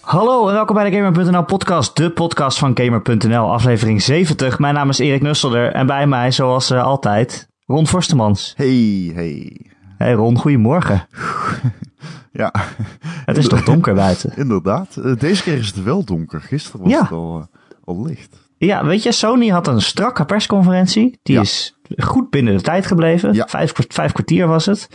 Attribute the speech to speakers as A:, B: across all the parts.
A: Hallo en welkom bij de Gamer.nl podcast, de podcast van Gamer.nl, aflevering 70. Mijn naam is Erik Nusselder en bij mij, zoals eh, altijd, Ron Forstemans.
B: Hey, hey.
A: Hey Ron, goedemorgen.
B: Ja,
A: Het is toch donker buiten?
B: inderdaad. Eh, Deze keer is het wel donker. Gisteren was
A: Ja.
B: het al, eh, al licht.
A: Ja, weet je, Sony had een strakke persconferentie. Die
B: Ja.
A: is goed binnen de tijd gebleven.
B: Ja.
A: Vijf, kwart- vijf kwartier was het.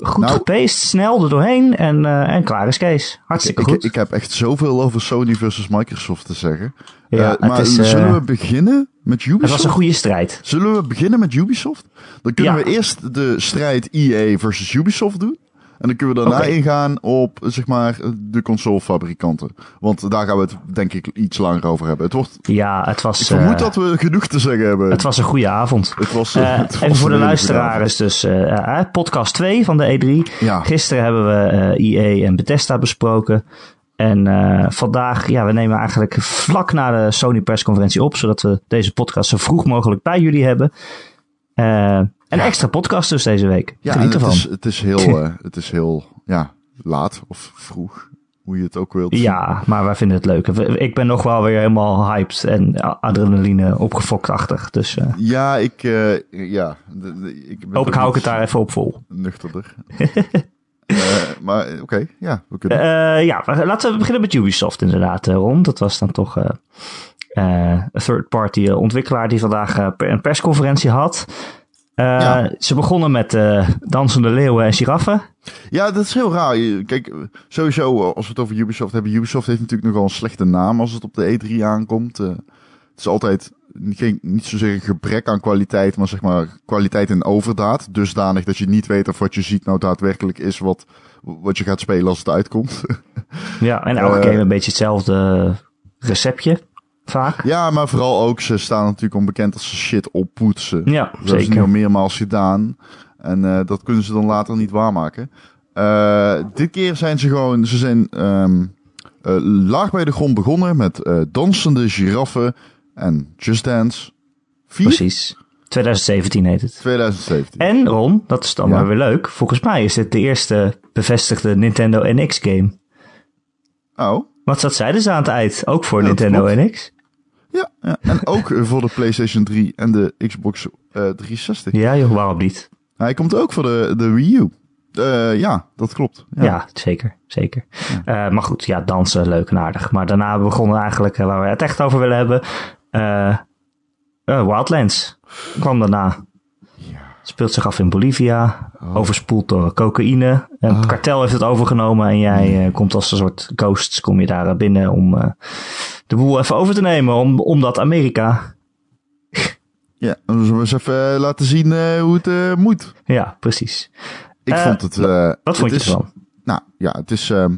A: Goed
B: Nou.
A: gepaced, snel er doorheen en, eh, en klaar is Kees. Hartstikke
B: Ik,
A: goed.
B: ik heb echt zoveel over Sony versus Microsoft te zeggen.
A: Ja,
B: Eh,
A: het
B: maar
A: is, eh,
B: zullen we beginnen met
A: het
B: Ubisoft?
A: was een goede strijd.
B: Zullen we beginnen met Ubisoft? Dan kunnen
A: Ja.
B: we eerst de strijd EA versus Ubisoft doen. En dan kunnen we daarna
A: Oké.
B: ingaan op, eh, zeg maar, de consolefabrikanten. Want daar gaan we het denk ik iets langer over hebben. Het wordt,
A: Ja, het was,
B: ik vermoed
A: eh,
B: dat we genoeg te zeggen hebben.
A: het was een goede avond.
B: Het was,
A: Eh,
B: het was
A: even voor de
B: een hele goede
A: luisteraars, dus eh, eh, podcast 2 van de E3.
B: Ja.
A: Gisteren hebben we eh EA en Bethesda besproken. En eh, vandaag, ja, we nemen eigenlijk vlak na de Sony persconferentie op, zodat we deze podcast zo vroeg mogelijk bij jullie hebben. Eh, een extra podcast dus deze week.
B: Ja,
A: Geniet
B: en
A: ervan.
B: Het is, het is heel, eh, het is heel ja, laat of vroeg, hoe je het ook wilt.
A: Ja, maar wij vinden het leuk. We- Ik ben nog wel weer helemaal hyped en a- adrenaline opgefoktachtig. Dus eh,
B: Ja, ik, eh, ja, de- de- ik ben
A: hoop ik
B: ook
A: hou ik het
B: iets
A: daar even op vol.
B: nuchterder. Eh, maar oké, ja, we kunnen.
A: Eh, ja, maar laten we beginnen met Ubisoft inderdaad, eh, Ron. Dat was dan toch eh, eh, een third-party eh, ontwikkelaar die vandaag eh, per- een persconferentie had. Eh,
B: Ja.
A: Ze begonnen met eh, dansende leeuwen en giraffen.
B: Ja, dat is heel raar. Je- Kijk, eh, sowieso eh, als we het over Ubisoft hebben. Ubisoft heeft natuurlijk nogal een slechte naam als het op de E3 aankomt. Eh, het is altijd niet- geen, niet zozeer een gebrek aan kwaliteit, maar zeg maar kwaliteit in overdaad. Dusdanig dat je niet weet of wat je ziet nou daadwerkelijk is wat, wat je gaat spelen als het uitkomt.
A: Ja, en elke
B: Eh.
A: game een beetje hetzelfde receptje, vaak.
B: ja, maar vooral ook, ze staan natuurlijk onbekend als ze shit oppoetsen.
A: Ja,
B: Dat hebben ze nu al
A: zeker.
B: meermaals gedaan. En eh, dat kunnen ze dan later niet waarmaken. Eh, dit keer zijn ze gewoon, ze zijn ehm, eh, laag bij de grond begonnen met eh, dansende giraffen en Just Dance 4
A: Precies. 2017 heet het.
B: 2017.
A: En Ron, dat is dan
B: Ja.
A: maar weer leuk. Volgens mij is dit de eerste bevestigde Nintendo NX game.
B: Oh,
A: Want dat zeiden ze aan het eind, ook voor
B: Ja, dat
A: Nintendo
B: klopt.
A: NX.
B: ja, ja. En ook eh, voor de PlayStation 3 en de Xbox eh, 360.
A: Ja joh, waarom niet?
B: Hij komt ook voor de, de Wii U. Eh, ja, dat klopt.
A: Ja, zeker. zeker. Eh, maar goed, ja, dansen, leuk en aardig. Maar daarna begonnen eigenlijk, eh, waar we het echt over willen hebben, eh, eh, Wildlands kwam daarna. Speelt zich af in Bolivia,
B: Oh.
A: overspoeld door cocaïne. Een
B: Ah.
A: kartel heeft het overgenomen en jij eh, komt als een soort ghosts, kom je daar eh, binnen om eh, de boel even over te nemen, om, omdat Amerika.
B: Ja, dan zullen we eens even eh, laten zien eh, hoe het eh, moet.
A: Ja, precies.
B: Ik
A: Eh,
B: vond het... eh,
A: Wat vond
B: het
A: je
B: is-
A: ervan?
B: Nou ja, het is. ehm,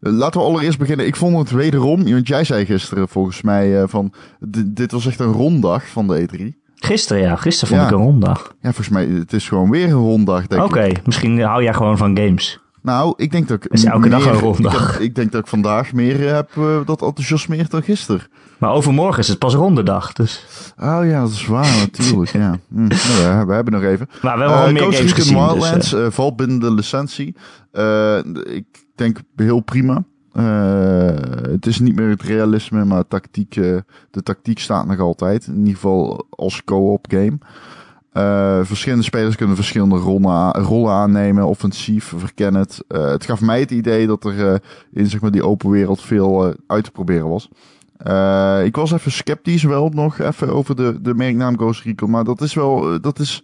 B: laten we allereerst beginnen. Ik vond het wederom. Want jij zei gisteren volgens mij eh, van. di- Dit was echt een ronddag van de E3.
A: Gisteren, ja. Gisteren vond
B: Ja.
A: ik een ronddag.
B: Ja, volgens mij. Het is gewoon weer een ronddag, denk
A: Oké,
B: ik.
A: misschien hou jij gewoon van games.
B: Nou, ik denk dat ik.
A: is elke dag
B: meer-
A: een ronddag.
B: Ik, heb- ik denk dat ik vandaag meer eh, heb eh, dat enthousiasmeerd dan gisteren.
A: Maar overmorgen is het pas rondedag, dus...
B: Oh ja, dat is waar, natuurlijk. ja. Hm, nou ja, we hebben nog even.
A: Maar we hebben al
B: Eh,
A: meer
B: Ghost
A: games
B: Recon
A: gezien. dus,
B: Wildlands eh, valt binnen de licentie. Eh, ik denk heel prima. Eh, het is niet meer het realisme, maar tactiek, eh, de tactiek staat nog altijd. In ieder geval als co-op game. Eh, verschillende spelers kunnen verschillende rollen, a- rollen aannemen, offensief, verkennend. Eh, het gaf mij het idee dat er eh, in zeg maar, die open wereld veel eh, uit te proberen was. Eh, ik was even sceptisch wel nog even over de, de merknaam Ghost Recon. Maar dat is wel, eh, dat is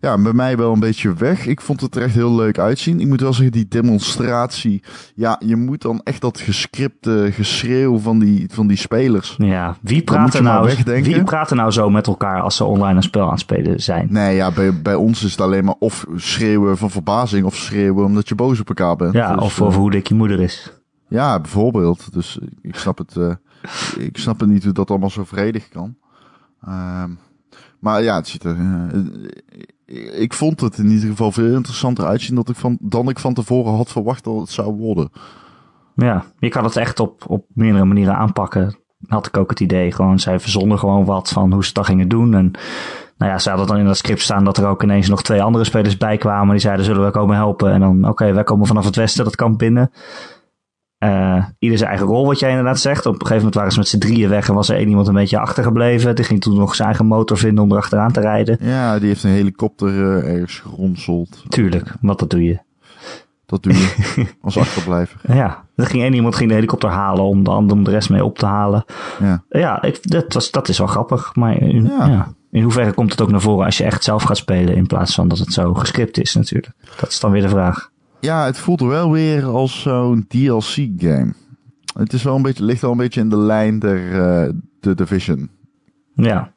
B: ja, bij mij wel een beetje weg. Ik vond het er echt heel leuk uitzien. Ik moet wel zeggen, die demonstratie. Ja, je moet dan echt dat gescripte geschreeuw van die, van die spelers.
A: eh, ja, wie
B: moet
A: praat,
B: je
A: er
B: maar
A: nou,
B: wegdenken.
A: wie praat er nou zo met elkaar als ze online een spel aan het spelen zijn?
B: Nee, ja, bij, bij ons is het alleen maar of schreeuwen van verbazing of schreeuwen omdat je boos op elkaar bent.
A: Ja,
B: Dus,
A: of
B: eh,
A: over hoe dik je moeder is.
B: Ja, bijvoorbeeld. Dus ik snap het, eh, ik snap het niet hoe dat allemaal zo vredig kan. Ehm, maar ja, het ziet er. eh, ik vond het in ieder geval veel interessanter uitzien dan ik van, dan ik van tevoren had verwacht dat het zou worden.
A: Ja, je kan het echt op, op meerdere manieren aanpakken. Had ik ook het idee. Gewoon, zij verzonnen gewoon wat van hoe ze dat gingen doen. En nou ja, ze hadden dan in dat script staan dat er ook ineens nog twee andere spelers bij kwamen. Die zeiden, zullen we komen helpen? En dan, oké, wij komen vanaf het westen dat kamp binnen. eh, ieder zijn eigen rol, wat jij inderdaad zegt. Op een gegeven moment waren ze met z'n drieën weg en was er één iemand een beetje achtergebleven. Die ging toen nog zijn eigen motor vinden om erachteraan te rijden.
B: Ja, die heeft een helikopter eh, ergens geronseld.
A: Tuurlijk, want dat doe je.
B: Dat doe je als achterblijver.
A: Ja, er ging één iemand ging de helikopter halen om de, ander- om de rest mee op te halen.
B: Ja.
A: Ja, ik, dat, was, dat is wel grappig. Maar in,
B: Ja.
A: ja. in hoeverre komt het ook naar voren als je echt zelf gaat spelen in plaats van dat het zo gescript is natuurlijk. Dat is dan weer de vraag.
B: ja, het voelt wel weer als zo'n DLC-game. Het is wel een beetje, ligt wel een beetje in de lijn der eh, The Division.
A: Ja,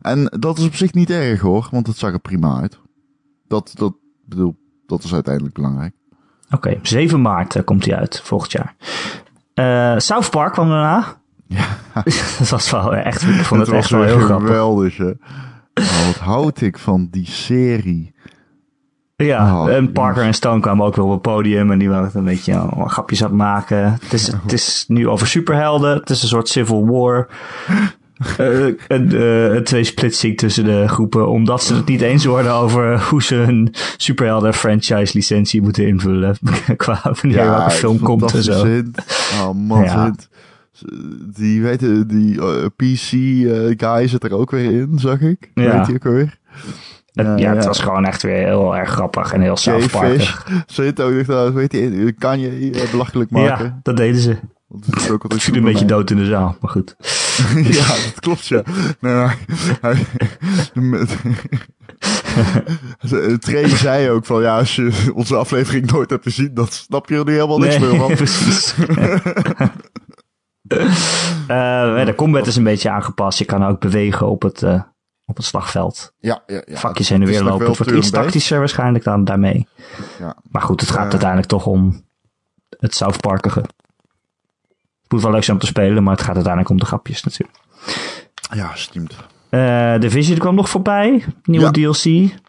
B: En dat is op zich niet erg hoor, want het zag er prima uit. Dat, dat, bedoel, dat is uiteindelijk belangrijk.
A: oké. 7 maart eh, komt hij uit, volgend jaar. Eh, South Park kwam daarna. dat was wel echt, ik vond het,
B: was
A: echt wel
B: weer
A: heel grappig.
B: geweldig. hè. Oh, wat houd ik van die serie.
A: Ja,
B: Oh,
A: en Parker en Stone kwamen ook weer op het podium en die waren het een beetje oh, grapjes aan het maken. Het is, het is nu over superhelden, het is een soort civil war. Eh, en, eh, het twee splitsing tussen de groepen, omdat ze het niet eens worden over hoe ze hun superhelden franchise licentie moeten invullen. Qua wanneer welke film komt en
B: fantastische
A: zo.
B: hint. Oh man,
A: Ja.
B: hint. Die, weten, die eh, PC-guy eh, zit er ook weer in, zag ik.
A: Ja.
B: Weet je ook weer?
A: Het-
B: Ja,
A: ja, het
B: ja.
A: was gewoon echt weer heel erg grappig en heel South
B: J-Fish.
A: Parkig.
B: Zit ook nog daar, weet je, kan je eh, belachelijk maken.
A: Ja, dat deden ze.
B: Want het is ook altijd
A: Ik viel
B: goed
A: een beetje
B: bij
A: dood in de zaal, maar goed.
B: mij. ja, dat klopt, ja. Nee, maar hij, met, Trey zei ook van, ja, als je onze aflevering nooit hebt gezien, dan snap je er nu helemaal niks meer van.
A: precies. Eh, de combat is een beetje aangepast. Je kan ook bewegen op het, eh, op het slagveld.
B: Ja, ja, ja.
A: Vakjes heen en
B: Het is
A: weer
B: nog
A: lopen. Het
B: wel
A: wordt iets
B: turn-based.
A: tactischer waarschijnlijk dan daarmee.
B: Ja.
A: Maar goed, het gaat
B: Eh.
A: uiteindelijk toch om het South Parkige. Het moet wel leuk zijn om te spelen, maar het gaat uiteindelijk om de grapjes natuurlijk.
B: Ja, stimmt.
A: Eh Division kwam nog voorbij. Nieuwe
B: Ja.
A: DLC.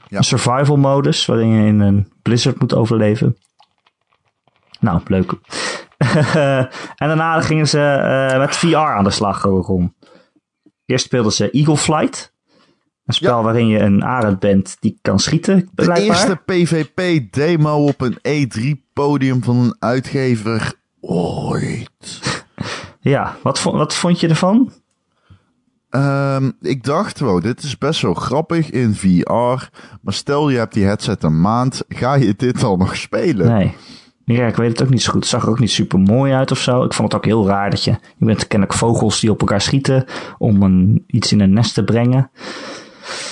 B: Ja.
A: Een survival modus, waarin je in een blizzard moet overleven. Nou, leuk. en daarna gingen ze eh, met VR aan de slag, Rogon. Eerst speelden ze Eagle Flight. Een spel waarin je een arend bent die kan schieten,
B: De
A: blijkbaar.
B: eerste PvP-demo op een E3-podium van een uitgever ooit.
A: Ja, wat vond, wat vond je ervan?
B: Ehm, ik dacht, wow, dit is best wel grappig in VR. Maar stel je hebt die headset een maand, ga je dit al nog spelen?
A: Nee. Ja, ik weet het ook niet zo goed. Het zag er ook niet super mooi uit of zo. Ik vond het ook heel raar dat je. Je bent kennelijk vogels die op elkaar schieten. om een, iets in een nest te brengen.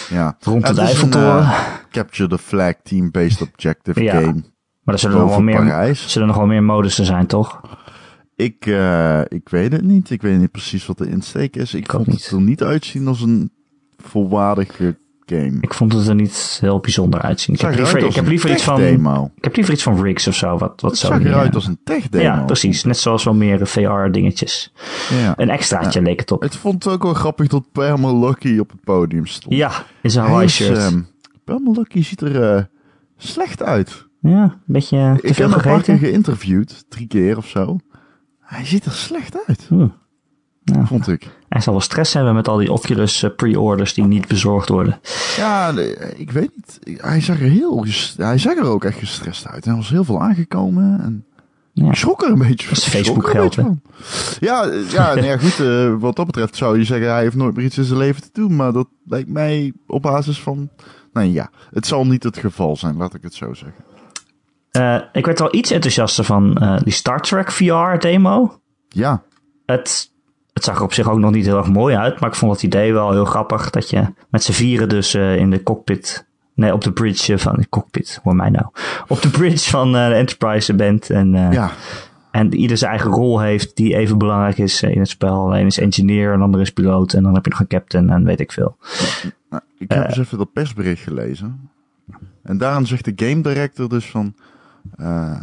B: Ja.
A: Rond het
B: Het is een,
A: Eiffeltoren.
B: eh, Capture the Flag team-based objective
A: Ja.
B: game.
A: maar er zullen nog, wel
B: boven
A: meer,
B: Parijs.
A: zullen nog wel meer modussen zijn, toch?
B: Ik, eh, ik weet het niet. Ik weet niet precies wat de insteek is. Ik,
A: ook
B: vond het
A: niet.
B: er niet uitzien als een volwaardige game.
A: Ik vond het er niet heel bijzonder uitzien. Ik
B: Het
A: heb
B: zag
A: liever,
B: eruit
A: ik
B: als
A: heb
B: een
A: liever iets van.
B: tech-demo.
A: Ik heb liever iets van rigs of zo. Wat, wat
B: Het
A: zo
B: zag
A: hier,
B: eruit
A: eh,
B: als een tech-demo.
A: Ja, precies. Net zoals wel meer VR-dingetjes.
B: Ja.
A: Een extraatje leek het op.
B: Het vond het ook wel grappig dat Perma Lucky op het podium stond.
A: Ja, in zijn
B: Hij
A: Hawaii
B: is,
A: shirt.
B: ehm, Perma Lucky ziet er eh, slecht uit.
A: ja, een beetje eh, te
B: ik
A: veel
B: heb hem een paar keer
A: gegeten.
B: geïnterviewd, drie keer of zo. Hij ziet er slecht uit,
A: Hm.
B: vond ik.
A: Hij zal wel stress hebben met al die Oculus eh, pre-orders die niet bezorgd worden.
B: Ja, nee, ik weet niet. Hij zag er, heel, ges- hij zag er ook echt gestrest uit. Hij was heel veel aangekomen. En
A: Ja.
B: Ik schrok er een beetje
A: Dat is
B: ik schrok er een
A: Facebook-geld,
B: beetje van. Ja, eh, ja, nou ja goed. eh, wat dat betreft zou je zeggen, hij heeft nooit meer iets in zijn leven te doen. Maar dat lijkt mij op basis van... Nee, ja. Het zal niet het geval zijn, laat ik het zo zeggen.
A: Eh, ik werd wel iets enthousiaster van eh, die Star Trek VR-demo.
B: Ja,
A: Het, het zag er op zich ook nog niet heel erg mooi uit, maar ik vond het idee wel heel grappig dat je met z'n vieren dus eh, in de cockpit, nee, op de bridge eh, van de cockpit, hoor mij nou, op de bridge van eh, de Enterprise bent en, eh,
B: ja.
A: en ieder zijn eigen rol heeft die even belangrijk is eh, in het spel. De een is engineer, een ander is piloot en dan heb je nog een captain en weet ik veel.
B: Nou, ik
A: Eh.
B: heb eens even dat persbericht gelezen. En daarom zegt de game director dus van... eh,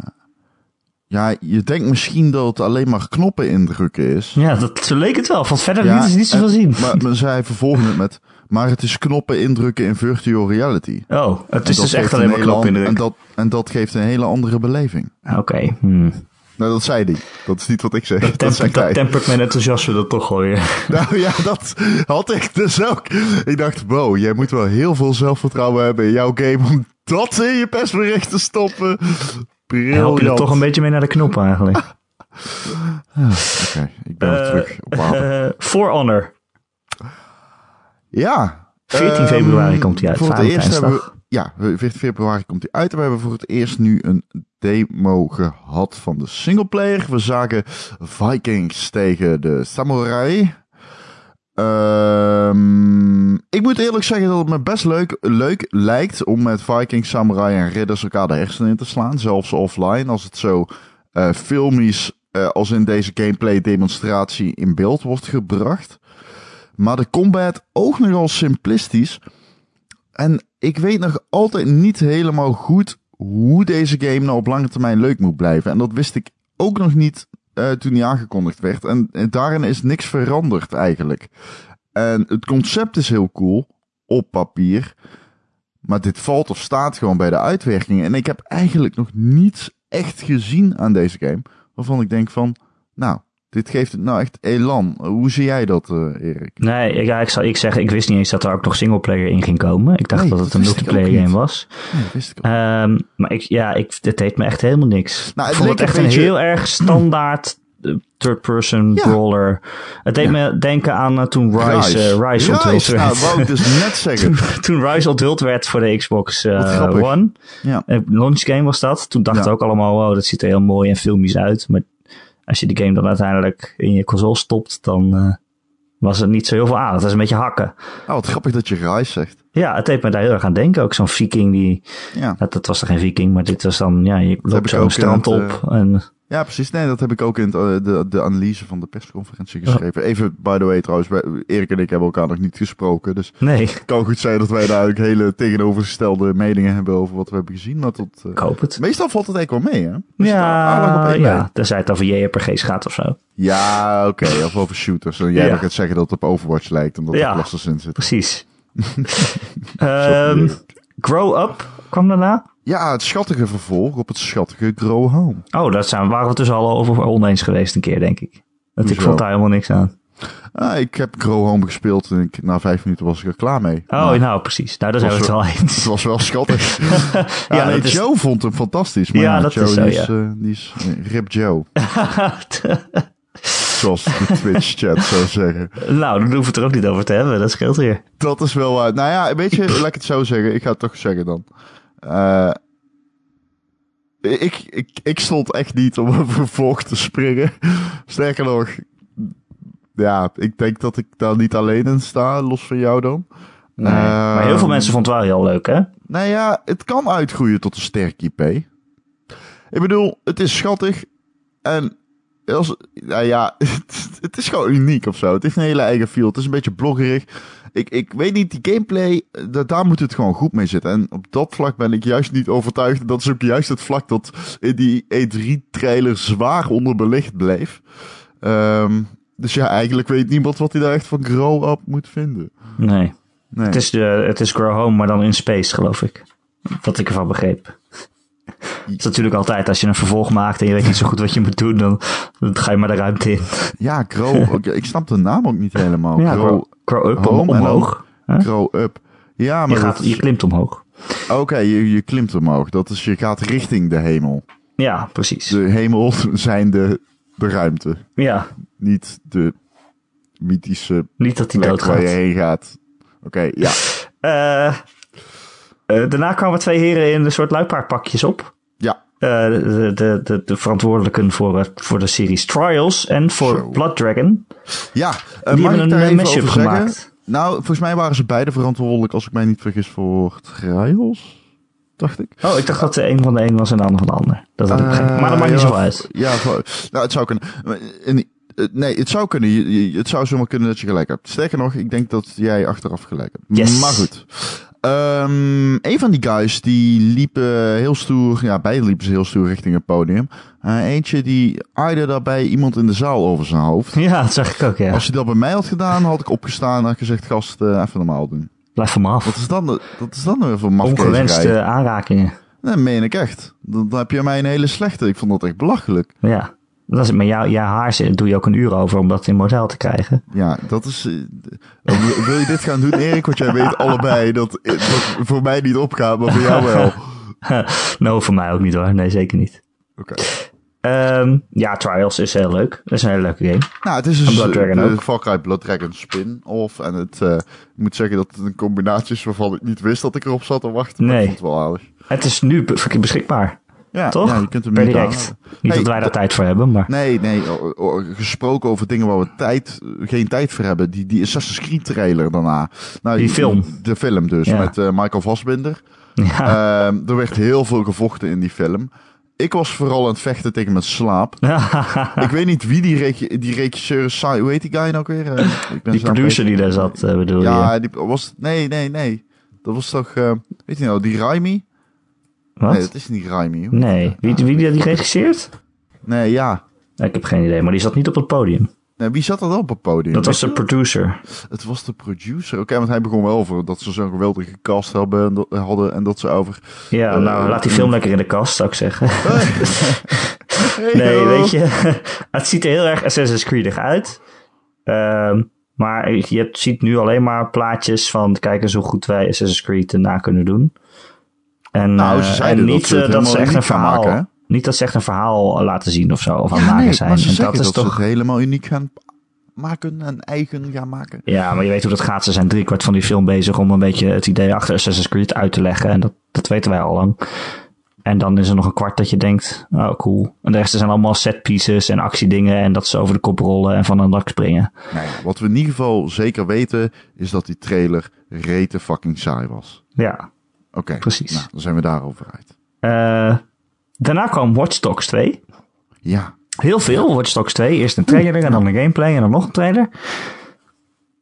B: ja, je denkt misschien dat het alleen maar knoppen indrukken is.
A: Ja, dat, zo leek het wel, want verder
B: Ja,
A: liet ze niet zoveel
B: en-
A: zien.
B: Maar, maar zij vervolgen het met... Maar het is knoppen indrukken in virtual reality.
A: Oh, het
B: En
A: is
B: dat
A: dus echt
B: geeft
A: alleen
B: een
A: maar
B: hele an-
A: knopindruk.
B: En dat, en dat geeft een hele andere beleving.
A: Oké, hmm.
B: Nou, dat zei hij. Dat is niet wat ik zeg. Dat,
A: Temp-
B: zegt
A: dat
B: hij.
A: tempert mijn enthousiasme dat toch wel weer.
B: Nou ja, dat had ik dus ook. Ik dacht, wow, jij moet wel heel veel zelfvertrouwen hebben in jouw game om dat in je persbericht te stoppen.
A: Help je er
B: Briljant.
A: toch een beetje mee naar de knop eigenlijk.
B: Oké, ik ben weer
A: Eh,
B: terug op water.
A: Eh, For Honor.
B: Ja.
A: 14
B: Ehm,
A: februari komt hij uit,
B: Voor het eerst hebben we,
A: Valentijnsdag.
B: ja, 14 februari komt hij uit. En we hebben voor het eerst nu een demo gehad van de singleplayer. We zagen Vikings tegen de Samurai. Ehm, ik moet eerlijk zeggen dat het me best leuk, leuk lijkt om met Vikings, Samurai en Ridders elkaar de hersenen in te slaan. Zelfs offline, als het zo eh, filmisch eh, als in deze gameplay demonstratie in beeld wordt gebracht. Maar de combat ook nogal simplistisch. En ik weet nog altijd niet helemaal goed hoe deze game nou op lange termijn leuk moet blijven. En dat wist ik ook nog niet eh, toen die aangekondigd werd. En, eh, daarin is niks veranderd eigenlijk. En het concept is heel cool op papier. Maar dit valt of staat gewoon bij de uitwerking. En ik heb eigenlijk nog niets echt gezien aan deze game. Waarvan ik denk van, nou, dit geeft het nou echt elan. Hoe zie jij dat, eh, Erik?
A: Nee, ik- ja, ik zou ik zeggen, ik wist niet eens dat er ook nog singleplayer in ging komen. Ik dacht
B: Nee,
A: dat
B: dat
A: het een
B: wist ik ook
A: multiplayer game
B: niet.
A: was.
B: Nee, dat wist ik al.
A: Ehm, maar ik, ja, ik, het deed me echt helemaal niks.
B: Nou, het
A: ik vond het
B: leek
A: echt
B: een
A: een
B: beetje-
A: heel erg standaard eh, third-person
B: Ja.
A: brawler. Het deed me denken aan eh, toen Rise, eh, Rise onthuld
B: nou,
A: werd.
B: wou ik dus net zeggen.
A: toen Rise onthuld werd voor de Xbox eh,
B: Wat grappig.
A: One.
B: Ja.
A: Een launch game was dat. Toen dachten
B: Ja.
A: we ook allemaal, wow, dat ziet er heel mooi en filmisch uit. Maar als je die game dan uiteindelijk in je console stopt, dan eh, was er niet zo heel veel aan. Het is een beetje hakken.
B: Oh, wat grappig dat je Rise zegt.
A: Ja, het deed me daar heel erg aan denken. Ook zo'n viking die... nou,
B: Ja.
A: Dat, dat was er geen viking, maar dit was dan... Ja, je
B: heb ik
A: loopt zo
B: ook
A: een strand
B: in
A: op.
B: het, eh,
A: en,
B: ja, precies. Nee, dat heb ik ook in het, eh, de, de analyse van de persconferentie geschreven. Even, by the way, trouwens, wij- Erik en ik hebben elkaar nog niet gesproken. Dus
A: nee,
B: het kan goed zijn dat wij daar eigenlijk hele tegenovergestelde meningen hebben over wat we hebben gezien. Maar tot, eh,
A: ik hoop het.
B: meestal valt het eigenlijk wel mee, hè? Dus daar- aardig op
A: Ja,
B: één
A: ja,
B: lijn.
A: tenzij het over JRPG's gaat of zo.
B: ja oké. of over shooters. En jij
A: Ja.
B: wil gaat zeggen dat het op Overwatch lijkt, omdat
A: Ja.
B: er clusters in zitten.
A: Precies. Ehm, grow Up kwam daarna.
B: Ja, het schattige vervolg op het schattige Grow Home.
A: Oh, daar zijn, waren we dus al over oneens geweest een keer, denk ik. Dat ik
B: Hoezo?
A: vond daar helemaal niks aan.
B: Ah, ik heb Grow Home gespeeld en ik, na vijf minuten was ik er klaar mee.
A: Oh,
B: Maar
A: nou precies. Nou, daar zijn we het
B: zo-
A: wel
B: Het
A: eens.
B: was wel schattig. ja,
A: Ja,
B: nee,
A: dat is-
B: Joe vond hem fantastisch. Maar
A: Ja,
B: ja,
A: dat
B: Joe,
A: is zo,
B: die,
A: ja.
B: is, eh, die is eh, Rip Joe. Zoals de Twitch-chat zou zeggen.
A: nou, dan hoeven we het er ook niet over te hebben. Dat scheelt weer.
B: Dat is wel waar. Nou ja, weet je, laat ik het zo zeggen. Ik ga het toch zeggen dan. Eh, ik, ik, ik stond echt niet om een vervolg te springen. Sterker nog, ja, ik denk dat ik daar niet alleen in sta, los van jou dan.
A: Nee. maar heel veel
B: Ehm,
A: mensen vonden het wel heel leuk, hè?
B: Nou ja, het kan uitgroeien tot een sterk IP. Ik bedoel, het is schattig. En als, nou ja, het, het is gewoon uniek of zo. Het heeft een hele eigen feel. Het is een beetje bloggerig. Ik, ik weet niet, die gameplay, da- daar moet het gewoon goed mee zitten. En op dat vlak ben ik juist niet overtuigd. En Dat is ook juist het vlak dat in die E3-trailer zwaar onderbelicht bleef. Ehm, dus ja, eigenlijk weet niemand wat hij daar echt van grow up moet vinden.
A: Nee.
B: Nee.
A: Het, is de, het is Grow Home, maar dan in space, geloof ik. Wat ik ervan begreep. Het is natuurlijk altijd als je een vervolg maakt en je weet niet zo goed wat je moet doen, dan, dan ga je maar de ruimte in.
B: Ja, grow. oké, ik snap de naam ook niet helemaal.
A: Ja,
B: grow,
A: grow, grow Up om,
B: Home en
A: omhoog. Hè?
B: Grow up. Ja,
A: Je,
B: maar
A: gaat,
B: dat-
A: je klimt omhoog.
B: oké, je, je klimt omhoog. Dat is, je gaat richting de hemel.
A: Ja, precies.
B: De hemel zijn de, de ruimte,
A: Ja,
B: niet de mythische
A: niet dat hij
B: plek waar je
A: doodgaat.
B: heen gaat. Oké, ja.
A: Eh, eh, daarna kwamen twee heren in een soort luipaardpakjes op.
B: Ja,
A: Eh, de, de, de, de verantwoordelijken voor, eh, voor de series Trials en voor
B: Zo.
A: Blood Dragon.
B: ja. eh,
A: Die hebben
B: mag ik
A: een
B: daar
A: eh,
B: even
A: mashup
B: over zeggen?
A: gemaakt.
B: Nou, volgens mij waren ze beide verantwoordelijk, als ik mij niet vergis, voor trials, dacht ik.
A: Oh, ik dacht dat de een van de een was en de ander van de ander. Dat had ik begrepen. Maar dat maakt
B: Eh,
A: niet
B: ja,
A: zoveel uit.
B: Ja, voor- nou, het zou kunnen. Maar, eh, in- eh, Nee, het zou kunnen. Je- je- Het zou zomaar kunnen dat je gelijk hebt. Sterker nog, ik denk dat jij achteraf gelijk hebt.
A: Yes.
B: Maar goed. Ehm, een van die guys die liepen heel stoer. Ja, beide liepen ze heel stoer richting het podium. Eh, eentje die aaide daarbij iemand in de zaal over zijn hoofd.
A: Ja, dat zag ik ook, ja.
B: Als je dat bij mij had gedaan, had ik opgestaan en had gezegd: Gast, eh, even normaal doen.
A: Blijf van me af.
B: Wat is dan, dat is dan weer voor mafkezerij?
A: Ongewenste aanrakingen.
B: Nee, meen ik echt. Dan dan heb je mij een hele slechte. Ik vond dat echt belachelijk.
A: Ja. Dat is het. Met jou, jouw haar zit- doe je ook een uur over om dat in model te krijgen.
B: Ja, dat is. eh, w- Wil je dit gaan doen, Erik? Want jij weet allebei dat eh, dat voor mij niet opgaat, maar voor jou wel. Oké.
A: nou, voor mij ook niet hoor. Nee, zeker niet. Ehm, ja, Trials is heel leuk. Dat is een hele leuke game.
B: Nou, het is dus
A: Blood Dragon
B: de
A: ook.
B: Far Cry Blood Dragon spin-off. En het, eh, ik moet zeggen dat het een combinatie is waarvan ik niet wist dat ik erop zat te wachten. Maar
A: Nee.
B: ik vond het wel aardig.
A: Het is nu be- beschikbaar,
B: Ja,
A: toch?
B: ja, je kunt hem
A: per
B: nu
A: direct.
B: downloaden.
A: Niet
B: Hey,
A: dat wij daar
B: de-
A: tijd voor hebben, maar...
B: Nee, nee. o- o- gesproken over dingen waar we tijd, geen tijd voor hebben. Die, die Assassin's Creed trailer daarna. Nou,
A: Die film.
B: De film dus,
A: Ja.
B: met eh, Michael Fassbinder.
A: Ja.
B: Ehm, er werd heel veel gevochten in die film. Ik was vooral aan het vechten tegen mijn slaap. ik weet niet wie die, regi- die regisseur is. Sai- Hoe heet die guy nou ook weer? Eh, ik ben
A: die
B: zijn naam
A: producer
B: vergeten.
A: die daar zat, eh, bedoel je?
B: Ja, die was... Nee, nee, nee. Dat was toch... eh, weet je nou, die Raimi? Nee,
A: Wat?
B: dat is niet Raimi. hoor.
A: Nee. Wie, wie die regisseert?
B: Nee, ja.
A: Ik heb geen idee, maar die zat niet op het podium.
B: Nee, wie zat er dan op het podium?
A: Dat was de producer.
B: Het was de producer. Oké, want hij begon wel over dat ze zo'n geweldige cast hebben en dat- hadden en dat ze over...
A: Ja,
B: Eh,
A: nou, laat die film lekker in de kast, zou ik zeggen.
B: Hey,
A: Nee,
B: joh.
A: weet je, het ziet er heel erg Assassin's Creedig uit. Ehm, maar je ziet nu alleen maar plaatjes van kijk eens hoe goed wij Assassin's Creed erna kunnen doen. En,
B: Nou, ze
A: eh,
B: zeiden
A: en
B: dat
A: niet
B: ze het
A: eh, dat ze
B: helemaal
A: echt een
B: uniek gaan
A: verhaal
B: maken, hè?
A: Niet dat ze echt een verhaal laten zien of zo, of aan het
B: Ja,
A: maken
B: nee,
A: zijn.
B: maar ze
A: en
B: zeggen
A: dat is toch.
B: ze het helemaal uniek gaan maken en eigen gaan maken.
A: Ja, maar je weet hoe dat gaat. Ze zijn driekwart van die film bezig om een beetje het idee achter Assassin's Creed uit te leggen. En dat, dat weten wij al lang. En dan is er nog een kwart dat je denkt, oh cool. En de rest zijn allemaal set pieces en actiedingen. En dat ze over de kop rollen en van een dak springen.
B: Nou ja, wat we in ieder geval zeker weten is dat die trailer rete fucking saai was.
A: Ja.
B: Oké,
A: Precies.
B: Nou, dan zijn we daarover uit.
A: Eh, daarna kwam Watch Dogs 2.
B: Ja,
A: Heel veel Watch Dogs 2. Eerst een trailer en dan een gameplay en dan nog een trailer.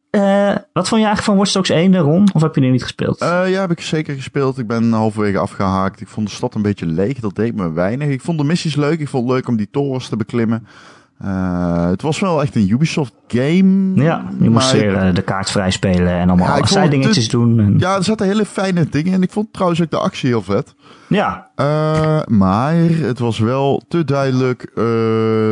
A: Eh, wat vond je eigenlijk van Watch Dogs 1 daarom? Of heb je die niet gespeeld?
B: Eh, ja, heb ik zeker gespeeld. Ik ben halverwege afgehaakt. Ik vond de stad een beetje leeg. Dat deed me weinig. Ik vond de missies leuk. Ik vond het leuk om die torens te beklimmen. Eh, het was wel echt een Ubisoft game.
A: ja, je moest
B: maar nou, ik-
A: weer eh, de kaart vrij spelen en allemaal
B: Ja, ik
A: allerlei
B: vond het
A: zijdingetjes doen. En, ja.
B: Ja, er zaten hele fijne dingen in. Ik vond trouwens ook de actie heel vet. Eh, maar het was wel te duidelijk eh,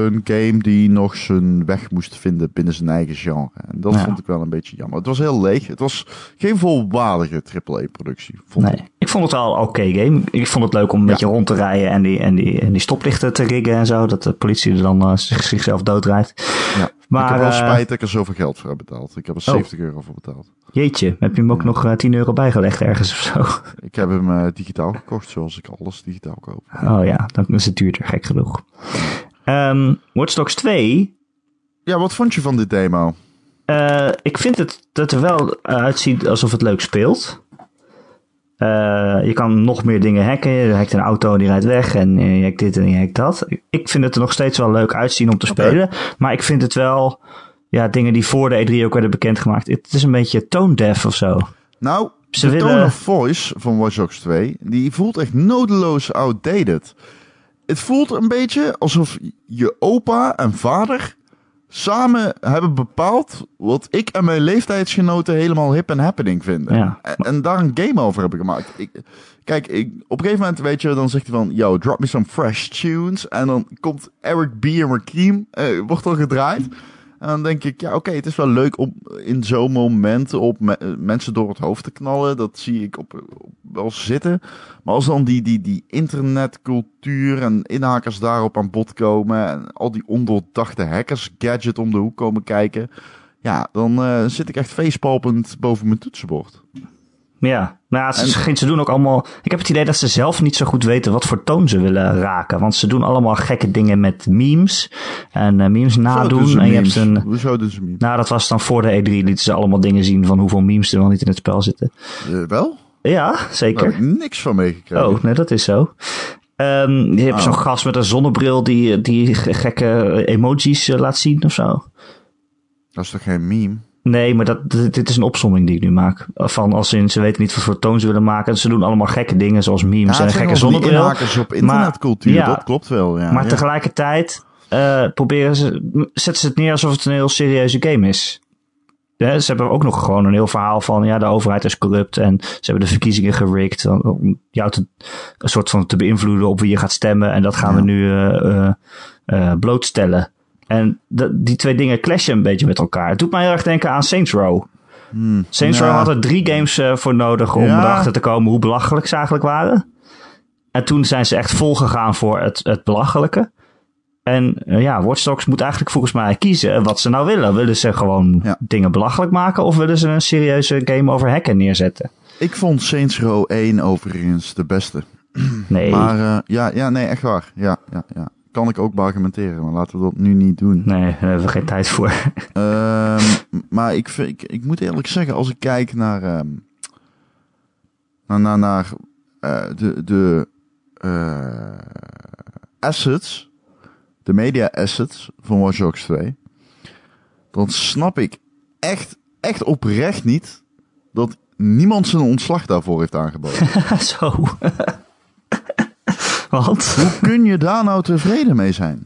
B: een game die nog zijn weg moest vinden binnen zijn eigen genre. En dat
A: Ja.
B: vond ik wel een beetje jammer. Het was heel leeg. Het was geen volwaardige AAA-productie. Vond ik.
A: Nee, ik vond het al een oké game. Ik vond het leuk om een beetje rond te rijden en die, en, die, en die stoplichten te riggen en zo. Dat de politie er dan eh, zich- zichzelf doodrijdt.
B: Ja.
A: Maar,
B: ik heb wel
A: eh, Oh.
B: spijt dat ik er zoveel geld voor heb betaald. Ik heb er 70 euro voor betaald.
A: Jeetje, heb je hem ook nog eh, 10 euro bijgelegd ergens of zo?
B: Ik heb hem eh, digitaal gekocht, zoals ik alles digitaal koop.
A: Oh ja, dan is het duurder, gek genoeg. Ehm Watch Dogs 2,
B: Ja, wat vond je van dit demo?
A: eh, ik vind het dat er wel eh, uitziet alsof het leuk speelt. Eh, je kan nog meer dingen hacken. Je hackt een auto en die rijdt weg. En eh, je hackt dit en je hackt dat. Ik- Ik vind het er nog steeds wel leuk uitzien om te
B: Oké.
A: spelen. Maar ik vind het wel... Ja, dingen die voor de E3 ook werden bekendgemaakt. Het is een beetje tone deaf of zo.
B: Nou,
A: Ze
B: de tone
A: willen-
B: of voice van Watch Dogs 2, die voelt echt nodeloos outdated. Het voelt een beetje alsof je opa en vader samen hebben bepaald wat ik en mijn leeftijdsgenoten helemaal hip en happening vinden.
A: Ja.
B: En, en daar een game over hebben gemaakt. Ik, kijk, ik, op een gegeven moment weet je, dan zegt hij van, yo, drop me some fresh tunes. En dan komt Eric B. en Rakim, eh, wordt al gedraaid. En dan denk ik, ja, oké, het is wel leuk om in zo'n moment op me- eh, mensen door het hoofd te knallen. Dat zie ik op, op- wel zitten. Maar als dan die, die, die internetcultuur en inhakers daarop aan bod komen. En al die ondoordachte hackers gadget om de hoek komen kijken. Ja, dan eh, zit ik echt facepalpend boven mijn toetsenbord.
A: Ja, nou, ja, ze,
B: En-
A: ze doen ook allemaal. Ik heb het idee dat ze zelf niet zo goed weten wat voor toon ze willen raken. Want ze doen allemaal gekke dingen met memes. En eh, memes
B: Zo
A: nadoen.
B: doen ze
A: en je
B: memes.
A: hebt een.
B: Zo doen ze memes.
A: Nou, dat was dan voor de E3 lieten ze allemaal dingen zien van hoeveel memes er wel niet in het spel zitten.
B: Eh, wel?
A: Ja,
B: Daar heb
A: zeker.
B: ik niks van meegekregen.
A: Oh, nee, dat is zo. Ehm, je hebt
B: Oh.
A: zo'n gast met een zonnebril die, die ge- gekke emojis eh, laat zien of zo.
B: Dat is toch geen meme?
A: Nee, maar dat, dit dit is een opsomming die ik nu maak. Van als in, ze weten niet wat voor toon ze willen maken. Ze doen allemaal gekke dingen zoals memes
B: Ja,
A: en
B: het
A: een
B: zijn
A: gekke
B: wel van die
A: zonnebril.
B: inhakers op internetcultuur,
A: ja.
B: dat klopt wel. Ja,
A: maar
B: ja.
A: tegelijkertijd eh, proberen ze, m- zetten ze het neer alsof het een heel serieuze game is. Hè, ze hebben ook nog gewoon een heel verhaal van ja, de overheid is corrupt en ze hebben de verkiezingen gerikt om- om jou te, een soort van te beïnvloeden op wie je gaat stemmen en dat gaan we nu eh, eh, eh, blootstellen. En dat- die twee dingen clashen een beetje met elkaar. Het doet mij heel erg denken aan Saints Row. Saints
B: Hmm. ja.
A: Row had er drie games eh, voor nodig om
B: Ja.
A: erachter te komen hoe belachelijk ze eigenlijk waren. En toen zijn ze echt volgegaan voor het, het belachelijke. En eh, ja, Watch Dogs moet eigenlijk volgens mij kiezen wat ze nou willen. Willen ze gewoon
B: Ja.
A: dingen belachelijk maken of willen ze een serieuze game over hacken neerzetten?
B: Ik vond Saints Row 1 overigens de beste.
A: Nee,
B: Maar eh, ja, ja, nee, echt waar. Ja, ja, ja. Kan ik ook beargumenteren, maar laten we dat nu niet doen.
A: nee, daar hebben we geen tijd voor.
B: Ehm, m- maar ik, vind- ik, ik moet eerlijk zeggen, als ik kijk naar, ehm, naar, naar, naar eh, de, de eh, assets, de media assets van Watch Dogs 2, dan snap ik echt, echt oprecht niet dat niemand zijn ontslag daarvoor heeft aangeboden.
A: Zo. Want?
B: Hoe kun je daar nou tevreden mee zijn?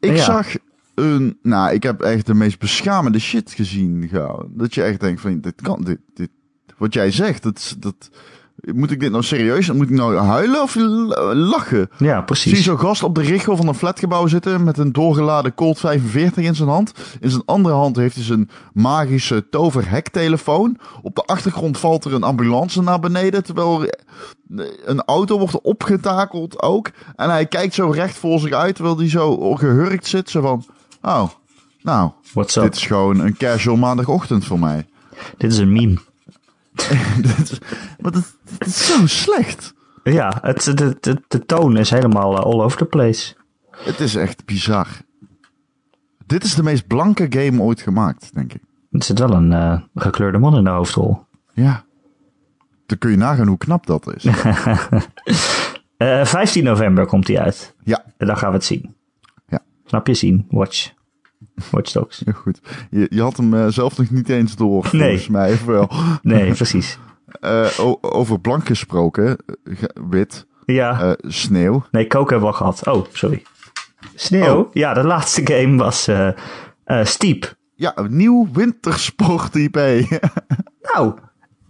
B: Ik
A: Ja.
B: zag een. Nou, ik heb echt de meest beschamende shit gezien. Gauw. Dat je echt denkt: van dit kan. Dit, dit, wat jij zegt, dat, is- dat, moet ik dit nou serieus? Moet ik nou huilen of l- lachen?
A: Ja,
B: Ik Zie
A: precies.
B: zo'n gast op de richel van een flatgebouw zitten met een doorgeladen Colt 45 in zijn hand. In zijn andere hand heeft hij zijn magische toverhektelefoon. Op de achtergrond valt er een ambulance naar beneden, terwijl er eh, een auto wordt opgetakeld ook. En hij kijkt zo recht voor zich uit, terwijl hij zo gehurkt zit. Zo van, oh, nou,
A: What's up?
B: dit is gewoon een casual maandagochtend voor mij.
A: Dit is een meme.
B: Dit is- Maar dat, dit is zo slecht.
A: Ja, het, het, het- het- de toon is helemaal eh, all over the place.
B: Het is echt bizar. Dit is de meest blanke game ooit gemaakt, denk ik.
A: Er zit wel een eh, gekleurde man in de hoofdrol.
B: Ja. Dan kun je nagaan hoe knap dat is.
A: Eh, 15 november komt die uit.
B: ja,
A: En dan gaan we het zien.
B: Ja.
A: Snap je? Zien. Watch. Watch Dogs.
B: heel goed. Je, je had hem eh, zelf nog niet eens door,
A: Nee.
B: volgens mij. Of wel.
A: Nee, precies.
B: Eh, o- over blank gesproken, eh, ge- wit,
A: Ja.
B: eh, sneeuw.
A: Nee, Coke hebben we al gehad. Oh, sorry. Sneeuw?
B: Oh.
A: Ja, de laatste game was eh eh, Steep.
B: Ja, een nieuw wintersport IP.
A: Nou,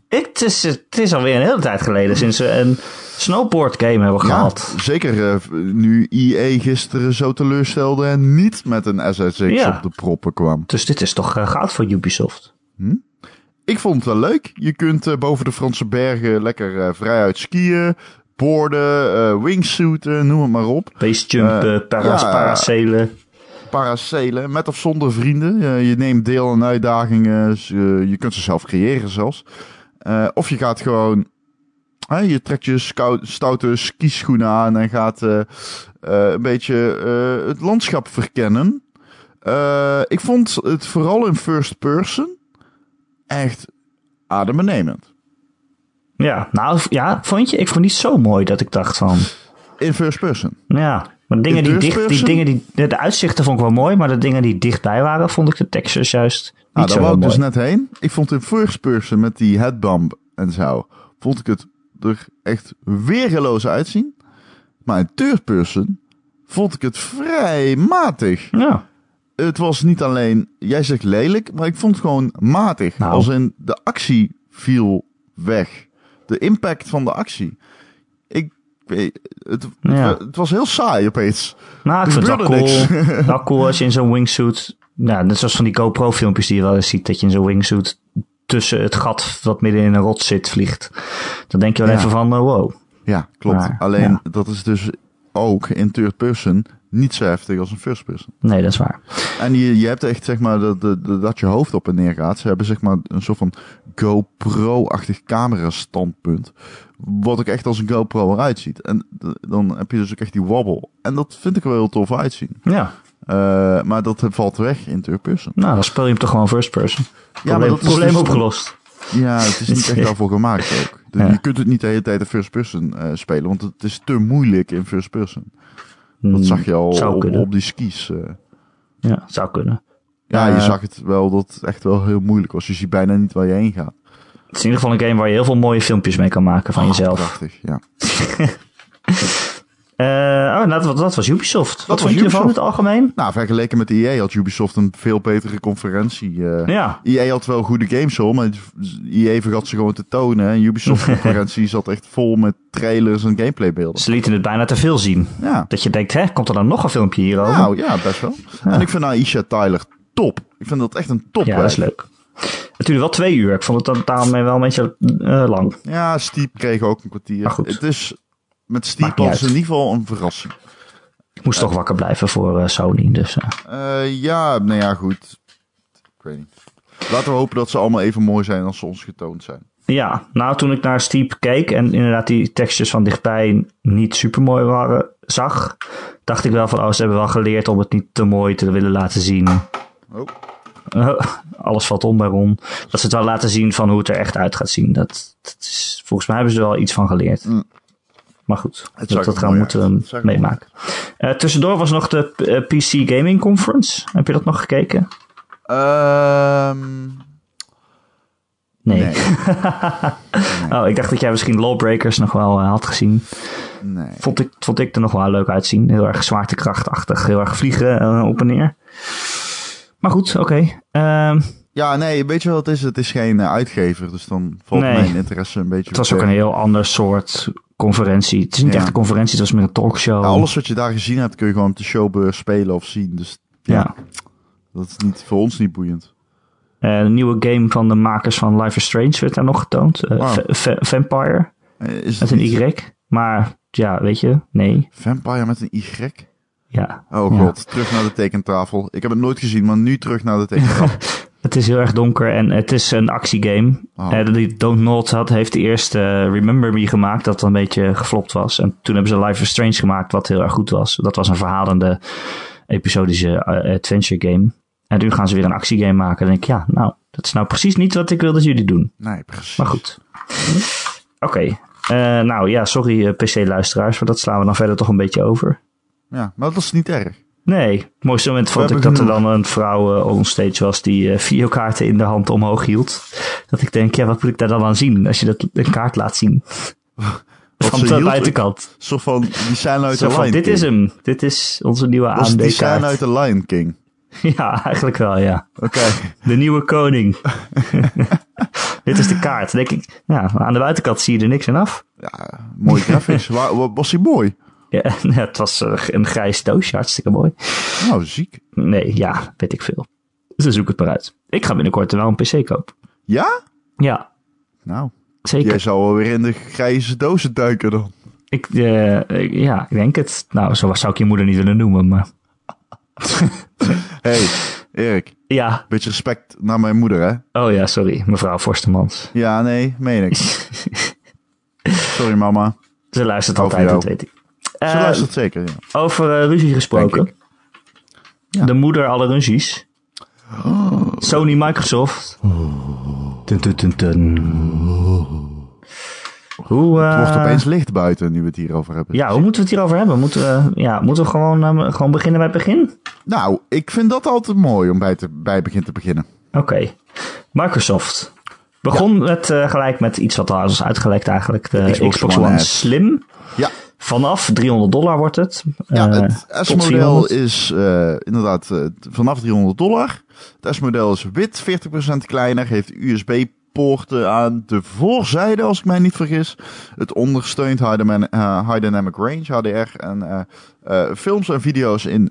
A: ik, het, is, het is alweer een hele tijd geleden sinds we een snowboard game hebben
B: ja,
A: gehad.
B: zeker eh, nu IE gisteren zo teleurstelde en niet met een SSX
A: Ja.
B: op de proppen kwam.
A: Dus dit is toch eh, goud voor Ubisoft?
B: Ik vond het wel leuk. Je kunt eh, boven de Franse bergen lekker eh, vrijuit skiën, boarden, eh wingsuiten, noem het maar op.
A: Basejumpen,
B: Eh,
A: paras,
B: ja.
A: paracelen.
B: paracelen, met of zonder vrienden. Eh, je neemt deel aan uitdagingen, s- eh, je kunt ze zelf creëren zelfs. Eh, of je gaat gewoon, hè, je trekt je skou- stoute skischoenen aan en gaat eh, eh, een beetje eh, het landschap verkennen. Eh, ik vond het vooral in first person echt adembenemend.
A: Ja, nou v- ja, vond je? Ik vond die zo mooi dat ik dacht van...
B: In first person.
A: Ja, maar dingen
B: In
A: die
B: third
A: dicht, die
B: person?
A: dingen die, de, de uitzichten vond ik wel mooi, maar de dingen die dichtbij waren, vond ik de textures juist niet
B: Nou,
A: zo
B: daar wou
A: heel
B: ik
A: mooi.
B: dus net heen. Ik vond in first person met die headbump en zo, vond ik het er echt weergeloos uitzien. Maar in third person vond ik het vrij matig.
A: Ja,
B: Het was niet alleen, jij zegt lelijk, maar ik vond het gewoon matig.
A: Nou.
B: Als in de actie viel weg. De impact van de actie. Ik, weet- het,
A: Ja.
B: het was heel saai opeens.
A: nou, ik
B: Er
A: vind het wel cool.
B: gebeurde
A: Wel cool als je in zo'n wingsuit... Nou, net zoals van die GoPro-filmpjes die je wel eens ziet, dat je in zo'n wingsuit tussen het gat wat midden in een rot zit vliegt. Dan denk je wel
B: Ja.
A: even van, eh, wow.
B: Ja, klopt.
A: Maar,
B: alleen
A: ja.
B: dat is dus ook in third person niet zo heftig als in first person.
A: Nee, dat is waar.
B: En je, je hebt echt, zeg maar, dat, dat, dat- dat je hoofd op en neer gaat. Ze hebben, zeg maar, een soort van GoPro-achtig camera-standpunt. Wat ook echt als een GoPro eruit ziet. En d- dan heb je dus ook echt die wobble. En dat vind ik er wel heel tof uitzien.
A: Ja,
B: Eh, maar dat valt weg in third person.
A: nou, dan speel je hem toch gewoon first person. Probleem,
B: maar dat is
A: probleem
B: dus-
A: opgelost.
B: Ja, het is niet echt daarvoor gemaakt ook. Dus
A: Ja.
B: Je kunt het niet de hele tijd in first person eh, spelen. Want het is te moeilijk in first person. Dat
A: Hmm,
B: zag je al
A: zou
B: op,
A: kunnen.
B: op die skis. eh.
A: Ja, zou kunnen.
B: ja,
A: Eh,
B: je zag het wel dat het echt wel heel moeilijk was. Je ziet bijna niet waar je heen gaat.
A: Het is in ieder geval een game waar je heel veel mooie filmpjes mee kan maken van
B: Ah,
A: jezelf.
B: Prachtig, ja.
A: Eh, oh, dat, wa- dat was Ubisoft. Wat
B: was
A: vond je ervan in
B: Ubisoft.
A: het algemeen?
B: Nou, vergeleken met EA had Ubisoft een veel betere conferentie. eh.
A: Ja,
B: EA had wel goede games hoor, maar EA vergat ze gewoon te tonen. En Ubisoft conferentie zat echt vol met trailers en gameplaybeelden.
A: ze lieten het bijna te veel zien.
B: Ja,
A: Dat je denkt, hè, komt er dan nog een filmpje hierover?
B: nou ja, best wel. En ik vind Aisha Tyler top. Ik vind dat echt een top.
A: ja, dat is leuk. Het duurde wel twee uur. Ik vond het dan daarmee wel een beetje eh, lang.
B: ja Steep kreeg ook een kwartier.
A: Maar goed.
B: Het is met
A: Maakt
B: Steep
A: niet
B: was in
A: uit.
B: ieder geval een verrassing.
A: Ik moest toch wakker blijven voor eh, Sony. Dus eh,
B: Eh, ja, nou ja, goed. Ik weet niet. Laten we hopen dat ze allemaal even mooi zijn als ze ons getoond zijn.
A: ja, nou toen ik naar Steep keek en inderdaad die textures van dichtbij niet super mooi waren, zag, dacht ik wel van oh, ze hebben wel geleerd om het niet te mooi te willen laten zien.
B: Oh,
A: Eh, alles valt om bij Ron. Dat ze het wel laten zien van hoe het er echt uit gaat zien. Dat, dat is, volgens mij hebben ze er wel iets van geleerd.
B: Mm.
A: Maar goed,
B: Het
A: dat,
B: zag
A: dat
B: er
A: gaan we
B: mooi uit.
A: moeten
B: Het zag er
A: meemaken. Eh, tussendoor was nog de eh, PC Gaming Conference. Heb je dat nog gekeken?
B: Ehm,
A: Nee.
B: nee.
A: Oh, ik dacht dat jij misschien Lawbreakers nog wel eh, had gezien.
B: nee.
A: Vond ik, vond ik er nog wel leuk uitzien. Heel erg zwaartekrachtachtig. Heel erg vliegen eh, op en neer. Maar goed, oké. Ehm,
B: Ja, nee, weet je wat het is? Het is geen eh, uitgever, dus dan valt
A: Nee.
B: mijn interesse een beetje
A: het was
B: weg.
A: ook een heel ander soort conferentie. Het is niet
B: Ja.
A: echt een conferentie, het was meer een talkshow.
B: Ja, alles wat je daar gezien hebt, kun je gewoon op de showbeurs spelen of zien. Dus ja,
A: Ja.
B: dat is niet, voor ons niet boeiend.
A: Eh, een nieuwe game van de makers van Life is Strange werd daar nog getoond. Eh,
B: Wow.
A: Va- Va- Vampire,
B: Eh, Is
A: met
B: het
A: een
B: niet
A: Y. Maar ja, weet je, nee.
B: Vampire met een Y?
A: Ja.
B: Oh
A: Ja.
B: god, terug naar de tekentafel. Ik heb het nooit gezien, maar nu terug naar de tekentafel.
A: Het is heel erg donker en het is een actiegame.
B: Oh.
A: Eh, die Don't Nod had, heeft eerst eh, Remember Me gemaakt, dat een beetje geflopt was. En toen hebben ze Life is Strange gemaakt, wat heel erg goed was. Dat was een verhalende, episodische eh, adventure game. En nu gaan ze weer een actiegame maken. En dan denk ik, ja, nou, dat is nou precies niet wat ik wil dat jullie doen.
B: nee, precies.
A: Maar goed. Oké. Eh, nou ja, sorry eh, PC-luisteraars, maar dat slaan we dan verder toch een beetje over.
B: Ja, maar dat is niet erg.
A: Nee, het mooiste moment vond
B: We
A: ik
B: hebben
A: dat er dan een vrouw eh, onstage was die eh, videokaarten in de hand omhoog hield. Dat ik denk, ja, wat moet ik daar dan aan zien als je dat een kaart laat zien? Van
B: ze
A: de
B: hield-
A: buitenkant.
B: Zo van, die zijn uit
A: Zo
B: de
A: van,
B: Lion
A: dit
B: King.
A: is hem. Dit is onze nieuwe
B: Dat is die zijn
A: AMD-kaart.
B: uit de Lion King.
A: Ja, eigenlijk wel, ja.
B: Oké.
A: De nieuwe koning. dit is de kaart. Dan Denk ik, nou, aan de buitenkant zie je er niks aan af.
B: Ja, mooi graphics. Wa- wa- was hij mooi?
A: Ja, het was eh, een grijs doosje, hartstikke mooi.
B: Nou, ziek.
A: Nee, ja, weet ik veel. Dus dan zoek het maar uit. Ik ga binnenkort wel een PC kopen.
B: Ja?
A: Ja,
B: Nou,
A: zeker.
B: jij zou wel weer in de grijze dozen duiken dan.
A: Ik, eh, eh, ja, ik denk het. Nou, zo zou ik je moeder niet willen noemen, maar...
B: hey, Erik.
A: Ja,
B: Beetje respect naar mijn moeder, hè?
A: oh ja, sorry, mevrouw Forstemans.
B: Ja, nee, meen ik. Sorry, mama.
A: Ze luistert
B: Over
A: altijd,
B: jou.
A: dat weet ik.
B: Ze
A: Eh,
B: luistert zeker, ja.
A: Over eh, ruzie gesproken.
B: Ja.
A: De moeder alle ruzies. Sony Microsoft. Dun, dun, dun, dun. Hoe, eh,
B: Het wordt opeens licht buiten nu we het hierover hebben.
A: ja, hoe moeten we het hierover hebben? Moeten we, ja, moeten we gewoon, eh, gewoon beginnen bij het begin?
B: Nou, ik vind dat altijd mooi om bij, te, bij begin te beginnen.
A: Oké. Microsoft. Begon met, eh, gelijk met iets wat al was uitgelekt eigenlijk. De Xbox,
B: Xbox
A: One,
B: One S.
A: Slim.
B: Ja,
A: Vanaf 300 dollar wordt het.
B: ja
A: Eh,
B: het
A: tot
B: S-model
A: 400.
B: is eh, inderdaad eh, vanaf 300 dollar. Het S-model is wit, 40% kleiner, heeft USB-poorten aan de voorzijde, als ik mij niet vergis. Het ondersteunt High, dyna- eh, high Dynamic Range, HDR, en eh, eh, films en video's in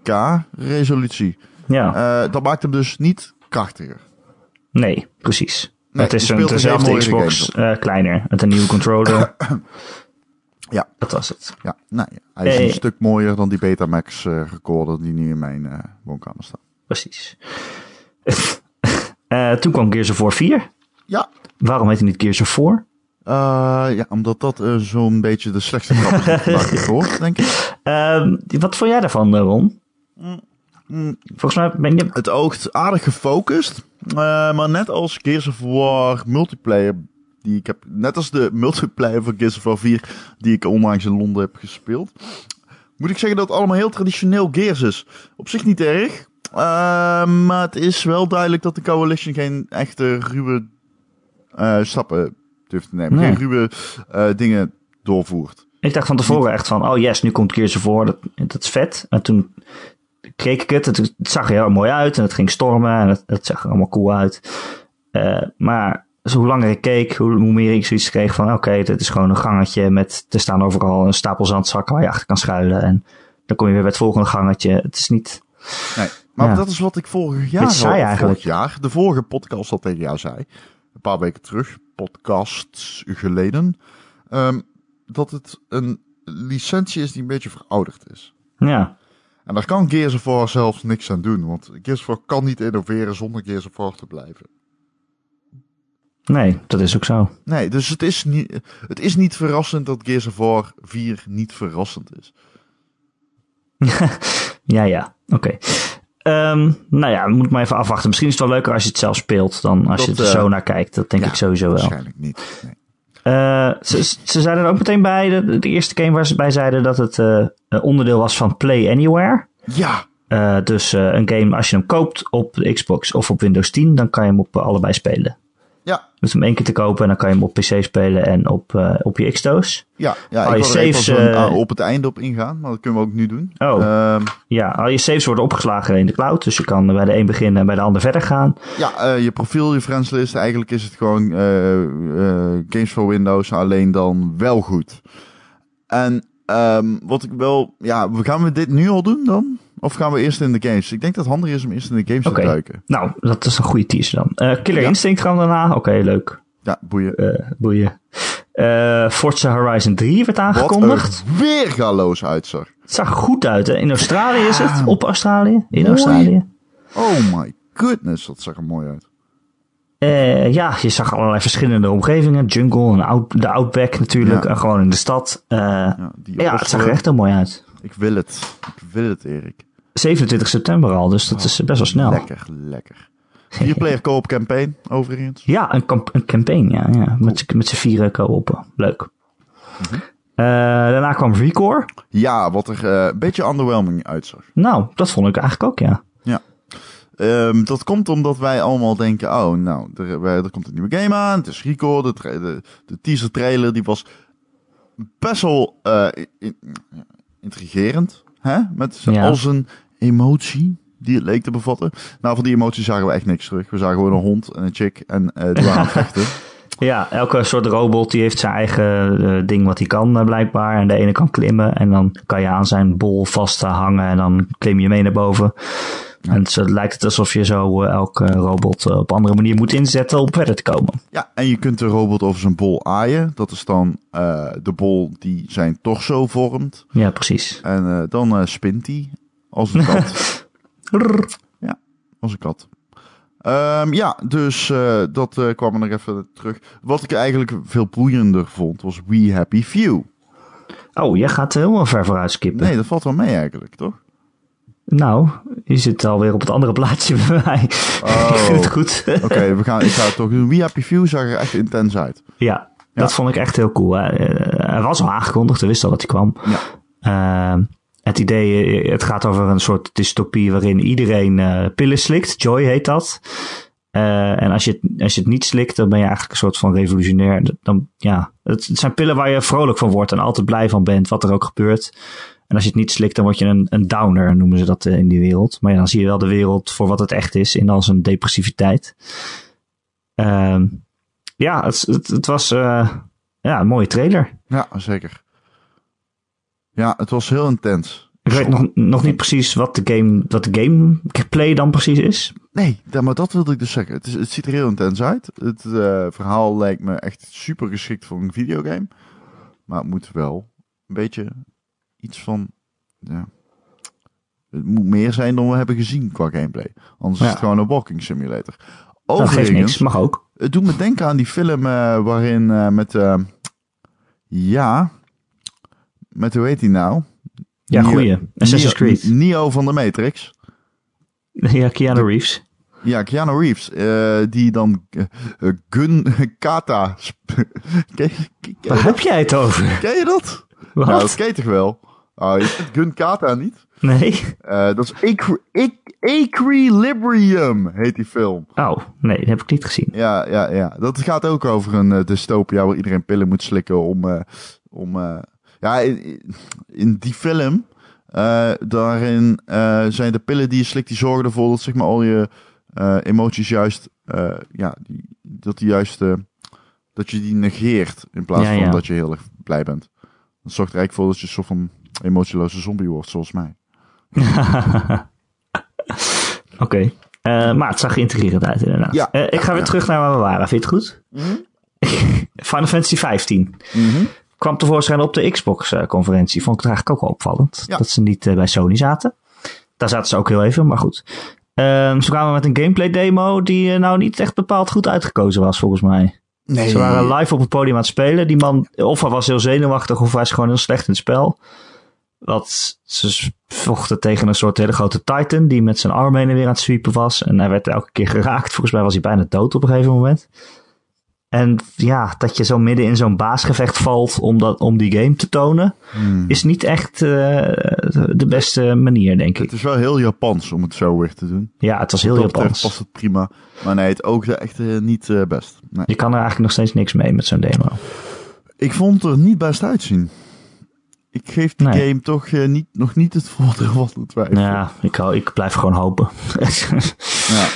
B: 4K-resolutie.
A: Ja,
B: Eh, dat maakt hem dus niet krachtiger.
A: nee, precies.
B: Nee,
A: het is
B: je
A: een,
B: speelt er
A: dezelfde
B: geen mooiere
A: Xbox eh, kleiner. Met een nieuwe controller.
B: Ja.
A: Dat was het.
B: Ja, nou ja. Hij is
A: Hey.
B: een stuk mooier dan die Betamax eh recorder die nu in mijn eh, woonkamer staat.
A: Precies. Eh, toen kwam Gears of War 4.
B: Ja.
A: Waarom heet hij niet Gears of War?
B: Eh, ja, omdat dat eh, zo'n beetje de slechtste grap is die ik vandaag heb gehoord, denk ik.
A: Ehm, wat vond jij daarvan, eh, Ron?
B: Mm,
A: Volgens mij ben je...
B: Het oogt aardig gefocust. eh, maar net als Gears of War multiplayer die ik heb... Net als de multiplayer van Gears of War 4 die ik onlangs in Londen heb gespeeld. Moet ik zeggen dat het allemaal heel traditioneel Gears is. Op zich niet erg. eh, maar het is wel duidelijk dat de Coalition geen echte ruwe eh, stappen durft te nemen.
A: Nee.
B: Geen ruwe eh, dingen doorvoert.
A: Ik dacht van tevoren echt van... Oh yes, nu komt Gears of War. Dat, dat is vet. En toen keek ik het. en toen- Het zag er heel mooi uit. En het ging stormen. En het, het zag er allemaal cool uit. Eh, maar dus hoe langer ik keek, hoe, hoe meer ik zoiets kreeg van... Oké, dit is gewoon een gangetje met... Er staan overal een stapel zandzakken waar je achter kan schuilen. En dan kom je weer bij het volgende gangetje. Het is niet...
B: Nee, maar
A: Ja.
B: dat is wat ik vorig jaar
A: Beetje saai
B: al-
A: eigenlijk.
B: Vorig jaar, de vorige podcast al tegen jou zei. Een paar weken terug, podcasts geleden. ehm, dat het een licentie is die een beetje verouderd is.
A: Ja,
B: En daar kan Gears of War zelfs niks aan doen, want Gears of War kan niet innoveren zonder Gears of War te blijven.
A: nee, dat is ook zo.
B: Nee, dus het is niet, het is niet verrassend dat Gears of War 4 niet verrassend is.
A: Ja, ja, oké. Ehm, nou ja, moet maar even afwachten. Misschien is het wel leuker als je het zelf speelt dan als
B: Dat,
A: je er
B: eh,
A: zo naar kijkt. Dat denk
B: ja,
A: ik sowieso wel.
B: Waarschijnlijk niet. Nee.
A: Eh, ze, ze zeiden er ook meteen bij, de, de eerste game waar ze bij zeiden dat het eh, een onderdeel was van Play Anywhere.
B: Ja,
A: Eh, dus eh, een game, als je hem koopt op de Xbox of op Windows 10, dan kan je hem op eh, allebei spelen.
B: ja,
A: Je hoeft hem één keer te kopen en dan kan je hem op PC spelen en op, eh, op je X-Doos.
B: ja. ja
A: Al je
B: ik wil er even
A: saves,
B: zo'n,
A: eh,
B: ah, op het einde op ingaan, maar dat kunnen we ook nu doen.
A: Oh.
B: Ehm,
A: Ja, al je saves worden opgeslagen in de cloud, dus je kan bij de een beginnen en bij de ander verder gaan.
B: ja, eh, je profiel, je friendslist, eigenlijk is het gewoon eh, eh, Games for Windows, alleen dan wel goed. En ehm, wat ik wel, ja, gaan we dit nu al doen dan? Of gaan we eerst in de games? Ik denk dat het handig is om eerst in de games
A: Oké.
B: te duiken.
A: Nou, dat is een goede teaser dan. Eh, Killer
B: Ja.
A: Instinct kwam daarna. Oké, leuk.
B: Ja, boeien.
A: Eh, boeien. Eh, Forza Horizon 3 werd
B: Wat
A: aangekondigd.
B: er weer galoos uitzag.
A: Het zag er goed uit, hè? In Australië is het. Op Australië. In
B: Mooi.
A: Australië.
B: Oh my goodness, dat zag er mooi uit.
A: Eh, ja, je zag allerlei verschillende omgevingen. Jungle, en out, de Outback natuurlijk.
B: Ja.
A: En gewoon in de stad. Eh, ja,
B: Ja, die
A: het zag er
B: osselen.
A: echt heel mooi uit.
B: Ik wil het. Ik wil het, Erik.
A: 27 september al, dus dat is best wel snel.
B: Lekker, lekker. Vierplayer co-op campaign, overigens.
A: Ja, een, kamp- een campaign, ja. ja. Met, z'n- met z'n vieren co-op. Leuk.
B: Mhm.
A: Eh, daarna kwam Recore.
B: Ja, wat er eh, een beetje underwhelming uitzag.
A: Nou, dat vond ik eigenlijk ook, ja.
B: Ehm, dat komt omdat wij allemaal denken, oh, nou, er, wij- er komt een nieuwe game aan. Het is Rico. De, tra- de, de teaser trailer, die was best wel eh, in- intrigerend. Hè? Met z-
A: Ja.
B: al zijn emotie die het leek te bevatten. Nou, van die emotie zagen we echt niks terug. We zagen gewoon een hond en een chick en eh die waren aan het vechten.
A: Ja, elke soort robot die heeft zijn eigen eh, ding wat hij kan eh, blijkbaar. En de ene kan klimmen en dan kan je aan zijn bol vast eh, hangen en dan klim je mee naar boven. En zo lijkt het alsof je zo eh, elke robot eh, op andere manier moet inzetten om verder te komen.
B: Ja, en je kunt de robot over zijn bol aaien. Dat is dan eh, de bol die zijn torso vormt.
A: Ja, precies.
B: En eh, dan eh, spint hij als een kat.
A: Rrr.
B: als een kat. Ehm, ja, dus eh, dat eh, kwam er nog even terug. Wat ik eigenlijk veel boeiender vond, was We Happy Few.
A: Oh, jij gaat helemaal ver vooruit skippen.
B: Nee, dat valt wel mee eigenlijk, toch?
A: Nou, je zit alweer op het andere plaatsje bij mij. ik vind het goed.
B: Oké, we gaan, ik ga het toch doen. We Happy Few zag er echt intens uit.
A: Ja, dat vond ik echt heel cool. Hij, eh, hij was al aangekondigd, we wisten al dat hij kwam.
B: Ja.
A: Ehm, het idee, eh, het gaat over een soort dystopie waarin iedereen eh, pillen slikt. Joy heet dat. Eh, en als je, het- als je het niet slikt, dan ben je eigenlijk een soort van revolutionair. Dan, ja, het, het zijn pillen waar je vrolijk van wordt en altijd blij van bent, wat er ook gebeurt. En als je het niet slikt, dan word je een, een downer, noemen ze dat eh, in die wereld. Maar ja, dan zie je wel de wereld voor wat het echt is, in al zijn depressiviteit. Ehm, ja, het, het, het was eh, ja, een mooie trailer.
B: Ja, zeker. Ja, het was heel intens.
A: Ik weet nog, nog niet precies wat de game, wat de gameplay dan precies is.
B: Nee, da- maar dat wilde ik dus zeggen. Het, is, het ziet er heel intens uit. Het eh, verhaal lijkt me echt super geschikt voor een videogame. Maar het moet wel een beetje iets van. Ja, het moet meer zijn dan we hebben gezien qua gameplay. Anders
A: Ja.
B: is het gewoon een walking simulator.
A: Dat geeft niks,
B: Overigens,
A: mag ook.
B: het doet me denken aan die film eh, waarin eh, met. eh, ja. Met hoe heet hij nou?
A: Ja,
B: Neo-
A: goeie. Assassin's
B: Neo-
A: Creed.
B: Neo van de Matrix.
A: Ja, Keanu Reeves.
B: Ja, Keanu Reeves, eh, die dan eh, eh, Gun Kata. sp- ken, je- ken je
A: Waar
B: dat?
A: heb jij het over?
B: Ken je dat?
A: Wat?
B: Nou, dat ken je toch wel? Ah, je kent Gun Kata niet?
A: Nee?
B: Eh, dat is Equ- Equ- Equilibrium, heet die film.
A: Oh, nee, dat heb ik niet gezien.
B: Ja, ja, ja. Dat gaat ook over een eh, dystopia waar iedereen pillen moet slikken om... eh, om eh, ja, in, in die film, eh, daarin eh, zijn de pillen die je slikt, die zorgen ervoor dat zeg maar, al je eh, emoties juist... eh, ja, die, dat die juist... eh, dat je die negeert in plaats
A: Ja,
B: van
A: ja.
B: dat je heel erg blij bent. Dat zorgt er eigenlijk voor dat je een soort van emotieloze zombie wordt, zoals mij.
A: Oké. Eh, maar het zag geïntegreerd uit, inderdaad.
B: Ja.
A: Eh, Mhm. ik ga weer terug naar waar we waren. Vind je het goed? Final Fantasy 15
B: Mhm.
A: kwam tevoorschijn op de Xbox-conferentie. Vond ik het eigenlijk ook wel opvallend.
B: Ja.
A: Dat ze niet eh, bij Sony zaten. Daar zaten ze ook heel even, maar goed. Ehm, ze kwamen met een gameplay demo die eh, nou niet echt bepaald goed uitgekozen was, volgens mij.
B: Nee.
A: Ze waren live op het podium aan het spelen. Die man, of hij was heel zenuwachtig, of hij is gewoon heel slecht in het spel. Want ze vochten tegen een soort hele grote Titan die met zijn arm heen en weer aan het sweepen was. En hij werd elke keer geraakt. Volgens mij was hij bijna dood op een gegeven moment. En ja, dat je zo midden in zo'n baasgevecht valt om, dat, om die game te tonen,
B: Hmm.
A: is niet echt eh, de beste manier, denk ik.
B: Het is wel heel Japans om het zo weer te doen.
A: Ja, het was heel
B: Wat dat betreft
A: Japans.
B: past het prima. Maar nee, het ook echt eh, niet eh, best. Nee.
A: Je kan er eigenlijk nog steeds niks mee met zo'n demo.
B: Ik vond het er niet best uitzien. Ik geef die
A: Nee.
B: game toch eh, niet, nog niet het voordeel van de twijfel.
A: Ja, ik, hou- ik blijf gewoon hopen.
B: Ja.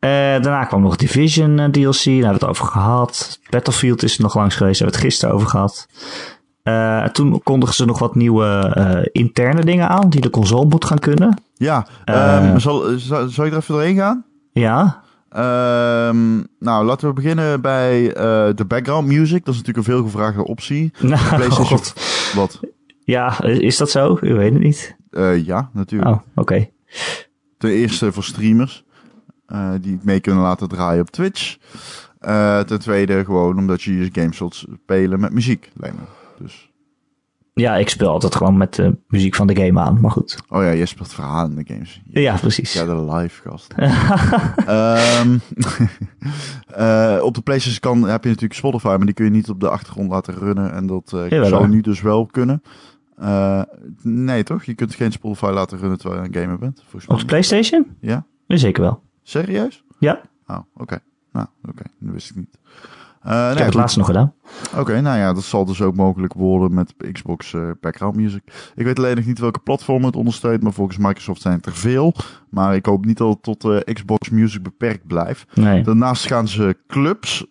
A: Eh, daarna kwam nog Division eh, DLC, daar hebben we het over gehad. Battlefield is er nog langs geweest, daar hebben we het gisteren over gehad. Eh, toen kondigden ze nog wat nieuwe eh, interne dingen aan die de console moet gaan kunnen.
B: Ja,
A: Eh.
B: ehm, zal, zal, zal je er even doorheen gaan?
A: Ja,
B: Ehm, nou, laten we beginnen bij eh, de background music. Dat is natuurlijk een veelgevraagde optie.
A: nou,
B: PlayStation-
A: god.
B: Wat?
A: Ja, is is dat zo? U weet het niet.
B: Eh, ja, natuurlijk.
A: Oh, oké.
B: Ten eerste voor streamers eh, die het mee kunnen laten draaien op Twitch. Eh, ten tweede gewoon omdat je je games wilt spelen met muziek. Lijkt me. Dus,
A: Ja, ik speel altijd gewoon met de muziek van de game aan, maar goed.
B: oh ja, je speelt verhalende games.
A: Ja, precies.
B: Ja, de live gast. Ehm, eh, op de PlayStation kan, heb je natuurlijk Spotify, maar die kun je niet op de achtergrond laten runnen. En dat eh,
A: Jawel,
B: zou
A: hoor.
B: nu dus wel kunnen. Eh, nee, toch? Je kunt geen Spotify laten runnen terwijl je een gamer bent. Volgens
A: Op de
B: mij.
A: PlayStation?
B: Ja.
A: Zeker wel.
B: Serieus?
A: Ja,
B: Oh, oké. Nou, oké. Dat wist ik niet. Eh,
A: ik
B: nee,
A: heb het
B: goed.
A: laatst nog gedaan.
B: Oké, nou ja, dat zal dus ook mogelijk worden met Xbox eh, Background Music. Ik weet alleen nog niet welke platform het ondersteunt, maar volgens Microsoft zijn het er veel. Maar ik hoop niet dat het tot eh, Xbox Music beperkt blijft.
A: Nee.
B: Daarnaast gaan ze clubs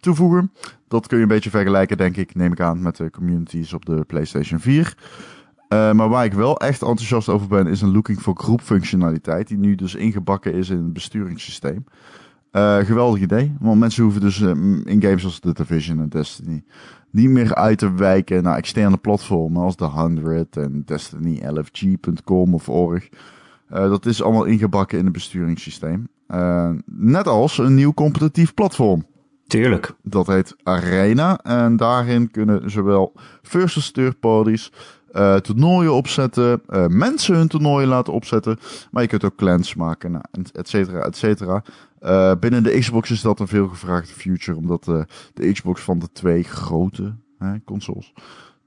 B: toevoegen. Dat kun je een beetje vergelijken, denk ik, neem ik aan, met de communities op de PlayStation 4. Eh, maar waar ik wel echt enthousiast over ben, is een looking for group functionaliteit. Die nu dus ingebakken is in het besturingssysteem. Eh, geweldig idee, want mensen hoeven dus eh, in games als The Division en Destiny niet meer uit te wijken naar externe platformen als The 100 en DestinyLFG.com of org. Eh, dat is allemaal ingebakken in het besturingssysteem. Eh, net als een nieuw competitief platform.
A: Tuurlijk.
B: Dat heet Arena. En daarin kunnen zowel first- als third-parties eh, toernooien opzetten. eh, mensen hun toernooien laten opzetten. Maar je kunt ook clans maken, nou, en et cetera, et cetera. Eh, binnen de Xbox is dat een veelgevraagde future. Omdat eh, de Xbox van de twee grote hè, consoles...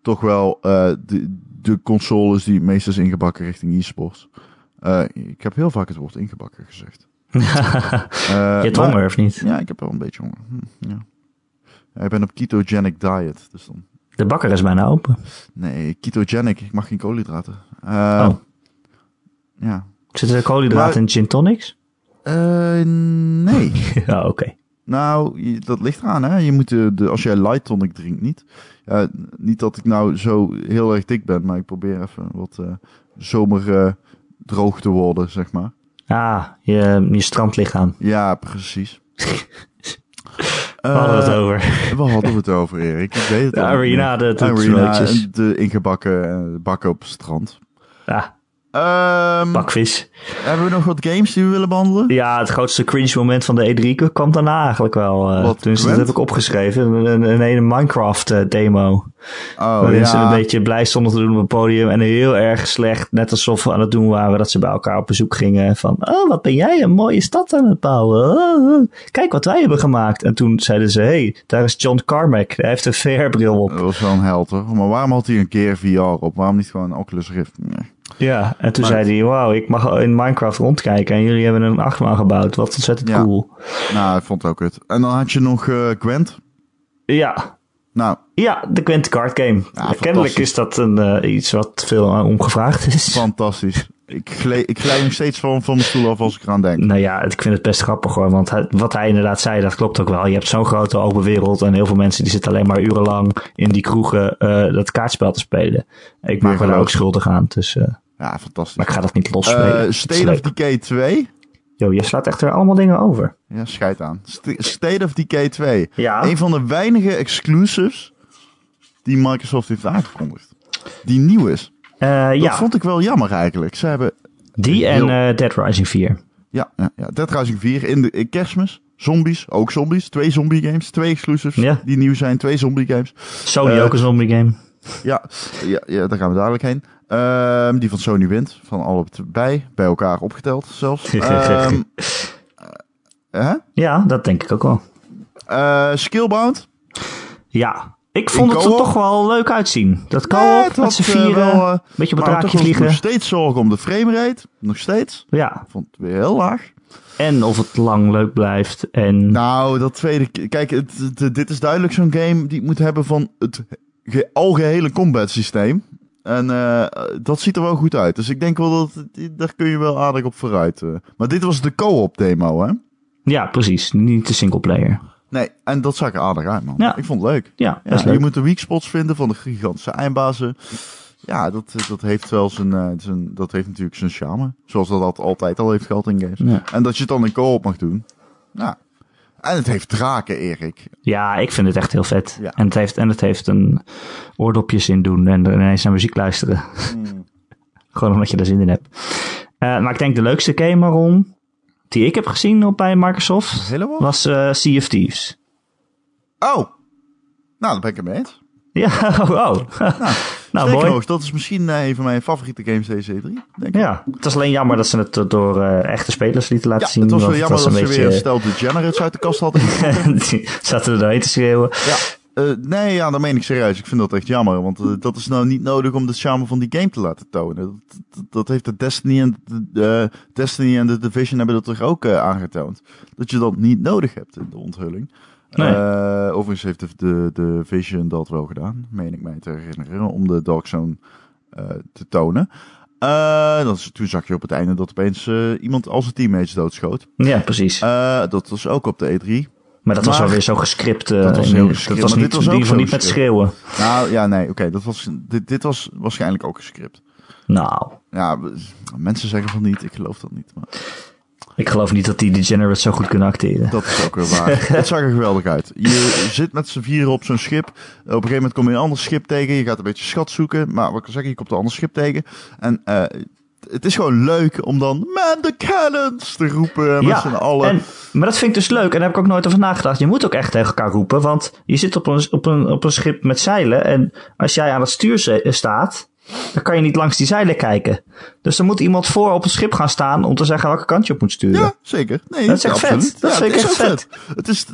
B: toch wel eh, de, de console is die het meest is ingebakken richting e-sports. Eh, ik heb heel vaak het woord ingebakken gezegd. Eh,
A: Je hebt
B: maar-
A: honger, of niet?
B: ja, ik heb wel een beetje honger. Hm, ja. Ja, Ik ben op ketogenic diet. Dus dan...
A: De bakker is bijna open.
B: Nee, ketogenic. Ik mag geen koolhydraten. Eh,
A: Oh.
B: Ja.
A: Zitten er koolhydraten
B: Maar-
A: in gin tonics?
B: Eh, nee.
A: Ja, oké.
B: Nou, je- dat ligt eraan, hè. Je moet de, de- als jij light tonic drinkt, niet. Ja, niet dat ik nou zo heel erg dik ben, maar ik probeer even wat eh, zomer eh, droog te worden, zeg maar.
A: Ah, je, je strandlichaam.
B: Ja, precies.
A: We hadden het
B: Eh,
A: over.
B: Waar hadden we het over, Erik? Ik weet het
A: De
B: al niet
A: arena,
B: meer.
A: de
B: arena,
A: toetslootjes.
B: en de ingebakken eh, bakken op het strand.
A: Ah,
B: Ehm,
A: bakvis.
B: hebben we nog wat games die we willen behandelen?
A: Ja, het grootste cringe moment van de E3 kwam daarna eigenlijk wel. eh.
B: Wat,
A: Tenminste, dat
B: Gwent?
A: heb ik opgeschreven. Een, een, een hele Minecraft eh, demo.
B: Oh
A: waarin
B: ja,
A: ze een beetje blij stonden te doen op het podium. En heel erg slecht, net alsof we aan het doen waren dat ze bij elkaar op bezoek gingen. Van, oh, wat ben jij een mooie stad aan het bouwen. Oh, oh, Kijk wat wij hebben gemaakt. En toen zeiden ze, hey, daar is John Carmack. Hij heeft een VR-bril op.
B: dat was wel een held hoor. Maar waarom had hij een keer VR op? Waarom niet gewoon een Oculus Rift? Nee.
A: Ja, en toen
B: Maar-
A: zei hij, wauw, ik mag in Minecraft rondkijken en jullie hebben een achtbaan gebouwd. Wat ontzettend
B: Ja.
A: cool.
B: Nou, ik vond het ook het. En dan had je nog eh, Gwent.
A: Ja,
B: Nou,
A: ja, de Quint Card Game.
B: fantastisch.
A: Kennelijk is dat een, eh, iets wat veel aan omgevraagd is.
B: fantastisch. ik, glij, ik glij nog steeds van, van mijn stoel af als ik eraan denk.
A: Nou ja, ik vind het best grappig hoor. Want hij- wat hij inderdaad zei, dat klopt ook wel. Je hebt zo'n grote open wereld en heel veel mensen die zitten alleen maar urenlang in die kroegen eh, dat kaartspel te spelen. Ik maak me daar
B: geloof.
A: ook schuldig aan, dus, eh,
B: Ja, fantastisch.
A: maar ik ga dat niet
B: Eh,
A: losspelen. Het is
B: State of
A: leuk.
B: Decay 2.
A: Yo, je slaat echt weer allemaal dingen over.
B: Ja, scheid aan. St- State of Decay 2.
A: Ja.
B: Een van de weinige exclusives die Microsoft heeft aangekondigd. Die nieuw is.
A: Eh,
B: Dat
A: ja,
B: vond ik wel jammer eigenlijk. Ze hebben,
A: die en
B: heel-
A: eh, Dead Rising 4.
B: ja, ja, ja Dead Rising 4 in de in kerstmis. Zombies, ook zombies. Twee zombie games, twee exclusives
A: Ja.
B: die nieuw zijn. Twee zombie games.
A: Sony
B: Eh,
A: ook een zombie game.
B: Ja, ja, ja daar gaan we dadelijk heen. Ehm, die van Sony wint, van alle bij, bij elkaar opgeteld zelfs. Ehm, hè?
A: Ja, dat denk ik ook wel.
B: Eh, Skillbound.
A: Ja, ik vond
B: In
A: het er
B: co-op?
A: toch wel leuk uitzien. Dat kan
B: Nee,
A: op,
B: het
A: met
B: had,
A: z'n
B: eh,
A: vieren,
B: wel, eh,
A: beetje op het
B: Maar toch
A: draakje
B: was ik nog
A: vliegen.
B: steeds zorgen om de framerate. Nog steeds.
A: Ja,
B: Ik vond het weer heel laag.
A: en of het lang leuk blijft. En
B: Nou, dat tweede... k- Kijk, het, het- dit is duidelijk zo'n game die het moet hebben van het ge- algehele combat systeem. En eh, dat ziet er wel goed uit. Dus ik denk wel dat... het- Daar kun je wel aardig op vooruit. eh. Maar dit was de co-op demo, hè?
A: ja, precies, niet de singleplayer.
B: Nee, en dat zag er aardig uit, man.
A: Ja.
B: Ik vond het leuk.
A: Ja,
B: Ja,
A: dat is leuk.
B: Je moet de weak spots vinden van de gigantische eindbazen. Ja, dat, dat heeft wel zijn, eh, zijn... Dat heeft natuurlijk zijn charme. Zoals dat, dat altijd al heeft gehad in games.
A: Ja.
B: En dat je het dan in co-op mag doen. Ja. En het heeft draken, Erik.
A: Ja, ik vind het echt heel vet.
B: Ja.
A: En, het heeft, en het heeft een oordopjes in doen en er ineens naar muziek luisteren. Gewoon omdat je er zin in hebt. Eh, maar ik denk de leukste game waarom, die ik heb gezien op bij Microsoft,
B: Helemaal?
A: was eh Sea of Thieves.
B: Oh! Nou, daar ben ik het mee eens.
A: Ja, oh. nou,
B: Sterker
A: mooi.
B: nog, dat is misschien eh, een van mijn favoriete games deze E3. Denk ik.
A: Ja, het is alleen jammer dat ze het eh, door eh, echte spelers lieten
B: Ja,
A: laten zien.
B: het was wel
A: want
B: jammer dat
A: een
B: ze weer
A: beetje-
B: Stel de Generates uit de kast hadden.
A: die zaten er doorheen te schreeuwen.
B: ja. Eh, nee, ja, dat meen ik serieus. Ik vind dat echt jammer. Want eh, dat is nou niet nodig om de charme van die game te laten tonen. Dat, dat, dat heeft de Destiny en de, eh, Destiny en de Division hebben dat toch ook eh, aangetoond. Dat je dat niet nodig hebt in de onthulling.
A: Nee.
B: Eh, overigens heeft de, de, de Vision dat wel gedaan, meen ik mij te herinneren, om de Dark Zone eh, te tonen. Eh, dat is, toen zag je op het einde dat opeens eh, iemand als zijn teammates doodschoot.
A: Ja, precies.
B: Eh, dat was ook op de E3.
A: maar dat was
B: maar-
A: alweer zo gescript. eh,
B: Dat was
A: in-
B: heel gescript,
A: Dat was
B: maar
A: niet,
B: dit was ook
A: die van
B: zo
A: niet met
B: gescript.
A: schreeuwen.
B: Nou ja, nee, oké. dat was, dit, dit was waarschijnlijk ook gescript.
A: Nou,
B: Ja, we- mensen zeggen van niet, ik geloof dat niet. Maar
A: ik geloof niet dat die Degenerate zo goed kunnen acteren.
B: dat is ook weer waar. Het zag er geweldig uit. Je zit met z'n vieren op zo'n schip. Op een gegeven moment kom je een ander schip tegen. Je gaat een beetje schat zoeken. Maar wat ik al zeg, je komt een ander schip tegen. En eh, het is gewoon leuk om dan man the cannons te roepen. Met z'n allen.
A: en, maar dat vind ik dus leuk en daar heb ik ook nooit over nagedacht. Je moet ook echt tegen elkaar roepen, want je zit op een, op een, op een schip met zeilen en als jij aan het stuur ze- staat, dan kan je niet langs die zeilen kijken. Dus dan moet iemand voor op het schip gaan staan om te zeggen welke kant je op moet sturen.
B: Ja, zeker. Nee,
A: Dat is echt
B: absoluut.
A: vet. Dat
B: Ja,
A: vind
B: het
A: ik
B: is
A: echt
B: ook Het is,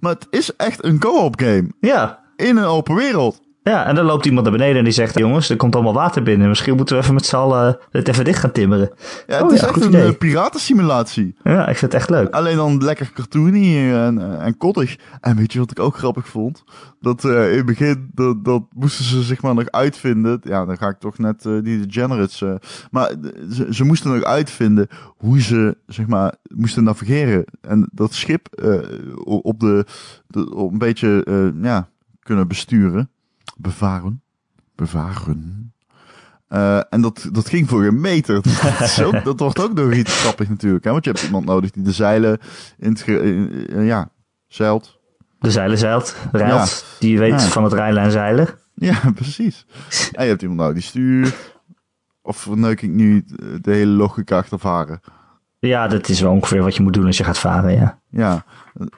B: maar het is echt een co-op game.
A: ja.
B: In een open wereld.
A: Ja, en dan loopt iemand naar beneden en die zegt: Jongens, er komt allemaal water binnen. Misschien moeten we even met z'n allen dit even dicht gaan timmeren.
B: Ja, het
A: Oh
B: is
A: ja,
B: echt
A: goed
B: een
A: idee.
B: eh, piratensimulatie.
A: Ja, ik vind het echt leuk.
B: Alleen dan lekker cartoony en, eh, en cottage. En weet je wat ik ook grappig vond? Dat eh, in het begin, dat, dat moesten ze zeg maar nog uitvinden. Ja, dan ga ik toch net eh, die degenerates. eh, maar ze, ze moesten nog uitvinden hoe ze zeg maar moesten navigeren. En dat schip eh, o- op de, de op een beetje eh, ja, kunnen besturen. Bevaren. Bevaren. Eh, en dat, dat ging voor een meter. dat, is ook- dat wordt ook nog iets grappig natuurlijk. Hè? Want je hebt iemand nodig die de zeilen in het ge- in- in- ja, zeilt.
A: De zeilen zeilt, rijlt. Die weet
B: Ja.
A: van het rijlen en zeilen.
B: Ja, precies. En je hebt iemand nodig die stuurt. Of neuk ik nu eh, de hele logica achter varen?
A: Ja, dat is wel ongeveer wat je moet doen als je gaat varen, ja.
B: Ja,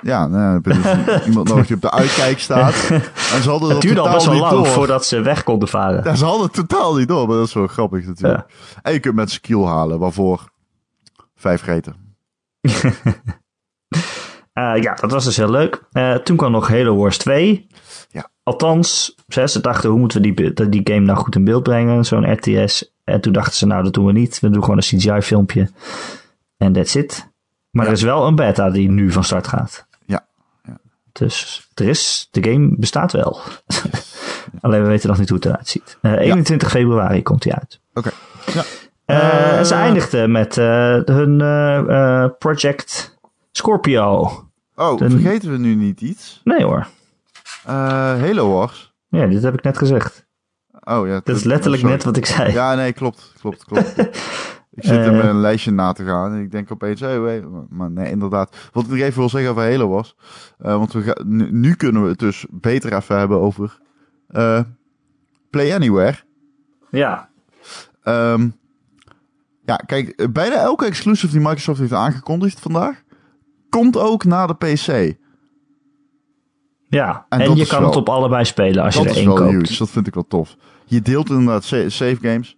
B: ja nou, heb je dus iemand nodig die op de uitkijk staat. En ze hadden dat
A: Het duurde al
B: totaal
A: best wel
B: niet
A: lang
B: door.
A: voordat ze weg konden varen.
B: Ja, ze hadden het totaal niet door, maar dat is wel grappig natuurlijk. En je kunt mensen kiel halen, waarvoor vijf reten.
A: Eh, ja, dat was dus heel leuk. Eh, toen kwam nog Halo Wars 2.
B: Ja.
A: Althans, ze, ze dachten, hoe moeten we die, be- die game nou goed in beeld brengen? Zo'n RTS. En toen dachten ze, nou, dat doen we niet. We doen gewoon een CGI-filmpje. En that's it. Maar er is wel een beta die nu van start gaat.
B: Ja.
A: Dus er is, de game bestaat wel. Alleen we weten nog niet hoe het eruit ziet. Eh, 21 februari komt die uit.
B: Oké. Ja.
A: Eh, en ze
B: Eh.
A: eindigden met eh, hun eh, eh, project Scorpio.
B: Oh,
A: Dan-
B: vergeten we nu niet iets?
A: Nee hoor.
B: Eh Halo Wars.
A: Ja, dit heb ik net gezegd.
B: Oh ja.
A: Dat is letterlijk
B: sorry.
A: net Eh, wat ik zei.
B: Ja, nee, klopt. Klopt, klopt. ik zit er met een lijstje na te gaan en ik denk opeens, hey, wait, maar nee, inderdaad. Wat ik nog even wil zeggen over Halo Wars. eh, want we gaan, nu, nu kunnen we het dus beter even hebben over eh, Play Anywhere.
A: Ja.
B: Ehm, ja, kijk, eh, bijna elke exclusive die Microsoft heeft aangekondigd vandaag, komt ook naar de PC.
A: Ja,
B: En
A: en,
B: dat
A: je
B: is
A: kan
B: wel-
A: het op allebei spelen als
B: dat
A: je er
B: is
A: één
B: wel
A: koopt.
B: huge, dat vind ik wel tof. Je deelt inderdaad sa- save games.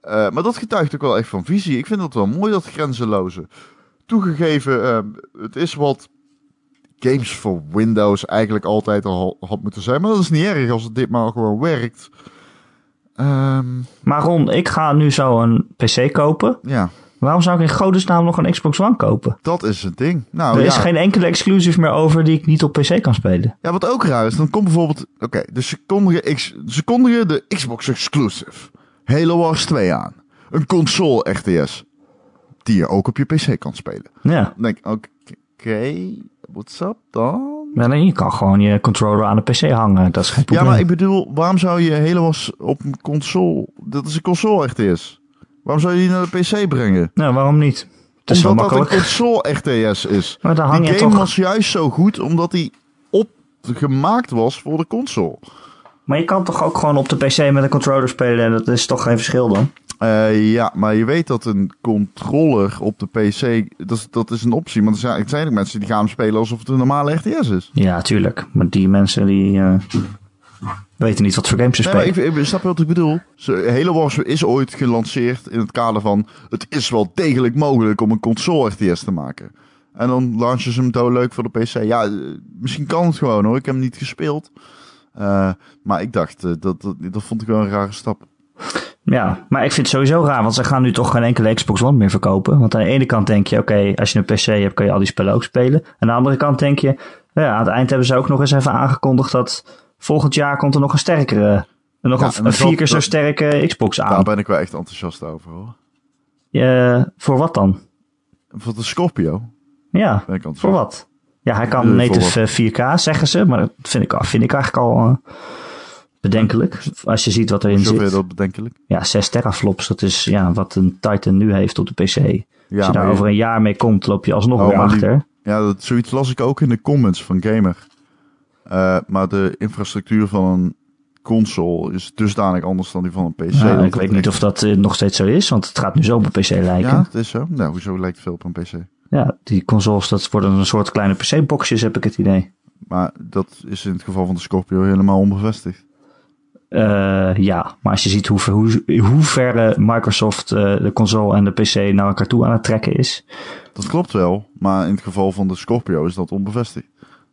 B: Eh, maar dat getuigt ook wel echt van visie. Ik vind dat wel mooi, dat grenzeloze. Toegegeven, eh, het is wat games voor Windows eigenlijk altijd al had moeten zijn. Maar dat is niet erg als het ditmaal gewoon werkt. Ehm,
A: Maar Ron, ik ga nu zo een PC kopen.
B: ja,
A: Waarom zou ik in godesnaam nog een Xbox One kopen?
B: dat is het ding. Nou,
A: er
B: ja.
A: is geen enkele exclusive meer over die ik niet op PC kan spelen.
B: Ja, wat ook raar is, dan komt bijvoorbeeld. Oké, dus ze kondigen, X- ze kondigen de Xbox Exclusive Halo Wars 2 aan. Een console RTS. Die je ook op je PC kan spelen.
A: Ja.
B: Dan denk ik, oké, what's up dan?
A: Ja, nee, je kan gewoon je controller aan de PC hangen. Dat is geen
B: Ja,
A: probleem.
B: maar ik bedoel, waarom zou je Halo Wars op een console. Dat is een console RTS. Waarom zou je die naar de PC brengen?
A: Nou, waarom niet? Het is wel
B: omdat dat een
A: makkelijk.
B: console RTS is.
A: Maar dan hang
B: die
A: je
B: game
A: toch...
B: was juist zo goed omdat die opgemaakt was voor de console.
A: Maar je kan toch ook gewoon op de PC met een controller spelen en dat is toch geen verschil dan?
B: Eh, ja, maar je weet dat een controller op de PC, dat, is- dat is een optie. Maar er zijn, er zijn ook mensen die gaan hem spelen alsof het een normale RTS is.
A: Ja, tuurlijk. Maar die mensen die eh, weten niet wat voor games ze
B: Nee,
A: spelen.
B: maar ik, ik- snap je wat ik bedoel? Ze- Halo Wars is ooit gelanceerd in het kader van... het is wel degelijk mogelijk om een console RTS te maken. En dan launchen ze hem doodleuk voor de PC. Ja, eh, misschien kan het gewoon hoor. Ik heb hem niet gespeeld. Eh, maar ik dacht, eh, dat, dat, dat vond ik wel een rare stap.
A: Ja, maar ik vind het sowieso raar, want ze gaan nu toch geen enkele Xbox One meer verkopen. Want aan de ene kant denk je, oké, als je een PC hebt, kan je al die spellen ook spelen. Aan de andere kant denk je, nou ja, aan het eind hebben ze ook nog eens even aangekondigd dat volgend jaar komt er nog een sterkere, eh, nog
B: Ja,
A: een-
B: en
A: een,
B: dat-
A: vier keer zo
B: dat-
A: sterke Xbox
B: Daar
A: aan.
B: ben ik wel echt enthousiast over hoor.
A: Eh, voor wat dan?
B: Voor de Scorpio
A: Ja,
B: ben ik enthousiast.
A: voor wat? Ja, hij
B: Eh,
A: kan
B: voor
A: native eh, 4K, zeggen ze, maar dat vind ik, vind ik eigenlijk al eh, bedenkelijk. Als je ziet wat erin
B: Zoveel
A: zit.
B: dat bedenkelijk.
A: Ja, 6 teraflops, dat is ja, wat een Titan nu heeft op de PC.
B: Ja,
A: Als je daar
B: maar-
A: over een jaar mee komt, loop je alsnog
B: Oh,
A: weer
B: maar die-
A: achter.
B: Ja, dat, zoiets las ik ook in de comments van Gamer. Eh, maar de infrastructuur van een console is dusdanig anders dan die van een PC.
A: Nou,
B: Dat
A: ik
B: het
A: weet niet
B: echt-
A: of dat eh, nog steeds zo is, want het gaat nu zo op een PC lijken.
B: Ja,
A: Ja,
B: het is zo. Nou, hoezo lijkt het veel op een PC?
A: die consoles, dat worden een soort kleine PC-boxjes, heb ik het idee.
B: Maar dat is in het geval van de Scorpio helemaal onbevestigd.
A: Eh, ja, maar als je ziet hoe, ver- hoe, hoe ver eh, Microsoft eh, de console en de PC naar elkaar toe aan het trekken is.
B: Dat klopt wel, maar in het geval van de Scorpio is dat onbevestigd.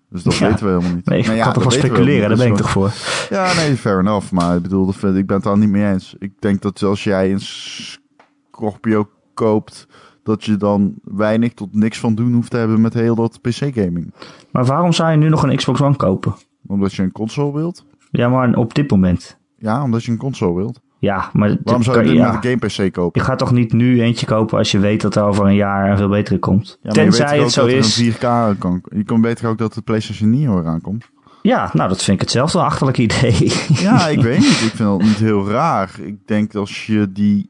B: Dus dat
A: Ja.
B: weten we helemaal niet.
A: Nee, ik
B: Nou ja,
A: kan toch wel
B: dat weten we
A: speculeren, daar
B: helemaal
A: ben ik
B: niet. dus
A: toch voor.
B: Ja, nee, fair enough. Maar ik bedoel, dat vind- ik ben het daar niet mee eens. Ik denk dat als jij een Scorpio koopt, dat je dan weinig tot niks van doen hoeft te hebben met heel dat PC-gaming.
A: Maar waarom zou je nu nog een Xbox One kopen?
B: Omdat je een console wilt.
A: Ja, maar op dit moment.
B: Ja, omdat je een console wilt.
A: Ja, maar dit
B: Waarom zou
A: kan-
B: je dit
A: ja.
B: met een game-PC
A: je
B: kopen?
A: gaat toch niet nu eentje kopen als je weet dat er over een jaar een veel betere komt?
B: Ja, maar je weet toch
A: Tenzij
B: ook
A: het zo
B: dat er
A: is.
B: Een 4K kan, je kan beter ook dat de PlayStation Neo eraan komt.
A: Ja, nou, dat vind ik hetzelfde een achterlijk idee.
B: Ja, ik weet niet. Ik vind dat niet heel raar. Ik denk als je die...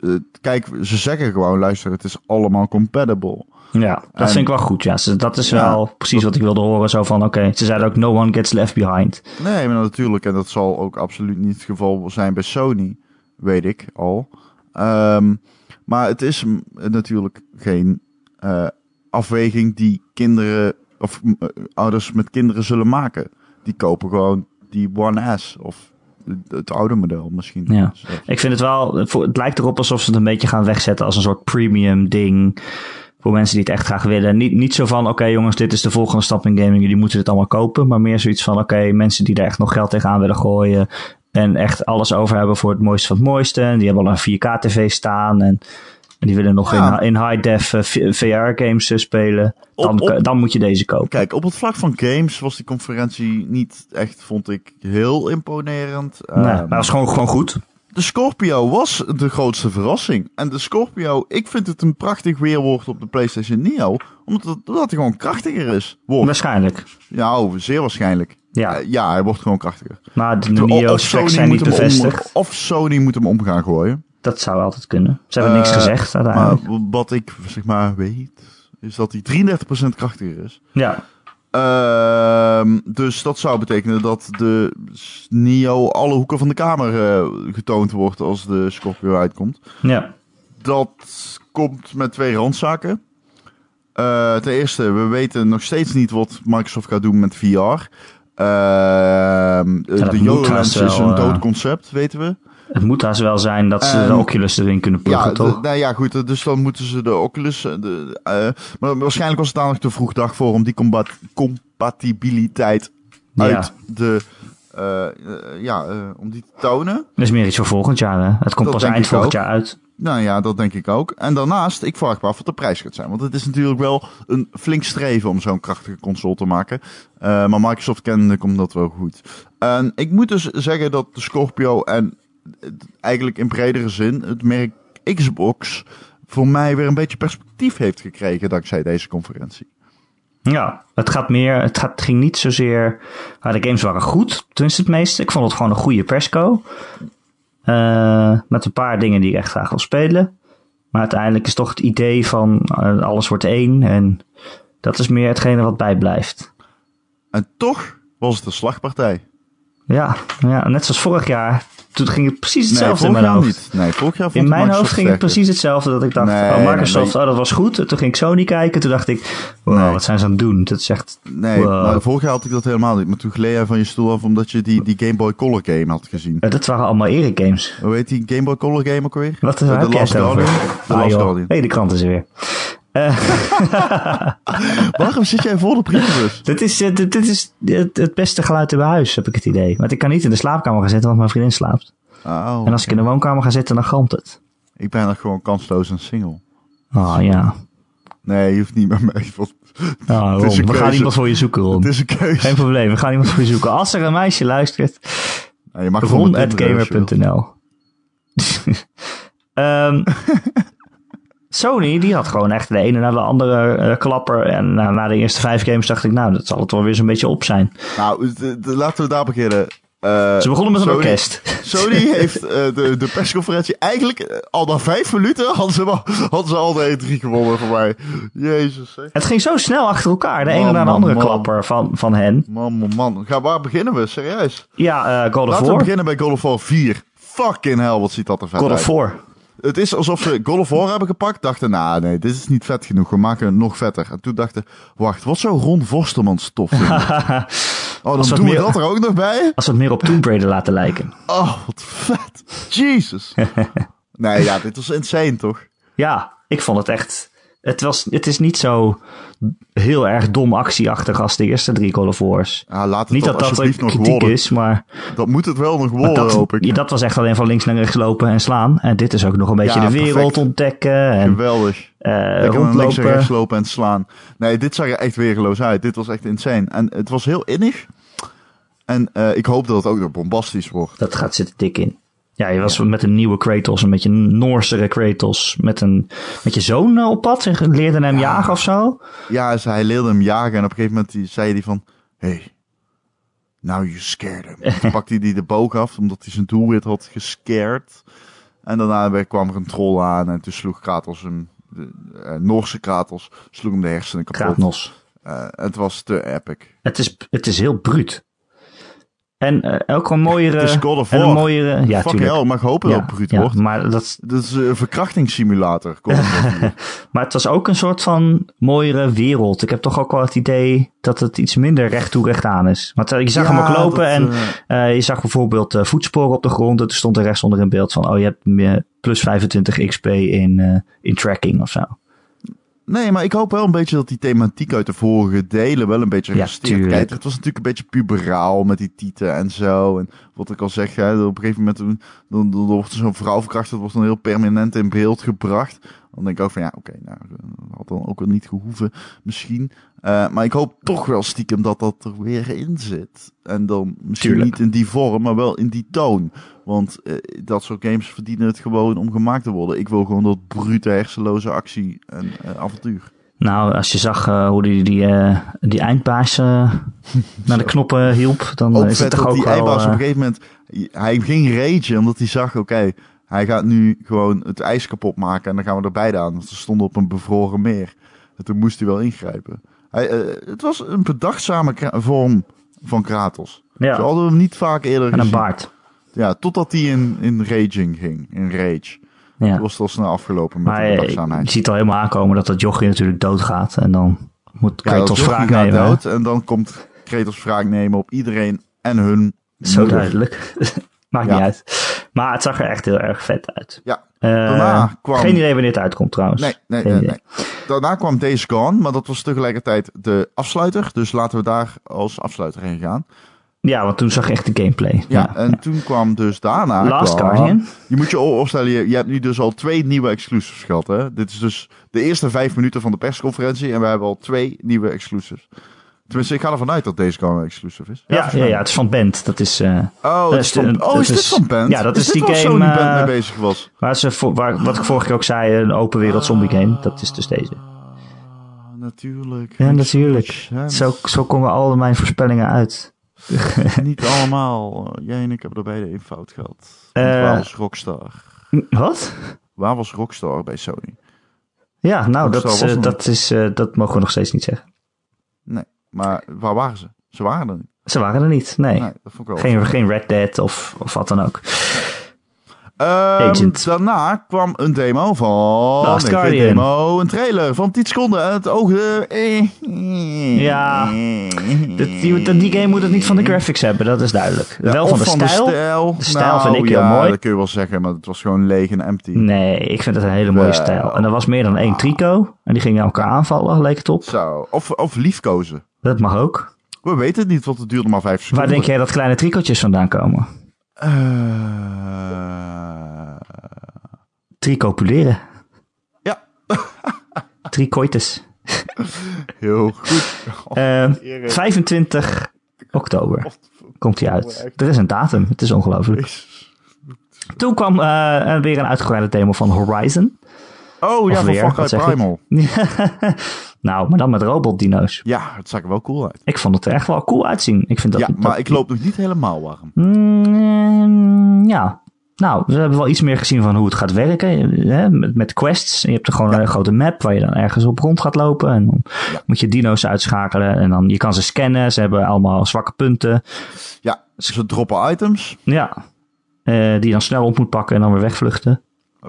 B: eh, kijk, ze zeggen gewoon, luister, het is allemaal compatible.
A: ja, dat
B: En-
A: vind ik wel goed. Ja, Ze- dat is
B: Ja,
A: wel precies wat ik wilde horen. Zo van, oké, ze zeiden ook no one gets left behind.
B: Nee, maar natuurlijk. En dat zal ook absoluut niet het geval zijn bij Sony. Weet ik al. Ehm, maar het is m- natuurlijk geen eh, afweging die kinderen of m, eh, ouders met kinderen zullen maken. Die kopen gewoon die One S of het, het oude model misschien. Dus, eh,
A: Ja.
B: Zelfs.
A: Ik vind het wel, voor- het lijkt erop alsof ze het een beetje gaan wegzetten als een soort premium ding. Voor mensen die het echt graag willen. Niet, niet zo van, oké jongens, dit is de volgende stap in gaming. Jullie moeten dit allemaal kopen. Maar meer zoiets van, oké, mensen die er echt nog geld tegenaan willen gooien. En echt alles over hebben voor het mooiste van het mooiste. En die hebben al een 4K tv staan. En, en die willen nog
B: Ja.
A: in, in high def eh, v- VR games eh, spelen. Dan,
B: Op- op-
A: kan- dan moet je deze kopen.
B: Kijk, op het vlak van games was die conferentie niet echt, vond ik, heel imponerend.
A: Nee,
B: Ehm,
A: maar dat is gewoon, gewoon goed.
B: De Scorpio was de grootste verrassing. En de Scorpio, ik vind het een prachtig weerwoord op de PlayStation Neo. Omdat het, omdat hij gewoon krachtiger is. Wordt.
A: Waarschijnlijk.
B: Nou, zeer waarschijnlijk.
A: Ja.
B: Eh, ja, hij wordt gewoon krachtiger.
A: Maar de
B: Of- of
A: NIO-specs zijn niet
B: moet hem om-
A: bevestigd.
B: of Sony moet hem om gaan gooien.
A: Dat zou altijd kunnen. Ze hebben niks
B: Eh,
A: gezegd uiteindelijk.
B: Maar wat ik zeg maar weet, is dat hij 33% krachtiger is.
A: Ja.
B: Ehm, dus dat zou betekenen dat de Nio alle hoeken van de kamer eh, getoond wordt als de Scorpio uitkomt.
A: Ja.
B: Dat komt met twee randzaken. Eh, ten eerste, we weten nog steeds niet wat Microsoft gaat doen met VR. Ehm,
A: dat
B: de
A: moet
B: HoloLens
A: haast wel,
B: is een dood
A: eh,
B: concept, weten we.
A: Het moet haast wel zijn dat ze
B: Ehm,
A: de Oculus erin kunnen pluggen,
B: Ja, de-
A: toch?
B: nou ja, goed. Dus dan moeten ze de Oculus. eh, De, eh, maar waarschijnlijk was het daar nog te vroeg dag voor om die combat, compatibiliteit uit de. eh, eh, ja, eh, om die te tonen.
A: Dat is meer iets voor volgend jaar, hè? Het komt
B: Dat
A: pas
B: denk
A: eind
B: ik
A: volgend
B: ook.
A: jaar uit.
B: Nou ja, dat denk ik ook. En daarnaast, ik vraag me af wat de prijs gaat zijn. Want het is natuurlijk wel een flink streven om zo'n krachtige console te maken. Eh, maar Microsoft kennende komt dat wel goed. En ik moet dus zeggen dat de Scorpio en het- eigenlijk in bredere zin het merk Xbox voor mij weer een beetje perspectief heeft gekregen dankzij deze conferentie.
A: Ja, het gaat meer. Het gaat, ging niet zozeer. Maar de games waren goed, tenminste het meeste. Ik vond het gewoon een goede persco. Eh, met een paar dingen die ik echt graag wil spelen. Maar uiteindelijk is toch het idee van eh, alles wordt één. En dat is meer hetgene wat bijblijft.
B: En toch was het een slagpartij.
A: Ja, ja net zoals vorig jaar. Toen ging het precies hetzelfde
B: vorig
A: in mijn
B: jaar
A: hoofd.
B: niet. Nee, vorig jaar vond
A: In
B: ik
A: mijn hoofd
B: Microsoft
A: ging het
B: sterker.
A: precies hetzelfde. Dat ik dacht,
B: Nee,
A: oh, Microsoft,
B: nee.
A: oh, dat was goed. En toen ging ik Sony kijken. Toen dacht ik, wow,
B: Nee.
A: wat zijn ze aan het doen? Dat is echt...
B: Nee,
A: Wow.
B: nou, vorig jaar had ik dat helemaal niet. Maar toen gleed jij van je stoel af omdat je die, die Game Boy Color game had gezien.
A: eh, dat waren allemaal ere-games.
B: Hoe heet die Game Boy Color game ook weer?
A: Wat is
B: De
A: waar heb je
B: Last
A: het over?
B: Guardian. De
A: Ah,
B: Last
A: joh.
B: Guardian.
A: Nee, de krant is er weer.
B: Waarom zit jij voor de brievenbus?
A: Dit is, eh, dit, dit is het, het beste geluid in mijn huis, heb ik het idee. Want ik kan niet in de slaapkamer gaan zitten, want mijn vriendin slaapt.
B: Oh,
A: En als ik in de woonkamer ga zitten, dan galmt het.
B: ik ben nog gewoon kansloos en single.
A: Oh ja.
B: Nee, je hoeft niet met mij. want
A: Oh,
B: Het is een
A: Ron, we gaan
B: keuze.
A: iemand voor je zoeken, Ron.
B: Het is een keuze.
A: Geen probleem, we gaan iemand voor je zoeken. Als er een meisje luistert,
B: Nou, je mag gewoon op Tinder, als je wilt.
A: ron.gamer.nl Ehm, Sony, die had gewoon echt de ene na de andere eh, klapper. En nou, na de eerste vijf games dacht ik, nou, dat zal het wel weer zo'n beetje op zijn.
B: Nou, d- d- laten we daar beginnen. Eh,
A: Ze begonnen met een
B: Sony-
A: orkest.
B: Sony heeft eh, de, de persconferentie eigenlijk eh, al na vijf minuten hadden ze, wel- hadden ze al de E3 gewonnen voor mij. Jezus. Zeg.
A: Het ging zo snel achter elkaar. De ene
B: Man,
A: na de
B: man,
A: andere
B: man.
A: klapper van, van hen.
B: Man, man, man. Ga, waar beginnen we? Serieus.
A: Ja, eh God of
B: Laten we
A: War.
B: beginnen bij God of War 4. Fucking hell, wat ziet dat er vet
A: God
B: uit.
A: of War.
B: Het is alsof ze God of War hebben gepakt. Dachten, nou nee, dit is niet vet genoeg. We maken het nog vetter. En toen dachten, wacht, wat zou Ron Vosterman stof vinden? Oh,
A: Als wat
B: dan doen we
A: meer-
B: dat er ook nog bij?
A: Als we het meer op Tomb Raider laten lijken.
B: Oh, wat vet. Jesus. Nee, ja, dit was insane, toch?
A: Ja, ik vond het echt... Het, was, het is niet zo heel erg dom actieachtig als de eerste drie God of Wars.
B: Ja, laat het
A: Niet
B: dat,
A: dat dat een
B: alsjeblieft nog
A: kritiek
B: worden.
A: is, maar,
B: Dat moet het wel nog
A: maar
B: worden,
A: dat,
B: hoop ik.
A: ja, dat was echt alleen van links naar rechts lopen en slaan. En dit is ook nog een beetje
B: Ja,
A: de wereld
B: perfect.
A: ontdekken en
B: Geweldig.
A: eh,
B: Lekker naar links en
A: rondlopen.
B: rechts lopen en slaan. Nee, dit zag er echt weergeloos uit. Dit was echt insane. En het was heel innig. En eh, ik hoop dat het ook nog bombastisch wordt.
A: Dat gaat zitten dik in. Ja, je was met een nieuwe Kratos, een beetje een Noorsere Kratos. Met, een, met je zoon eh, op pad en leerde hem jagen of zo.
B: Ja, ze, hij leerde hem jagen en op een gegeven moment die- zei hij van... Hey, now you scared him. Toen pakte hij die de boog af, omdat hij zijn doelwit had gescared. En daarna weer kwam er een troll aan en toen sloeg Kratos hem... De, eh, Noorse Kratos sloeg hem de hersenen kapot.
A: Kratos.
B: Eh, het was te epic.
A: Het is, het is heel bruut. En eh, ook een mooiere...
B: Het is God of
A: en een
B: War.
A: mooiere... Ja,
B: Fuck
A: tuurlijk.
B: hell, mag hopen dat
A: Ja,
B: het bruut
A: ja,
B: wordt.
A: maar, dat,
B: Dat is eh, een verkrachtingssimulator. God of War hier.
A: maar het was ook een soort van mooiere wereld. Ik heb toch ook wel het idee dat het iets minder recht toe recht aan is. Want eh, je zag hem
B: Ja,
A: ook lopen
B: dat,
A: en
B: eh,
A: Eh, je zag bijvoorbeeld eh, voetsporen op de grond. En toen stond er rechts onder in beeld van... oh, je hebt meer- plus 25 XP in, eh, in tracking of zo.
B: Nee, maar ik hoop wel een beetje dat die thematiek uit de vorige delen wel een beetje
A: Ja,
B: resteert.
A: tuurlijk.
B: Kijk, het was natuurlijk een beetje puberaal met die tieten en zo. En wat ik al zeg, hè, dat op een gegeven moment eh, dan, dan, dan wordt er zo'n vrouw verkracht. Dat wordt dan heel permanent in beeld gebracht. Dan denk ik ook van ja, oké, nou, dat had dan ook wel niet gehoeven misschien. Eh, maar ik hoop toch wel stiekem dat dat er weer in zit. En dan misschien
A: Tuurlijk.
B: niet in die vorm, maar wel in die toon. Want eh, dat soort games verdienen het gewoon om gemaakt te worden. Ik wil gewoon dat brute hersenloze actie en eh, avontuur.
A: Nou, als je zag eh, hoe die, die, eh, die eindbaas eh, naar de knoppen hielp... dan
B: Ook
A: is het
B: vet
A: toch
B: dat
A: ook
B: die
A: wel...
B: eindbaas op
A: eh,
B: een gegeven moment... Hij ging ragen omdat hij zag, oké, hij gaat nu gewoon het ijs kapot maken. En dan gaan we er beide aan. Want ze stonden op een bevroren meer. En toen moest hij wel ingrijpen. Hij, eh, het was een bedachtzame kra- vorm van Kratos. Zo
A: Ja,
B: hadden we hem niet vaak eerder
A: en een
B: gezien.
A: baard.
B: Ja, totdat hij in, in raging ging. In rage.
A: Ja.
B: Dat was het al snel afgelopen met
A: Maar
B: de
A: eh, je
B: bedachtzaamheid.
A: ziet al helemaal aankomen dat dat jochie natuurlijk doodgaat. En dan moet
B: Ja, dat
A: Kratos
B: Joffrey
A: vraag
B: gaat
A: nemen. hè?
B: dood en dan komt Kratos wraak nemen op iedereen en hun
A: Zo
B: moeder.
A: duidelijk. Maakt
B: Ja.
A: niet uit. Maar het zag er echt heel erg vet uit.
B: Ja.
A: Eh,
B: Daarna kwam-
A: Geen idee wanneer het uitkomt trouwens.
B: Nee, nee,
A: Geen
B: nee,
A: idee.
B: nee. Daarna kwam Days Gone, maar dat was tegelijkertijd de afsluiter. Dus laten we daar als afsluiter heen gaan.
A: Ja, want toen zag je echt de gameplay.
B: Ja, en toen kwam dus daarna...
A: Last
B: kwam-
A: Guardian.
B: Je moet je opstellen, je, je hebt nu dus al twee nieuwe exclusives gehad. Hè? Dit is dus de eerste vijf minuten van de persconferentie en we hebben al twee nieuwe exclusives. Tenminste, ik ga ervan uit dat Days Gone een exclusive is.
A: Ja, ja,
B: volgens
A: ja,
B: mij.
A: het is van Band. Dat is eh,
B: Oh,
A: Dat
B: dat
A: is
B: is, van,
A: de-
B: oh,
A: dat
B: is dit
A: is-
B: van Band?
A: ja, dat is die
B: dit waar
A: game,
B: Sony Band
A: eh,
B: mee bezig was.
A: waar ze voor, waar, wat ik vorige keer ook zei, een open wereld zombie game. Dat is dus deze.
B: Ah, Natuurlijk.
A: Ja,
B: Makes
A: natuurlijk.
B: sense.
A: Zo, zo komen al mijn voorspellingen uit.
B: Niet allemaal. Jij en ik hebben er beide een fout gehad.
A: Eh.
B: Want waar was Rockstar?
A: Hm, Wat?
B: Waar was Rockstar bij Sony?
A: Ja, nou,
B: Rockstar
A: dat,
B: was
A: eh,
B: er
A: dat, is, eh, dat mogen we nog steeds niet zeggen.
B: Maar waar waren ze? Ze waren er niet.
A: Ze waren er niet, nee.
B: Nee, dat vond ik wel.
A: Geen, geen Red Dead of, of wat dan ook.
B: Ehm,
A: Agent.
B: daarna kwam een demo van...
A: Last
B: nee, geen
A: Guardian.
B: demo, een trailer van 10 seconden. En het oogde... eh,
A: Ja.
B: eh,
A: Dat, die, dat- die game moet het niet van de graphics hebben, dat is duidelijk.
B: Ja,
A: Wel
B: of
A: van de stijl.
B: stijl.
A: De stijl vind
B: Nou,
A: ik heel
B: ja,
A: mooi. Hmm.
B: dat kun je wel zeggen, maar het was gewoon leeg en empty.
A: Nee, ik vind het een hele mooie
B: Wel.
A: stijl. En er was meer dan één trico. En die gingen elkaar aanvallen, leek het op.
B: Zo. Of, of liefkozen.
A: Dat mag ook.
B: We weten het niet, want het duurde maar vijf seconden.
A: Waar denk jij dat kleine tricotjes vandaan komen?
B: Eh,
A: Tricopuleren.
B: Ja.
A: Tricoites.
B: heel goed.
A: Ehm,
B: Erik.
A: 25 oktober komt hij uit. Er is een datum, het is ongelooflijk. Toen kwam eh, eh, weer een uitgebreide demo van Horizon.
B: Oh ja,
A: Of
B: van
A: weer,
B: Far
A: wat
B: Cry
A: zeg ik?
B: Primal.
A: nou, maar dan met robotdino's.
B: Ja, het zag er wel cool uit.
A: Ik vond het er echt wel cool uitzien. Ik vind dat,
B: ja,
A: dat-
B: maar ik loop nog niet helemaal warm.
A: Mm, ja. Nou, we hebben wel iets meer gezien van hoe het gaat werken. Hè? Met, met quests. En je hebt er gewoon een grote map waar je dan ergens op rond gaat lopen. En dan
B: Ja.
A: moet je dino's uitschakelen. En dan je kan ze scannen. Ze hebben allemaal zwakke punten.
B: Ja, ze droppen items.
A: Ja. Eh, die je dan snel op moet pakken en dan weer wegvluchten.
B: Eh,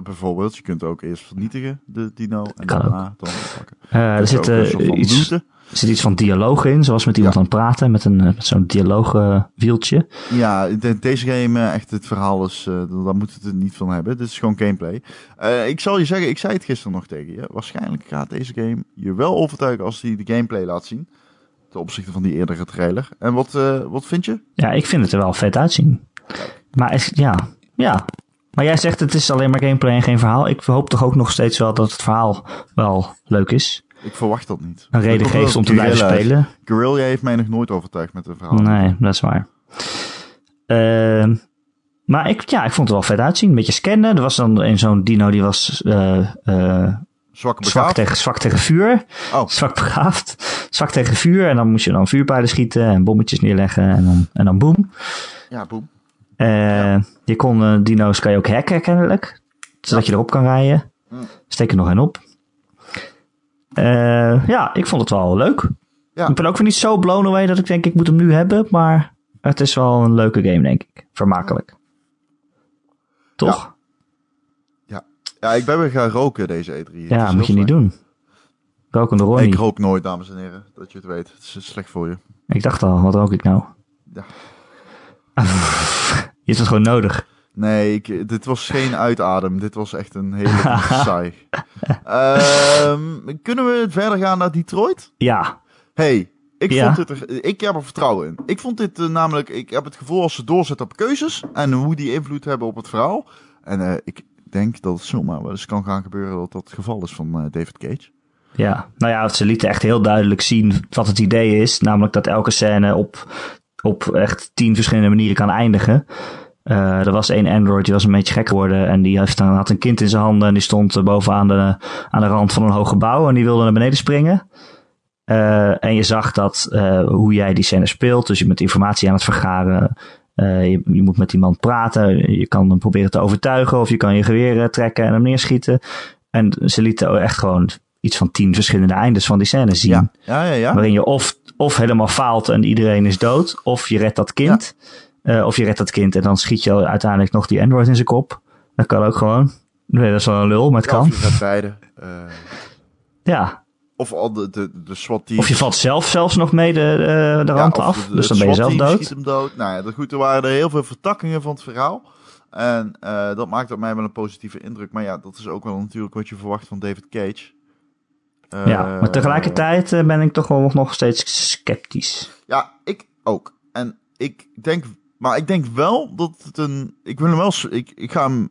B: Bijvoorbeeld, je kunt ook eerst vernietigen, de dino. En
A: Kan
B: daarna dan pakken.
A: Eh, er
B: Dus ook
A: zit, eh,
B: een soort van
A: iets,
B: looten.
A: zit iets van dialoog in. Zoals met iemand
B: Ja.
A: aan het praten. Met, een, eh, met zo'n dialoogwieltje.
B: Ja, de- deze game, eh, echt, het verhaal is, eh, daar moet het er niet van hebben. Dit is gewoon gameplay. Eh, ik zal je zeggen, ik zei het gisteren nog tegen je. Waarschijnlijk gaat deze game je wel overtuigen als hij de gameplay laat zien. Ten opzichte van die eerdere trailer. En wat, eh, wat vind je?
A: Ja, ik vind het er wel vet uitzien. Maar is- ja, ja. Maar jij zegt het is alleen maar gameplay en geen verhaal. Ik hoop toch ook nog steeds wel dat het verhaal wel leuk is.
B: Ik verwacht dat niet.
A: Een reden
B: Dat komt
A: geeft om te
B: omdat
A: blijven
B: Guerrilla-
A: spelen.
B: Guerrilla heeft mij nog nooit overtuigd met een verhaal.
A: Nee, dat is waar. Ehm, maar ik, ja, ik vond het wel vet uitzien. Een beetje scannen. Er was dan een zo'n dino die was eh, eh,
B: Zwakke
A: zwak,
B: begaafd.
A: tegen, zwak tegen vuur.
B: Oh.
A: Zwak begaafd. Zwak tegen vuur. En dan moest je dan vuurpijlen schieten en bommetjes neerleggen. En dan, en dan boem.
B: Ja, boem.
A: Eh, Je kon eh, dino's kan je ook hacken kennelijk. Zodat je erop kan rijden. Steek er nog een op. Eh, ja, ik vond het wel leuk.
B: Ja.
A: Ik ben ook weer niet zo blown away dat ik denk ik moet hem nu hebben. Maar het is wel een leuke game denk ik. Vermakelijk. Toch?
B: Ja, ik ben weer gaan roken deze E3. Het
A: Ja,
B: is
A: moet je
B: heel
A: niet doen. Rokende
B: slecht.
A: Ronnie.
B: Ik
A: Ik,
B: rook nooit, dames en heren. Dat je het weet. Het is slecht voor je.
A: dacht al, wat rook ik nou?
B: Ja.
A: je hebt het gewoon nodig.
B: Nee, ik- dit was geen uitadem. Dit was echt een hele saai. Ehm, kunnen we verder gaan naar Detroit?
A: Ja,
B: Hey, ik,
A: Ja.
B: vond dit er, ik heb er vertrouwen in. Ik vond dit eh, namelijk... Ik heb het gevoel als ze doorzetten op keuzes... en hoe die invloed hebben op het verhaal. En eh, ik denk dat het zomaar wel eens kan gaan gebeuren... dat dat het geval is van eh, David Cage.
A: Ja, nou ja, ze lieten echt heel duidelijk zien wat het idee is. Namelijk dat elke scène op, op echt tien verschillende manieren kan eindigen. Eh, er was één android, die was een beetje gek geworden. En die heeft, dan- had een kind in zijn handen. En die stond eh, bovenaan de, aan de rand van een hoog gebouw. En die wilde naar beneden springen. Eh, en je zag dat eh, hoe jij die scène speelt. Dus je bent informatie aan het vergaren. Eh, je, je moet met iemand praten. Je kan hem proberen te overtuigen. Of je kan je geweer eh, trekken en hem neerschieten. En ze lieten echt gewoon iets van tien verschillende eindes van die scène zien.
B: Ja, ja, ja. ja.
A: Waarin je of, of helemaal faalt en iedereen is dood, of je redt dat kind. Eh, of je redt dat kind en dan schiet je uiteindelijk nog die android in zijn kop. Dat kan ook gewoon. Nee, dat is wel een lul, maar het
B: Ja,
A: kan.
B: Of je gaat beide. eh,
A: Ja.
B: of al de, de, de SWAT-team.
A: Of je valt zelf zelfs nog mee de, de, de
B: Ja,
A: rand
B: of
A: af.
B: de- de-
A: dus dan
B: het
A: ben je zelf
B: SWAT-team
A: dood.
B: schiet hem dood. Nou ja, dat- goed, er waren er heel veel vertakkingen van het verhaal. En eh, dat maakt op mij wel een positieve indruk. Maar ja, dat is ook wel natuurlijk wat je verwacht van David Cage. Eh,
A: Ja, maar tegelijkertijd eh, ben ik toch wel nog steeds sceptisch.
B: Ja, ik ook. En ik denk, maar ik denk wel dat het een. Ik wil hem wel. s- Ik, ik ga hem.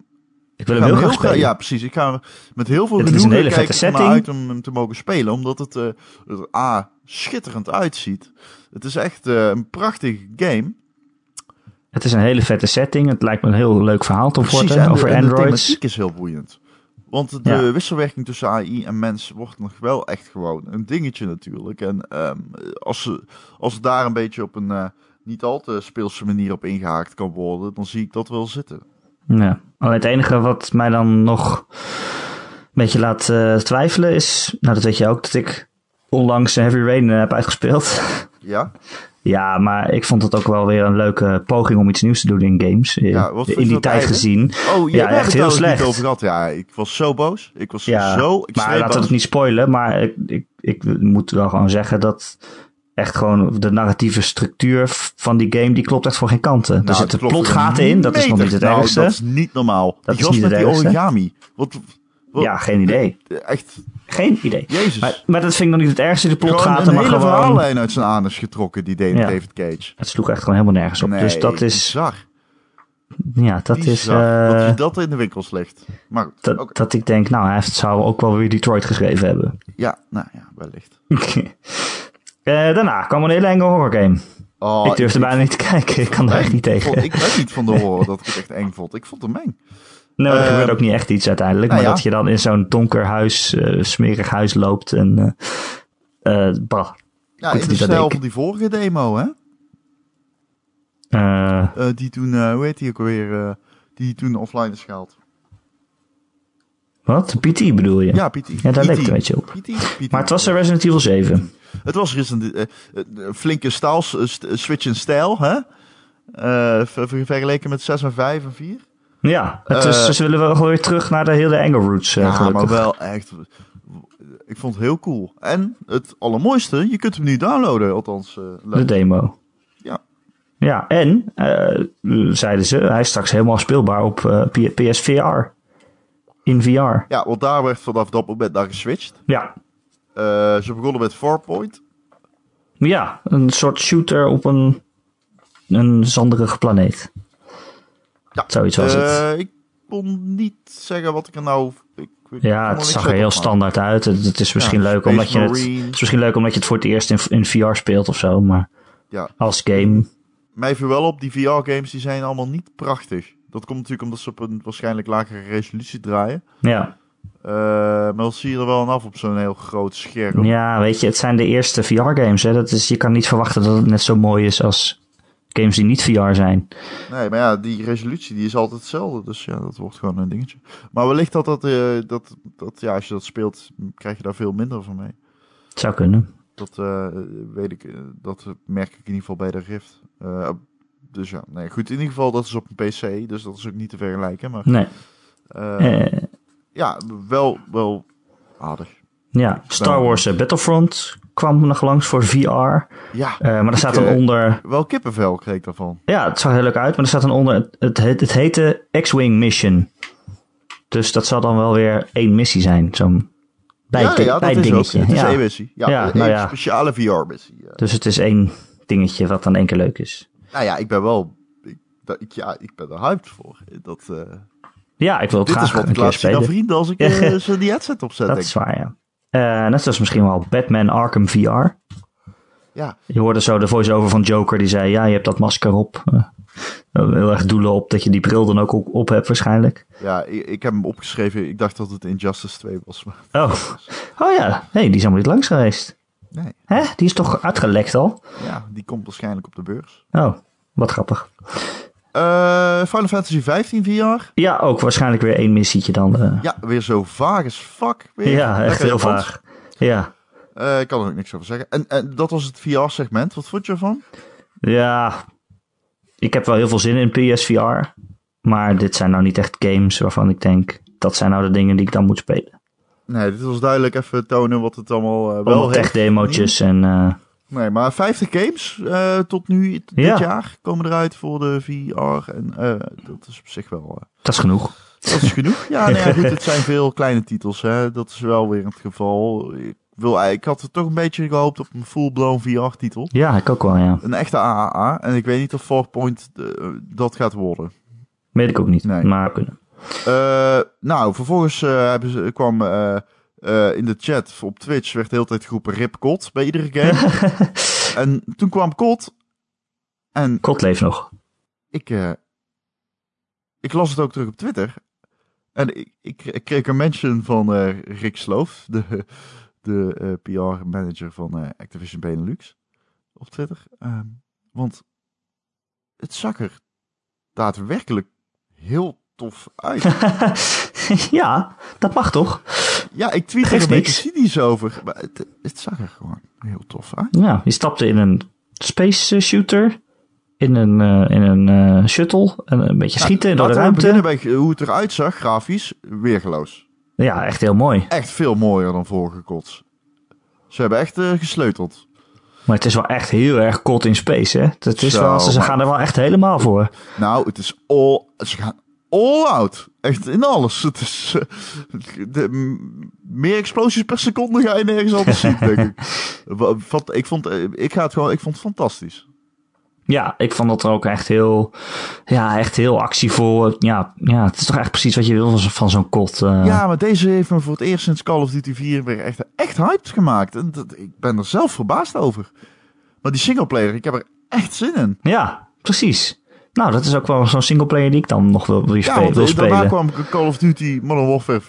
A: Ik wil
B: ik
A: hem
B: ga
A: heel
B: hem
A: graag
B: gra-
A: spelen.
B: Ja, precies. Ik ga hem met heel veel
A: Het is een
B: genoegen
A: hele vette
B: kijken ernaar
A: setting.
B: uit om hem te mogen spelen. Omdat het eh, er A. schitterend uitziet. Het is echt eh, een prachtige game.
A: Het is een hele vette setting. Het lijkt me een heel leuk verhaal te
B: Precies,
A: worden
B: en
A: over
B: de, en de
A: androids.
B: thematiek is heel boeiend. Want de
A: Ja.
B: wisselwerking tussen AI en mens wordt nog wel echt gewoon een dingetje natuurlijk. En ehm, als, ze- als het daar een beetje op een eh, niet al te speelse manier op ingehaakt kan worden, dan zie ik dat wel zitten.
A: Ja. Alleen het enige wat mij dan nog een beetje laat eh, twijfelen is... Nou, dat weet je ook, dat ik onlangs Heavy Rain eh, heb uitgespeeld.
B: Ja?
A: ja, maar ik vond het ook wel weer een leuke poging om iets nieuws te doen in games. Eh,
B: Ja, wat vond je
A: in die
B: dat
A: tijd
B: eigenlijk?
A: gezien.
B: Oh, je
A: Ja,
B: daar hebben
A: echt
B: we
A: heel
B: het
A: slecht.
B: niet over gehad. Ja, ik was zo boos. Ik was
A: Ja,
B: zo
A: maar
B: extreem
A: laten we
B: boos.
A: het niet spoilen. Maar ik, ik, ik moet wel gewoon zeggen dat echt gewoon de narratieve structuur f- van die game, die klopt echt voor geen kanten. er
B: Nou,
A: zitten
B: het klopt
A: plotgaten
B: een
A: in, dat is nog
B: meter.
A: niet het
B: Nou,
A: ergste.
B: dat is niet normaal.
A: Dat
B: Die
A: is
B: gast
A: niet
B: met
A: het
B: die
A: ergste.
B: origami. Wat, wat-
A: ja, geen idee.
B: Echt,
A: Geen idee.
B: Jezus.
A: Maar, maar dat vind ik nog niet het ergste, de
B: Dus- Gewoon
A: plotgaten.
B: een
A: Maar
B: hele
A: gewoon,
B: verhaallijn uit zijn anus getrokken, die David,
A: Ja.
B: David Cage.
A: het sloeg echt gewoon helemaal nergens op. dus dat is,
B: Bizar,
A: ja, dat is,
B: bizar
A: eh,
B: dat je dat in de winkels legt. Maar goed,
A: dat,
B: oké.
A: dat ik denk, nou, hij heeft- zou ook wel weer Detroit geschreven hebben.
B: ja, nou ja, wellicht.
A: Eh, daarna kwam een hele enge horrorgame.
B: Oh,
A: ik durfde bijna niet te kijken, ik kan er echt niet
B: ik
A: tegen.
B: vond- ik ben niet van de horror dat ik het echt eng vond. Ik vond hem eng.
A: Nee, maar er
B: Eh,
A: gebeurt ook niet echt iets uiteindelijk.
B: nou
A: maar
B: ja.
A: dat je dan in zo'n donker huis, eh, smerig huis loopt en... eh, eh, bah.
B: Ja,
A: Goed,
B: in de
A: niet dat
B: stijl
A: ik-
B: van die vorige demo, hè?
A: Eh,
B: Eh, die toen, eh, hoe heet die ook alweer? eh, die toen offline is gehaald.
A: wat? PT bedoel je?
B: Ja, Pietie.
A: Ja, daar
B: P.T..
A: leek het een beetje op.
B: P.T., P.T..
A: Maar het was een Resident Evil 7.
B: Het was Resident eh, eh, flinke staals, eh, st- eh, switch in stijl, hè? Eh, ver- ver- vergeleken met 6 en 5 en 4.
A: Ja, het is,
B: Eh,
A: ze willen wel gewoon weer terug naar de hele enge roots, eh,
B: Ja,
A: gelukkig.
B: maar wel echt. Ik vond het heel cool. En het allermooiste, je kunt hem nu downloaden. Althans, eh,
A: De
B: leuk.
A: demo.
B: Ja.
A: Ja, en, eh, zeiden ze, hij is straks helemaal speelbaar op eh, P- PSVR. In VR.
B: ja, want daar werd vanaf dat moment naar geswitcht.
A: Ja.
B: Eh, ze begonnen met Farpoint.
A: Ja, een soort shooter op een, een zanderige planeet.
B: Ja,
A: Zoiets was het.
B: Eh, ik kon niet zeggen wat ik er nou. Ik, ik kon
A: Ja,
B: er
A: het
B: niks
A: zag
B: uit
A: er heel
B: opmaken.
A: standaard uit. Het, het is misschien
B: Ja,
A: leuk
B: Space
A: omdat je het,
B: Marine.
A: het is misschien leuk omdat je het voor het eerst in, in VR speelt of zo, maar
B: Ja.
A: als game.
B: Mij viel wel op, die VR-games die zijn allemaal niet prachtig. Dat komt natuurlijk omdat ze op een waarschijnlijk lagere resolutie draaien.
A: Ja.
B: Eh, maar dat zie je er wel aan af op zo'n heel groot scherm.
A: ja, weet je, het zijn de eerste VR-games. Dat is, je kan niet verwachten dat het net zo mooi is als games die niet VR zijn.
B: Nee, maar ja, die resolutie die is altijd hetzelfde. Dus ja, dat wordt gewoon een dingetje. Maar wellicht dat dat, eh, dat, dat ja, als je dat speelt, m, krijg je daar veel minder van mee.
A: Het zou kunnen.
B: Dat eh, weet ik, eh, dat merk ik in ieder geval bij de Rift. Eh, dus ja, nee, goed. In ieder geval, dat is op een PC, dus dat is ook niet te vergelijken. Maar
A: Nee.
B: eh,
A: Eh,
B: ja, wel, wel aardig.
A: ja, Star Wars eh, Battlefront kwam nog langs voor VR. eh,
B: Ja,
A: maar er staat dan
B: eh,
A: onder.
B: wel kippenvel kreeg ik daarvan.
A: Ja, het zag er heel leuk uit, maar er staat dan onder. Het, het, heet- het heette X-Wing Mission. Dus dat zal dan wel weer één missie zijn. Zo'n bij,
B: ja, ja, dat is ook.
A: bijdingetje.
B: Het is
A: ja.
B: één missie. Ja,
A: Ja,
B: een
A: nou ja.
B: speciale VR-missie. ja.
A: Dus het is één dingetje wat dan één keer leuk is.
B: Nou ja, ik ben wel. Ik, dat- ik- ja, ik ben er hyped voor. Dat, eh,
A: Ja, ik wil het
B: dit is
A: graag
B: wat
A: een
B: ik
A: keer
B: laat zien aan
A: spelen.
B: vrienden als ik
A: Ja.
B: eh, ze die headset opzet.
A: Dat
B: denk
A: is
B: ik.
A: waar, ja. Eh, net zoals misschien wel Batman Arkham VR.
B: Ja,
A: Je hoorde zo de voice-over van Joker die zei... Ja, je hebt dat masker op. Eh, heel erg doelen op dat je die bril dan ook op, op hebt waarschijnlijk.
B: ja ik, ik heb hem opgeschreven. Ik dacht dat het Injustice 2 was. Maar
A: Oh, oh ja. hey, die is helemaal niet langs geweest.
B: nee,
A: Hè? Die is toch uitgelekt al?
B: ja, die komt waarschijnlijk op de beurs.
A: Oh, wat grappig.
B: Eh, Final Fantasy 15 VR.
A: Ja, ook waarschijnlijk weer één missietje dan. eh.
B: Ja, weer zo vaag als fuck. Weer
A: ja, echt
B: Lekker
A: heel
B: Japans.
A: vaag. Ja.
B: Eh, ik kan er ook niks over zeggen. En, en dat was het VR-segment. Wat vond je ervan?
A: Ja, ik heb wel heel veel zin in PSVR. Maar dit zijn nou niet echt games waarvan ik denk, dat zijn nou de dingen die ik dan moet spelen.
B: Nee, dit was duidelijk even tonen wat het allemaal eh, wel
A: Wel
B: heeft.
A: tech demootjes en eh,
B: Nee, maar 50 games eh, tot nu, t- dit
A: Ja.
B: jaar, komen eruit voor de VR. En eh, dat is op zich wel... eh,
A: dat is genoeg.
B: Dat is genoeg. Ja, nou ja, goed, het zijn veel kleine titels. Hè. Dat is wel weer het geval. Ik, wil, eh, ik had er toch een beetje gehoopt op een full-blown VR-titel.
A: Ja, ik ook wel, ja.
B: Een echte AAA. En ik weet niet of Farpoint eh, dat gaat worden.
A: Weet ik ook niet,
B: Nee.
A: maar kunnen.
B: Eh, nou, vervolgens eh, hebben ze, kwam eh, eh, in de chat op Twitch... werd de hele tijd geroepen Rip Kot bij iedere game. en toen kwam Kot. En
A: Kot leeft nog.
B: ik, eh, ik las het ook terug op Twitter. En ik, ik, ik kreeg een mention van eh, Rick Sloof, de, de eh, PR-manager van eh, Activision Benelux, op Twitter. Ehm, want het zag er daadwerkelijk heel tof uit.
A: ja, dat mag toch?
B: ja, ik tweet er een
A: Geeft
B: beetje
A: niks.
B: cynisch over, maar het, het zag er gewoon heel tof uit.
A: Ja, je stapte in een space eh, shooter. In een, eh, in een eh, shuttle. En een beetje schieten in
B: Nou, Laten
A: de
B: we
A: ruimte.
B: beginnen bij hoe het eruit zag, grafisch, weergeloos.
A: Ja, echt heel mooi.
B: echt veel mooier dan vorige kots. Ze hebben echt eh, gesleuteld.
A: Maar het is wel echt heel erg kot in space, hè? Dat is
B: Zo,
A: wel, ze, ze
B: maar-
A: gaan er wel echt helemaal voor.
B: Nou, het is all... Ze gaan all out. Echt in alles. Het is... eh, de, m- meer explosies per seconde ga je nergens anders zien, denk ik. Wa- Wat, ik, vond, eh, ik, ga het gewoon, ik vond het fantastisch.
A: Ja, ik vond dat ook echt heel, ja, echt heel actievol. Ja, ja, het is toch echt precies wat je wil van, zo- van zo'n kot. eh.
B: Ja, maar deze heeft me voor het eerst sinds Call of Duty 4 weer echt, echt hyped gemaakt. En dat, ik ben er zelf verbaasd over. Maar die singleplayer, ik heb er echt zin in.
A: Ja, precies. Nou, dat is ook wel zo'n singleplayer die ik dan nog wil, wil, spe-
B: want
A: wil
B: eh,
A: spelen.
B: daarna kwam Call of Duty Modern Warfare,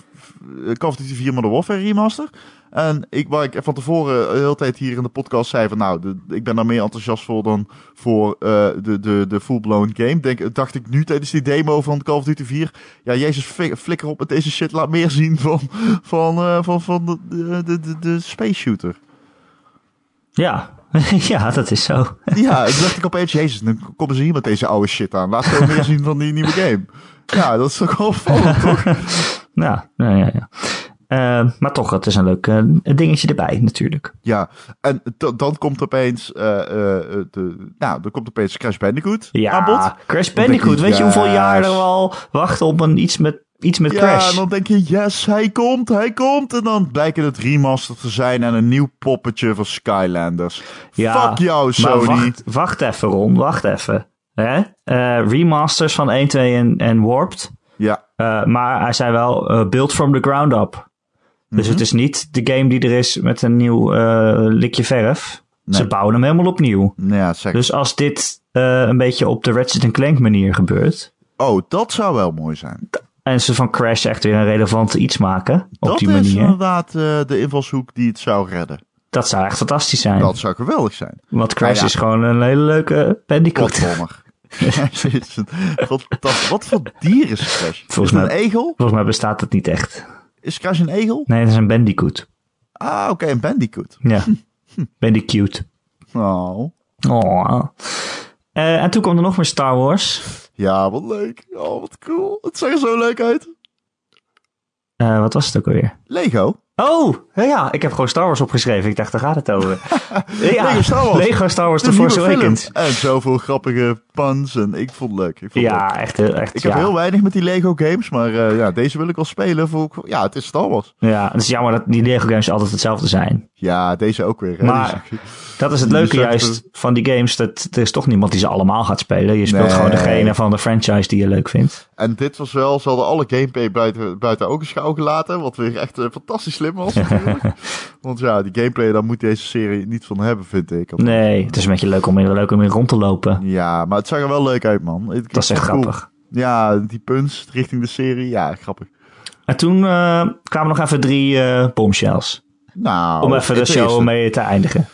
B: eh, Call of Duty 4 Modern Warfare Remaster. En ik, waar ik van tevoren eh, de hele tijd hier in de podcast zei van... nou, de- ik ben daar meer enthousiast voor dan voor eh, de, de, de full-blown game. Denk, eh, dacht ik nu tijdens die demo van Call of Duty 4... ja, jezus, fli- flikker op met deze shit. Laat meer zien van, van, eh, van, van de, de, de, de, de space shooter.
A: Ja. ja, dat is zo.
B: Ja, toen dacht ik opeens... jezus, dan komen ze hier met deze oude shit aan. Laat veel meer zien van die nieuwe game. Ja, dat is toch wel opvallend, toch?
A: Ja, ja, ja. ja. Eh, maar toch, het is een leuk eh, dingetje erbij natuurlijk.
B: Ja, en da- dan komt opeens, eh, eh, eh, de, nou, dan komt opeens Crash Bandicoot
A: Ja,
B: aan bod.
A: Crash Bandicoot.
B: je,
A: Weet je hoeveel
B: yes.
A: jaren we al wachten op een, iets met, iets met
B: Ja,
A: Crash?
B: en dan denk je, yes, hij komt, hij komt. En dan blijken het remaster te zijn en een nieuw poppetje van Skylanders.
A: Ja,
B: Fuck jou,
A: Maar
B: Sony.
A: wacht, wacht even, Ron. Wacht even. Hè? Eh, remasters van 1, 2 en, en Warped.
B: Ja,
A: Eh, maar hij zei wel, eh, build from the ground up. Dus
B: Mhm.
A: het is niet de game die er is met een nieuw eh, likje verf.
B: Nee.
A: Ze bouwen hem helemaal opnieuw.
B: nou ja, zeg.
A: Dus als dit eh, een beetje op de Ratchet Clank manier gebeurt...
B: oh, dat zou wel mooi zijn.
A: en ze van Crash echt weer een relevant iets maken op
B: dat
A: die
B: is
A: manier...
B: inderdaad eh, de invalshoek die het zou redden.
A: dat zou echt fantastisch zijn.
B: Dat zou geweldig zijn.
A: Want Crash
B: Nou ja.
A: is gewoon een hele leuke bandicoot.
B: Platformer. wat, dat, wat voor dier is Crash?
A: Volgens
B: is het
A: mij-
B: een egel?
A: Volgens mij bestaat het niet echt.
B: Is Crash een egel?
A: Nee, dat is een bandicoot.
B: Ah, oké, een bandicoot.
A: Ja, bandicoot.
B: Oh.
A: Oh. Eh, en toen kwam er nog meer Star Wars.
B: Ja, wat leuk. Oh, wat cool. Het zag er zo leuk uit.
A: Eh, wat was het ook alweer?
B: Lego.
A: Oh, ja, ja, ik heb gewoon Star Wars opgeschreven. Ik dacht, daar gaat het over. ja,
B: Lego Star Wars.
A: Lego Star Wars The
B: De nieuwe
A: Force
B: film.
A: Awakens.
B: En zoveel grappige puns. En ik vond het leuk. Ik, vond het leuk.
A: Ja, echt, heel- echt.
B: ik
A: ja.
B: heb heel weinig met die Lego games. Maar eh, ja, deze wil ik wel spelen. Voor, ja, het is Star Wars.
A: ja, het is jammer dat die Lego games altijd hetzelfde zijn.
B: Ja, deze ook weer. hè.
A: Maar-
B: Die-
A: Dat is het
B: Die
A: leuke
B: zegt,
A: juist van die games. Dat er is toch niemand die ze allemaal gaat spelen. Je speelt
B: Nee.
A: gewoon degene van de franchise die je leuk vindt.
B: En dit was wel, ze hadden alle gameplay buiten, buiten ook eens schouw gelaten. Wat weer echt eh, fantastisch slim was natuurlijk. Want ja, die gameplay, daar moet deze serie niet van hebben, vind ik.
A: Nee, het is een beetje leuk om in, leuk om in rond te lopen.
B: Ja, maar het zag er wel leuk uit, man. Ik-
A: Dat is echt
B: ik vond het cool.
A: grappig.
B: Ja, die punts richting de serie. Ja, grappig.
A: En toen eh, kwamen nog even drie eh bombshells.
B: Nou,
A: Om even de
B: het
A: show
B: eerste.
A: mee te eindigen.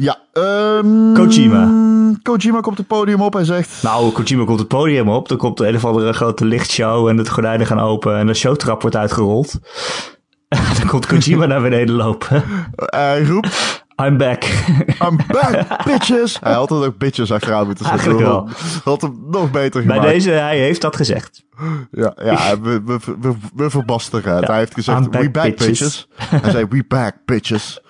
B: Ja, ehm,
A: Kojima.
B: Kojima komt het podium op en zegt...
A: Nou, Kojima komt het podium op. Dan komt een of andere grote lichtshow en de gordijnen gaan open en de showtrap wordt uitgerold. Dan komt Kojima naar beneden lopen.
B: Hij roept,
A: I'm back.
B: I'm back, bitches. Hij had er ook bitches achteraan moeten zetten.
A: Eigenlijk wel.
B: Dat had hem nog beter
A: Bij
B: gemaakt.
A: deze, hij heeft dat gezegd.
B: Ja, ja we, we, we, we verbasteren het.
A: Ja,
B: Hij heeft gezegd,
A: I'm back,
B: we back,
A: bitches.
B: bitches. Hij zei, we back, bitches.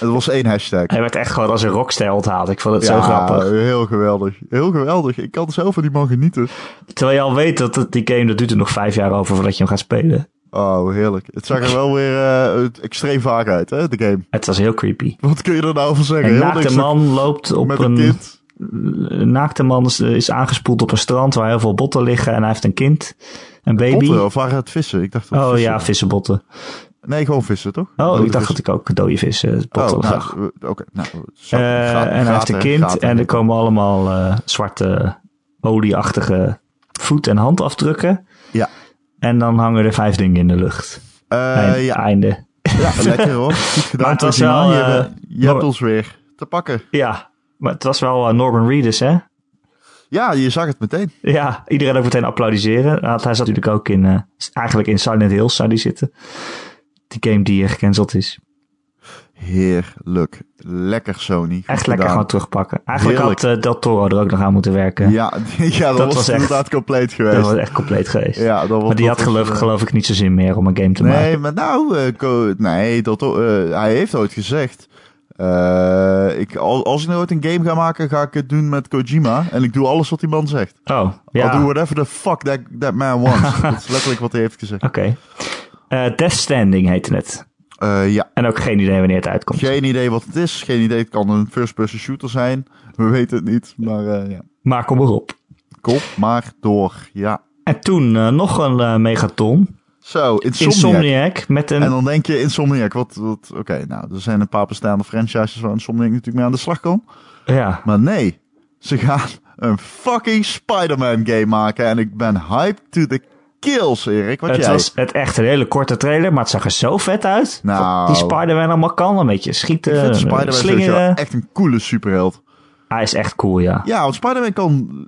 B: Het was één hashtag.
A: Hij werd echt gewoon als een rockster onthaald. Ik vond het zo grappig.
B: heel geweldig. Heel geweldig. Ik kan zelf van die man genieten.
A: Terwijl je al weet dat het, die game, dat duurt er nog vijf jaar over voordat je hem gaat spelen.
B: Oh, heerlijk. Het zag er wel weer eh, extreem vaak uit, hè, de game.
A: Het was heel creepy.
B: Wat kun je er nou van zeggen?
A: Een
B: Heel niks
A: naakte man loopt op
B: met
A: een...
B: een kind.
A: Een naakte man is, is aangespoeld op een strand waar heel veel botten liggen. En hij heeft een kind. Een baby.
B: Botten, of waren het vissen? Ik dacht dat
A: Oh
B: vissen
A: ja, vissenbotten.
B: waren. Nee, gewoon vissen, toch?
A: Oh,
B: Dode
A: ik dacht dat
B: vissen.
A: ik ook dode vissen botten
B: Oh, nou,
A: zag.
B: eh, Oké, nou.
A: Eh,
B: zat- gaten-
A: en hij heeft een
B: gaten-
A: kind
B: gaten.
A: en er komen allemaal eh, zwarte olieachtige voet- en handafdrukken.
B: Ja.
A: En dan hangen er vijf dingen in de lucht.
B: Eh,
A: Bij het
B: ja,
A: einde.
B: ja, lekker hoor. Goed gedaan,
A: Maar het was
B: Kojima.
A: wel,
B: Je,
A: eh,
B: hebt- je hebt
A: nog-
B: ons weer te pakken.
A: Ja, maar het was wel eh, Norman Reedus, hè?
B: Ja, je zag het meteen.
A: Ja, iedereen ook meteen applaudisseren. Want hij zat natuurlijk ook in, eh, eigenlijk in Silent Hills zou die zitten. Die game die eh, gecanceld is.
B: Heerlijk. Lekker, Sony.
A: Echt
B: Goed
A: lekker
B: gedaan.
A: gewoon terugpakken. Eigenlijk
B: Heerlijk.
A: had eh, Del Toro er ook nog aan moeten werken.
B: Ja, ja dat,
A: Dat
B: was,
A: was echt-
B: inderdaad compleet
A: Dat was
B: geweest.
A: echt compleet geweest.
B: Ja, dat was,
A: maar die
B: dat
A: had
B: was,
A: geloof,
B: eh,
A: geloof ik niet zo zin meer om een game te maken.
B: Nee, maar nou, eh, ko- nee, dat, eh, hij heeft ooit gezegd. eh, ik, al- als ik nou ooit een game ga maken, ga ik het doen met Kojima. En ik doe alles wat die man zegt.
A: Oh,
B: I'll
A: ja.
B: do whatever the fuck that, that man wants. dat is letterlijk wat hij heeft gezegd.
A: Oké. Eh, Death Standing heette het.
B: Eh, ja,
A: En ook geen idee wanneer het uitkomt.
B: geen idee wat het is. Geen idee, het kan een first-person shooter zijn. We weten het niet, maar eh, ja.
A: Maar kom erop.
B: Kom maar door, ja.
A: En toen eh, nog een eh, megaton.
B: Zo, Insomniac.
A: Insomniac met
B: En
A: een...
B: dan denk je, Insomniac, wat... wat Oké, nou, er zijn een paar bestaande franchises waar Insomniac natuurlijk mee aan de slag kan.
A: Ja,
B: Maar nee, ze gaan een fucking Spider-Man game maken. En ik ben hyped to the kills, Erik. Wat
A: het
B: jij...
A: was het echt een hele korte trailer, maar het zag er zo vet uit.
B: Nou.
A: Wat die Spider-Man allemaal kan. Een beetje
B: Ik vind
A: schieten,
B: Spider-Man sowieso
A: slingeren.
B: echt een coole superheld.
A: Hij is echt cool, ja.
B: Ja, want Spider-Man kan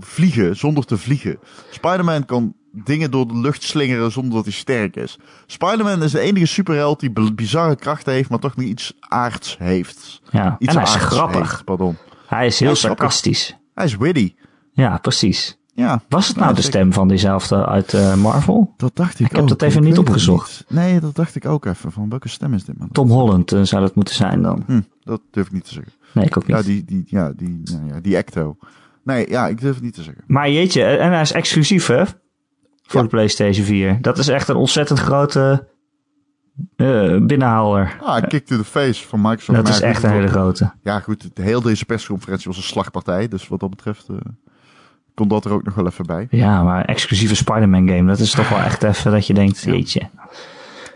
B: vliegen zonder te vliegen. Spider-Man kan dingen door de lucht slingeren zonder dat hij sterk is. Spider-Man is de enige superheld die b- bizarre krachten heeft, maar toch niet iets aards heeft.
A: ja.
B: Iets
A: En hij is
B: aards
A: grappig.
B: heeft, pardon.
A: Hij is heel
B: Hij is grappig.
A: sarcastisch.
B: Hij is witty.
A: Ja, precies.
B: Ja.
A: Was het nou
B: Ja,
A: de
B: zeker.
A: stem van diezelfde uit eh, Marvel?
B: Dat dacht ik,
A: heb
B: ook.
A: dat even
B: Ik
A: niet
B: weet het
A: opgezocht.
B: niet. Nee, dat dacht ik ook even. Van welke stem is dit man?
A: Tom Holland eh, zou dat moeten zijn dan.
B: Hm, dat durf ik niet te zeggen.
A: Nee, ik ook niet.
B: Ja, die, die, ja, die, nou ja, die Ecto. Nee, ja, ik durf het niet te zeggen.
A: Maar jeetje, eh, en hij is exclusief hè? Voor
B: Ja.
A: de PlayStation 4. Dat is echt een ontzettend grote eh binnenhaalder.
B: Ah, kick to the face van Microsoft.
A: dat
B: Maar
A: is
B: ja,
A: echt
B: goed,
A: een hele grote.
B: Ja, goed, het- heel deze persconferentie was een slagpartij. Dus wat dat betreft eh komt dat er ook nog wel even bij.
A: Ja, maar exclusieve Spider-Man game, dat is toch wel echt even dat je denkt, jeetje.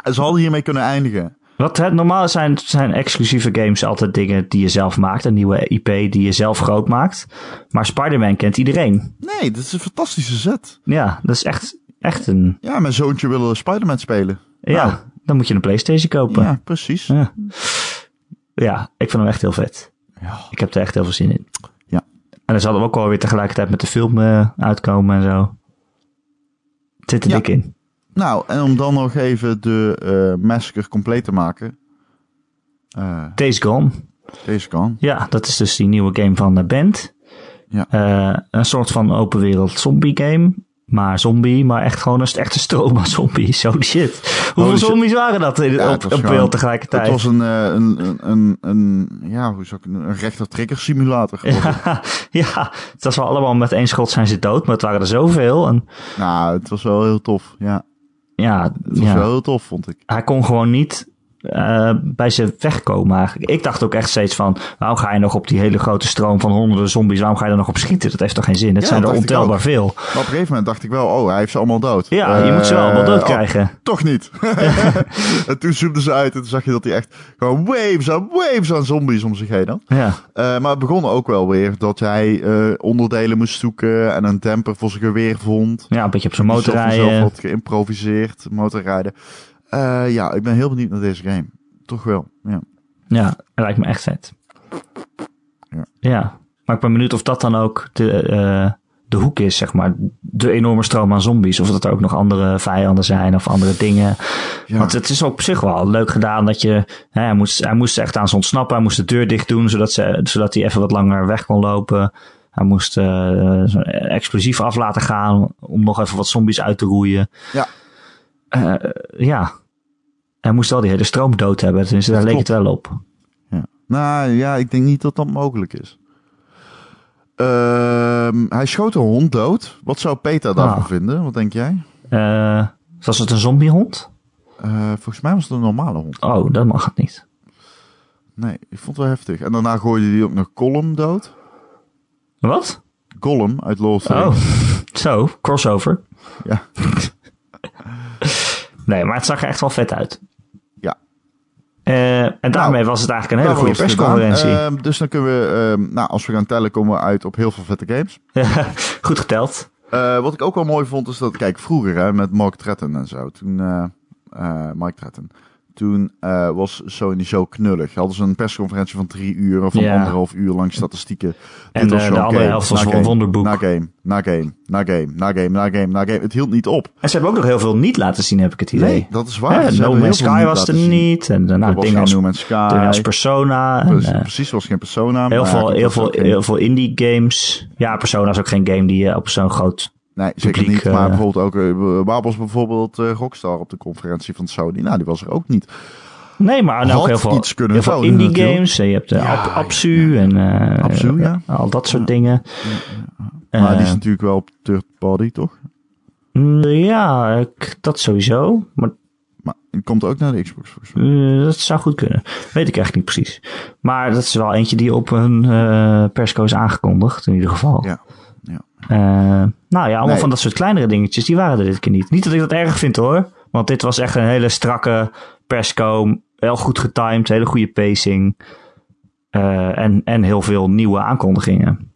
B: En ze hadden hiermee kunnen eindigen.
A: Wat het, normaal zijn, zijn exclusieve games altijd dingen die je zelf maakt. Een nieuwe IP die je zelf groot maakt. Maar Spider-Man kent iedereen.
B: Nee, dit is een fantastische zet.
A: Ja, dat is echt, echt een...
B: Ja, mijn zoontje wil eh, Spider-Man spelen.
A: Ja,
B: Nou.
A: dan moet je een PlayStation kopen.
B: Ja, precies.
A: Ja. ja, ik vind hem echt heel vet.
B: Ja.
A: Ik heb er echt heel veel zin in.
B: Ja.
A: En dan zal hem ook alweer tegelijkertijd met de film eh, uitkomen en zo. Het zit er
B: Ja.
A: dik in.
B: Nou, en om dan nog even de eh massacre compleet te maken. Eh,
A: Days Gone.
B: deze kan.
A: Ja, dat is dus die nieuwe game van de band.
B: Ja.
A: Eh, een soort van open wereld zombie game. Maar zombie, maar echt gewoon een echte stroom aan zombies. Zo die shit. Hoeveel
B: Holy shit.
A: zombies waren dat in,
B: Ja, het
A: op,
B: was
A: op
B: gewoon-
A: beeld tegelijkertijd?
B: Het was een, eh, een, een, een, een, ja, hoe zou ik, een rechter-trigger simulator. was het.
A: ja, het was wel allemaal met één schot zijn ze dood, maar het waren er zoveel. En
B: Nou, het was wel heel tof. Ja,
A: ja,
B: het was
A: ja.
B: wel heel tof, vond ik.
A: hij kon gewoon niet eh, bij ze wegkomen eigenlijk. Ik dacht ook echt steeds van, waarom ga je nog op die hele grote stroom van honderden zombies, waarom ga je er nog op schieten? Dat heeft toch geen zin? Het
B: Ja,
A: zijn er
B: dat dacht ik
A: ontelbaar veel.
B: Maar op een gegeven moment dacht ik wel, oh, hij heeft ze allemaal dood.
A: Ja, je
B: Eh,
A: moet ze wel allemaal dood
B: oh,
A: krijgen.
B: toch niet. en toen zoomden ze uit en toen zag je dat hij echt gewoon waves aan waves aan zombies om zich heen had.
A: Ja,
B: Eh, maar het begon ook wel weer dat hij eh, onderdelen moest zoeken en een demper voor zijn geweer vond.
A: ja een beetje op zijn
B: Hij
A: motor
B: zelf vanzelf
A: rijden.
B: had geïmproviseerd, motorrijden. Eh, ja, ik ben heel benieuwd naar deze game. Toch wel, ja.
A: Ja, dat lijkt me echt vet.
B: Ja.
A: Ja, maar ik ben benieuwd of dat dan ook de eh, de hoek is, zeg maar. De enorme stroom aan zombies. Of dat er ook nog andere vijanden zijn of andere dingen.
B: Ja.
A: Want het is op zich wel leuk gedaan dat je... Hè, hij, moest, hij moest echt aan ze ontsnappen. Hij moest de deur dicht doen, zodat, ze, zodat hij even wat langer weg kon lopen. Hij moest eh, zo'n explosief af laten gaan om nog even wat zombies uit te roeien.
B: Ja.
A: Eh, ja. Hij moest wel die hele stroom dood hebben. Dus daar
B: Dat
A: leek
B: klopt.
A: het wel op.
B: Ja. Nou ja, ik denk niet dat dat mogelijk is. Ehm, hij schoot een hond dood. Wat zou Peter daarvan
A: Ah.
B: vinden? Wat denk jij?
A: Eh, was het een zombiehond?
B: Eh, volgens mij was het een normale hond.
A: Oh, dat mag het niet.
B: Nee, ik vond het wel heftig. En daarna gooide hij ook nog Gollum dood.
A: Wat?
B: Gollum uit Lord of the
A: Oh,
B: Rings.
A: zo, crossover.
B: Ja.
A: Nee, maar het zag er echt wel vet uit.
B: Ja.
A: Eh, en daarmee was het eigenlijk een hele
B: Nou,
A: goede
B: dat was gedaan.
A: persconferentie.
B: Ehm, dus dan kunnen we, ehm, nou, als we gaan tellen, komen we uit op heel veel vette games.
A: Goed geteld.
B: Eh, wat ik ook wel mooi vond, is dat, kijk, vroeger hè, met Mark Tretton en zo. Toen, eh eh, Mike Tretton. Toen eh, was Sony zo knullig. Hadden ze een persconferentie van drie uur of van
A: Ja.
B: anderhalf uur lang statistieken.
A: En
B: Dit
A: eh,
B: was
A: de
B: zo'n
A: andere
B: game,
A: helft
B: na
A: was van
B: game,
A: Wonderboek.
B: Na game, na game, na game, na game, na game, na game. Het hield niet op.
A: En ze hebben ook nog heel veel niet laten zien, heb ik het idee.
B: Nee, dat is waar.
A: Hè,
B: Ze
A: Eh, no
B: hebben
A: Man's
B: heel veel
A: Sky was
B: laten
A: er
B: zien.
A: niet. En daarna
B: Er
A: nou,
B: was
A: dingen
B: geen
A: als,
B: No Man's Sky.
A: dingen als Persona. En,
B: Precies,
A: eh,
B: precies, was geen persona.
A: heel
B: maar
A: veel,
B: dat
A: heel
B: was
A: veel,
B: ook geen-
A: heel veel indie games. Ja, Persona is ook geen game die je op zo'n groot...
B: Nee, zeker
A: publiek,
B: niet. Maar
A: eh,
B: bijvoorbeeld ook eh, waar was bijvoorbeeld eh, Rockstar op de conferentie van Sony. Nou, die was er ook niet.
A: Nee, maar en
B: Had
A: ook heel veel,
B: iets kunnen
A: heel veel
B: worden
A: indie
B: natuurlijk.
A: games. En Je hebt de
B: Ja,
A: Ab- Absu en eh,
B: Absu, ja.
A: al dat soort dingen. Eh,
B: Maar die is natuurlijk wel op third party, toch?
A: mm, ja, ik- dat sowieso. Maar
B: Maar die komt ook naar de Xbox volgens mij.
A: eh, dat zou goed kunnen. Weet ik eigenlijk niet precies. Maar dat is wel eentje die op hun eh, persco is aangekondigd, in ieder geval.
B: Ja. ja.
A: Eh, nou ja, allemaal
B: Nee.
A: van dat soort kleinere dingetjes, die waren er dit keer niet. Niet dat ik dat erg vind hoor, want dit was echt een hele strakke persco. Heel goed getimed, hele goede pacing. eh, en, en heel veel nieuwe aankondigingen.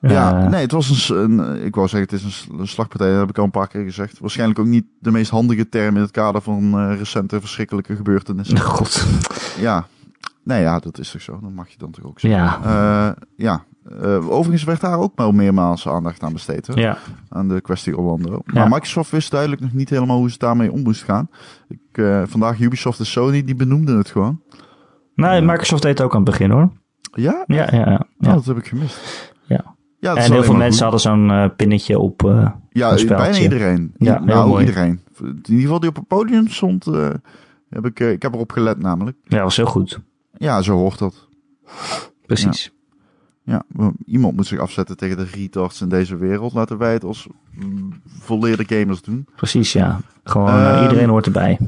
B: ja,
A: Eh,
B: nee, het was een, s- een, eh, Ik wou zeggen, het is een s- een slagpartij, dat heb ik al een paar keer gezegd. Waarschijnlijk ook niet de meest handige term in het kader van eh, recente verschrikkelijke gebeurtenissen.
A: God.
B: Ja. Nee, ja, dat is toch zo. Dat mag je dan toch ook zeggen.
A: Ja.
B: Eh, ja. Eh, overigens werd daar ook wel meermaals aandacht aan besteed. Hè?
A: ja.
B: aan de kwestie Orlando.
A: Ja.
B: Maar Microsoft wist duidelijk nog niet helemaal hoe ze daarmee om moest gaan. Ik, eh, vandaag Ubisoft en Sony, die benoemden het gewoon.
A: Nee, Microsoft deed het ook aan het begin hoor.
B: Ja?
A: Ja, ja, ja.
B: Oh,
A: ja.
B: dat heb ik gemist.
A: Ja.
B: ja dat is
A: en heel
B: alleen
A: veel
B: maar
A: mensen
B: goed.
A: hadden zo'n eh, pinnetje op. eh, een
B: Ja, bijna
A: spelletje.
B: iedereen.
A: Ja,
B: Ja,
A: heel
B: nou,
A: mooi.
B: iedereen. In ieder geval die op het podium stond, eh, heb ik, eh, ik heb erop gelet namelijk.
A: ja, was heel goed.
B: Ja, zo hoort dat.
A: Precies.
B: Ja, maar iemand moet zich afzetten tegen de retards in deze wereld. Laten wij het als mm, volleerde gamers doen.
A: Precies, ja. Gewoon eh,
B: Ehm,
A: iedereen hoort erbij.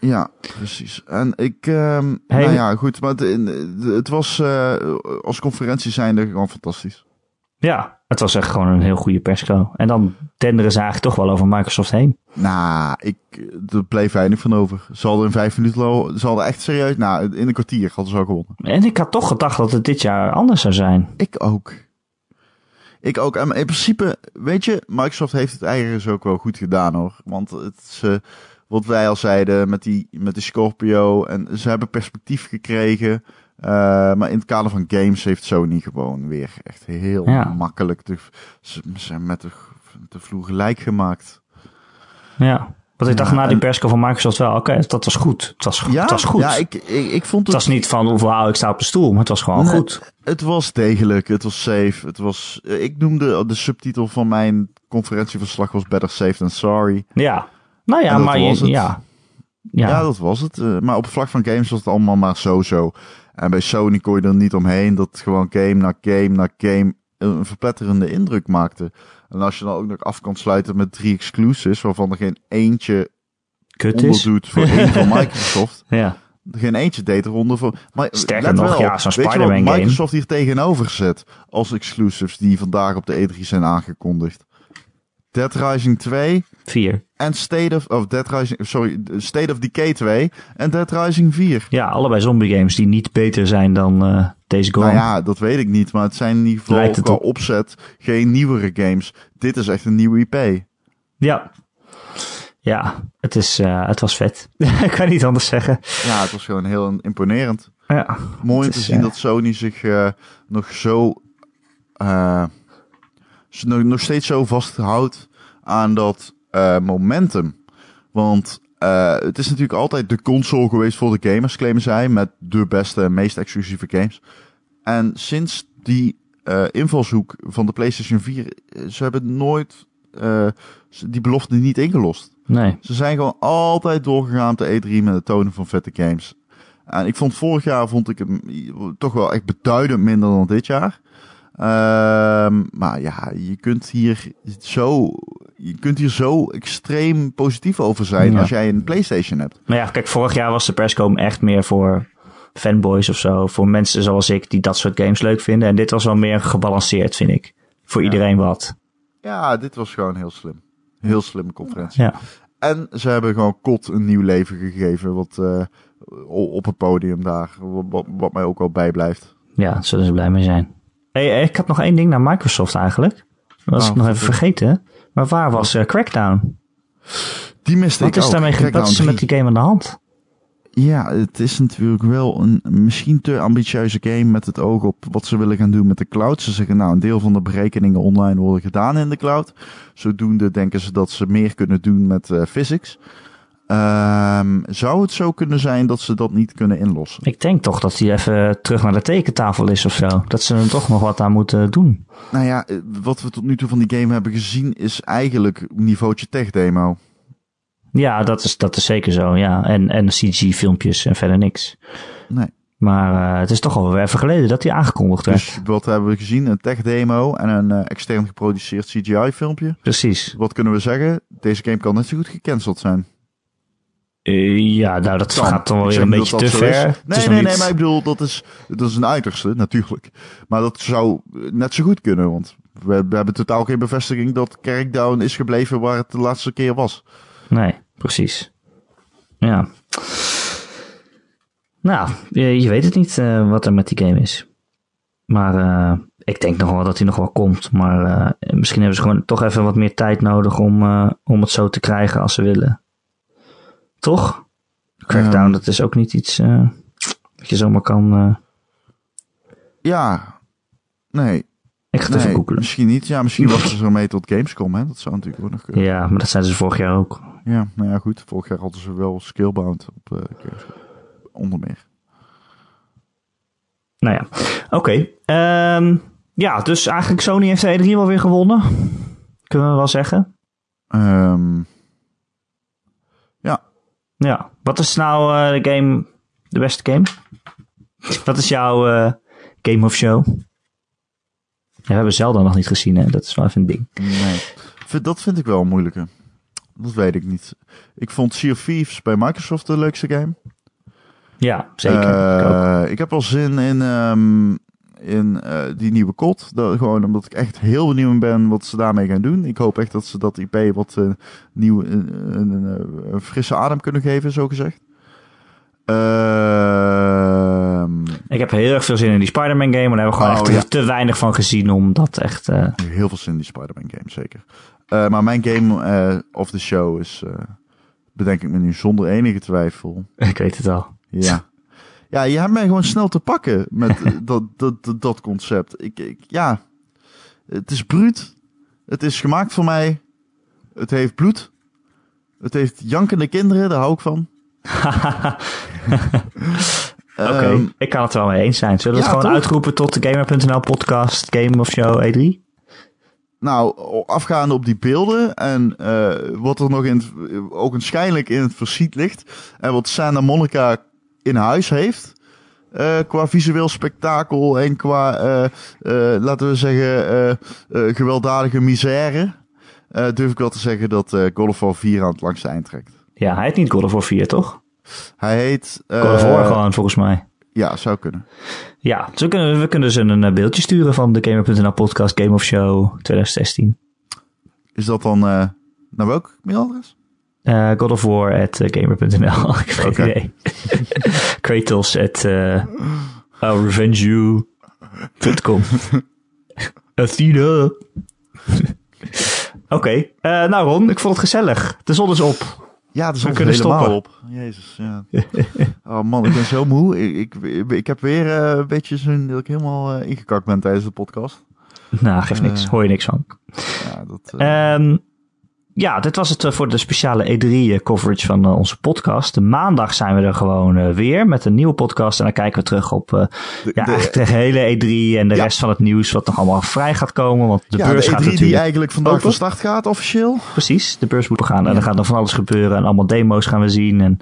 B: Ja, precies. En ik, ehm,
A: Hey,
B: nou
A: we-
B: ja, goed, maar het, in- het was eh, als conferentie zijnde gewoon fantastisch.
A: Ja, het was echt gewoon een heel goede persco. En dan tenderen ze eigenlijk toch wel over Microsoft heen.
B: Nou, ik, er bleef weinig van over. Ze hadden in vijf minuten, lo- ze hadden echt serieus, nou, in een kwartier hadden ze al gewonnen.
A: En ik had toch gedacht dat het dit jaar anders zou zijn.
B: Ik ook. Ik ook. En in principe, weet je, Microsoft heeft het eigenlijk ook wel goed gedaan hoor. Want het is, eh, wat wij al zeiden met die, met die Scorpio. En ze hebben perspectief gekregen. Eh, maar in het kader van games heeft Sony gewoon weer echt heel
A: Ja.
B: makkelijk. De, ze ze zijn met de, de vloer gelijk gemaakt.
A: Ja. Want ik dacht
B: Ja,
A: na die
B: en-
A: persco van Microsoft wel, oké, dat was goed. Het was, het was goed.
B: Ja, ik, ik, ik vond
A: Het
B: het
A: was niet van, wauw, ik sta op de stoel, maar het was gewoon
B: Nee.
A: goed.
B: Het was degelijk, het was safe. Het was, eh, ik noemde de subtitel van mijn conferentieverslag was Better Safe Than Sorry.
A: Ja. Nou
B: En
A: ja,
B: dat
A: maar
B: was
A: je,
B: het.
A: ja.
B: Ja,
A: Ja.
B: dat was het. Eh, maar op het vlak van games was het allemaal maar zo-zo. En bij Sony kon je er niet omheen dat gewoon game na game na game een verpletterende indruk maakte. En als je dan ook nog af kan sluiten met drie exclusives, waarvan er geen eentje
A: kut is.
B: onderdoet voor één van Microsoft.
A: Ja.
B: Geen eentje deed eronder voor. Maar
A: Sterker
B: let
A: nog,
B: wel,
A: ja, zo'n
B: weet je wat
A: Spider-Man game.
B: Microsoft hier tegenover zet als exclusives die vandaag op de E3 zijn aangekondigd. Dead Rising 2
A: Vier.
B: en State of, of Dead Rising, sorry, State of Decay 2 en Dead Rising 4.
A: Ja, allebei zombie games die niet beter zijn dan eh, deze Gorm.
B: Nou ja, dat weet ik niet, maar het zijn in ieder geval
A: Lijkt het
B: qua
A: op.
B: opzet geen nieuwere games. Dit is echt een nieuwe IP.
A: Ja. Ja, het, is, eh, het was vet. ik kan niet anders zeggen.
B: Ja, het was gewoon heel imponerend.
A: Ja.
B: Mooi om
A: Het
B: te
A: is,
B: zien
A: eh,
B: dat Sony zich eh, nog zo eh, ze nog, nog steeds zo vasthoudt aan dat eh, momentum. Want eh, het is natuurlijk altijd de console geweest voor de gamers, claimen zij, met de beste en meest exclusieve games. En sinds die eh, invalshoek van de PlayStation 4, eh, ze hebben nooit eh, ze- die belofte niet ingelost.
A: Nee.
B: Ze zijn gewoon altijd doorgegaan te E3 met het tonen van vette games. En ik vond vorig jaar vond ik hem toch wel echt beduidend minder dan dit jaar. Ehm, maar ja, je kunt hier zo, je kunt hier zo extreem positief over zijn
A: Ja.
B: als jij een PlayStation hebt.
A: Maar ja, kijk, vorig jaar was de perscom echt meer voor fanboys of zo. Voor mensen zoals ik die dat soort games leuk vinden. En dit was wel meer gebalanceerd, vind ik. Voor
B: Ja.
A: iedereen wat.
B: Ja, dit was gewoon heel slim. Heel slimme conferentie.
A: Ja.
B: En ze hebben gewoon kot een nieuw leven gegeven. Wat, eh, o- op het podium daar. Wat, wat- wat mij ook wel bijblijft.
A: Ja, daar zullen ze blij mee zijn. Hey, hey, ik had nog één ding naar Microsoft eigenlijk. Dat was
B: Oh,
A: ik nog even
B: goed.
A: vergeten. Maar waar was eh, Crackdown?
B: Die miste ik
A: Wat is
B: ook. nou,
A: daarmee ge-
B: Crackdown
A: wat is er
B: 3.
A: met die game aan de hand?
B: Ja, het is natuurlijk wel een misschien te ambitieuze game met het oog op wat ze willen gaan doen met de cloud. Ze zeggen nou, een deel van de berekeningen online worden gedaan in de cloud. Zodoende denken ze dat ze meer kunnen doen met eh, physics. Ehm, zou het zo kunnen zijn dat ze dat niet kunnen inlossen?
A: Ik denk toch dat die even terug naar de tekentafel is of zo. Dat ze er toch nog wat aan moeten doen.
B: Nou ja, eh, wat we tot nu toe van die game hebben gezien is eigenlijk niveautje tech demo.
A: Ja, dat is, dat is zeker zo, ja. En, en CG-filmpjes en verder niks.
B: Nee.
A: Maar eh, het is toch al weer even geleden dat die aangekondigd werd.
B: Dus wat hebben we gezien? Een tech demo en een eh, extern geproduceerd CGI filmpje.
A: Precies.
B: Wat kunnen we zeggen? Deze game kan net zo goed gecanceld zijn.
A: Eh, ja, nou, dat
B: Kan.
A: gaat dan wel
B: Ik
A: weer
B: zeg
A: een
B: niet
A: beetje
B: dat
A: te
B: dat zo
A: ver.
B: is.
A: Het
B: Nee,
A: is nog
B: nee,
A: niet-
B: nee, maar ik bedoel, dat is, dat is een uiterste, natuurlijk. Maar dat zou eh, net zo goed kunnen, want we, we hebben totaal geen bevestiging dat Kerkdown is gebleven waar het de laatste keer was.
A: Nee, precies. Ja. Nou, je, je weet het niet eh, wat er met die game is. Maar eh, ik denk nog wel dat hij nog wel komt. Maar eh, misschien hebben ze gewoon toch even wat meer tijd nodig om, eh, om het zo te krijgen als ze willen. Toch? Crackdown,
B: Ehm.
A: dat is ook niet iets eh, dat je zomaar kan... eh,
B: Ja, nee,
A: ik ga het even
B: nee
A: googelen.
B: misschien niet. Ja, misschien wachten ze ermee tot Gamescom, hè? dat zou natuurlijk ook nog kunnen.
A: Ja, maar dat zijn ze vorig jaar ook.
B: Ja. nou ja, goed, vorig jaar hadden ze wel Skillbound op eh, Gamescom, onder meer.
A: Nou ja, oké. Ehm, ja, dus eigenlijk Sony heeft de E3 wel weer gewonnen. Kunnen we wel zeggen.
B: Ehm,
A: Ja, wat is nou eh, de game, de beste game? Wat is jouw eh, game of show? Ja, we hebben Zelda nog niet gezien, hè? Dat is wel even een ding.
B: Nee. Vind- Dat vind ik wel een moeilijke. Dat weet ik niet. Ik vond Sea of Thieves bij Microsoft de leukste game.
A: Ja, zeker. Ik ook.
B: Eh, ik heb wel zin in, ehm, in eh, die nieuwe kot. Dat, gewoon omdat ik echt heel benieuwd ben wat ze daarmee gaan doen. Ik hoop echt dat ze dat IP wat eh, nieuw, een, een- een- een frisse adem kunnen geven, zo gezegd. Ehm,
A: Ik heb heel erg veel zin in die Spider-Man game, maar daar hebben we gewoon
B: Oh,
A: echt
B: ja.
A: te- te weinig van gezien om dat echt... eh,
B: heel veel zin in die Spider-Man game, zeker. Eh, maar mijn game eh, of the show is, eh, bedenk ik me nu zonder enige twijfel,
A: ik weet het al.
B: Ja. Ja, je hebt mij gewoon snel te pakken met eh, dat, dat, dat, dat concept. Ik, ik, ja, het is bruut. Het is gemaakt voor mij. Het heeft bloed. Het heeft jankende kinderen, daar hou ik van.
A: Oké,
B: Ehm,
A: ik kan het er wel mee eens zijn. Zullen we
B: ja,
A: het gewoon
B: toch?
A: uitroepen tot de Gamer.nl podcast Game of Show E E3?
B: nou, afgaande op die beelden en eh, wat er nog in, het- ook waarschijnlijk in het verschiet ligt. En wat Santa Monica in huis heeft. eh, qua visueel spektakel en qua, eh, eh, laten we zeggen, eh, eh, gewelddadige misère. eh, durf ik wel te zeggen dat eh God of War 4 aan het langste eind trekt.
A: Ja, hij heet niet God of War 4, toch?
B: Hij heet... eh,
A: God of War gewoon, volgens mij.
B: Ja, zou kunnen.
A: Ja, dus we kunnen, we kunnen ze een eh, beeldje sturen van de Gamer.nl podcast Game of Show 2016.
B: Is dat dan eh, naar welk mailadres?
A: Eh, God of War at eh, Gamer.nl. Ik heb geen
B: Oké.
A: idee. Kratos at eh I'll revenge you. .com. Athena. Oké, eh, nou Ron, ik vond het gezellig. De zon is op.
B: Ja, dat is
A: We kunnen
B: helemaal
A: stoppen.
B: op. Jezus, ja. Oh man, ik ben zo moe. Ik, ik, ik heb weer eh, een beetje zo'n dat ik helemaal eh, ingekakt ben tijdens de podcast.
A: Nou, geeft niks.
B: Eh.
A: Hoor je niks van.
B: Ja, dat, eh,
A: Ehm, ja, dit was het eh, voor de speciale E3-coverage van eh, onze podcast. Maandag zijn we er gewoon eh, weer met een nieuwe podcast. En dan kijken we terug op eh,
B: de-
A: ja,
B: de-
A: eigenlijk de hele E3 en de
B: Ja.
A: rest van het nieuws wat nog allemaal vrij gaat komen. Want de
B: ja,
A: beurs
B: de
A: gaat
B: E3 die
A: natuurlijk...
B: eigenlijk vandaag
A: open.
B: van start gaat officieel.
A: Precies, de beurs moet gaan. En
B: Ja.
A: er gaat nog van alles gebeuren. En allemaal demo's gaan we zien. En,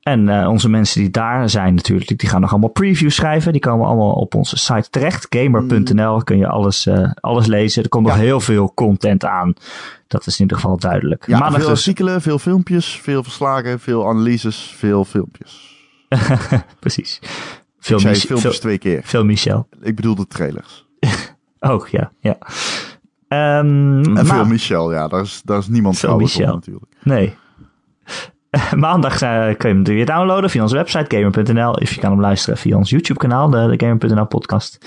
A: en eh, onze mensen die daar zijn natuurlijk, die gaan nog allemaal previews schrijven. Die komen allemaal op onze site terecht. Gamer.nl kun je alles, eh, alles lezen. Er komt
B: Mm. Ja.
A: nog heel veel content aan. Dat is in ieder geval duidelijk.
B: Ja,
A: Maandag
B: veel
A: dus,
B: artikelen, veel filmpjes, veel verslagen, veel analyses, veel filmpjes.
A: precies. Veel,
B: Ik zei
A: Mich-
B: filmpjes
A: veel,
B: twee keer.
A: veel Michel.
B: Ik bedoel de trailers.
A: Oh, ja. ja. Ehm,
B: En
A: ma-
B: veel Michel, ja, daar is, daar is niemand
A: Veel
B: trouwens op
A: Michel.
B: natuurlijk.
A: Nee. Maandag eh, kun je hem weer downloaden via onze website gamer.nl. Of je kan hem luisteren via ons YouTube kanaal, de, de gamer.nl podcast.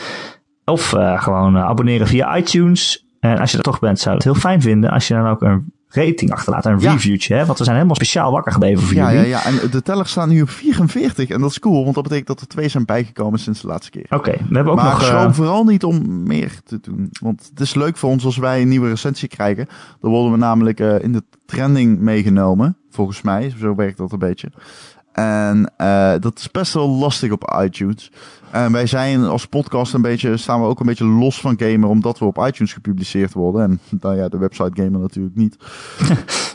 A: Of eh, gewoon eh, abonneren via iTunes. En als je er toch bent, zou ik het heel fijn vinden als je dan ook een rating achterlaat. Een
B: Ja.
A: reviewtje, hè? want we zijn helemaal speciaal wakker gebleven voor
B: Ja,
A: jullie.
B: ja, ja, en de teller staat nu op 44 en dat is cool, want dat betekent dat er twee zijn bijgekomen sinds de laatste keer.
A: Oké, we hebben ook
B: maar
A: nog... eh,
B: schroom vooral niet om meer te doen. Want het is leuk voor ons als wij een nieuwe recensie krijgen. Dan worden we namelijk eh, in de trending meegenomen. Volgens mij, zo werkt dat een beetje. En eh, dat is best wel lastig op iTunes. En wij zijn als podcast een beetje, staan we ook een beetje los van gamer, omdat we op iTunes gepubliceerd worden. En nou ja, de website gamer natuurlijk niet.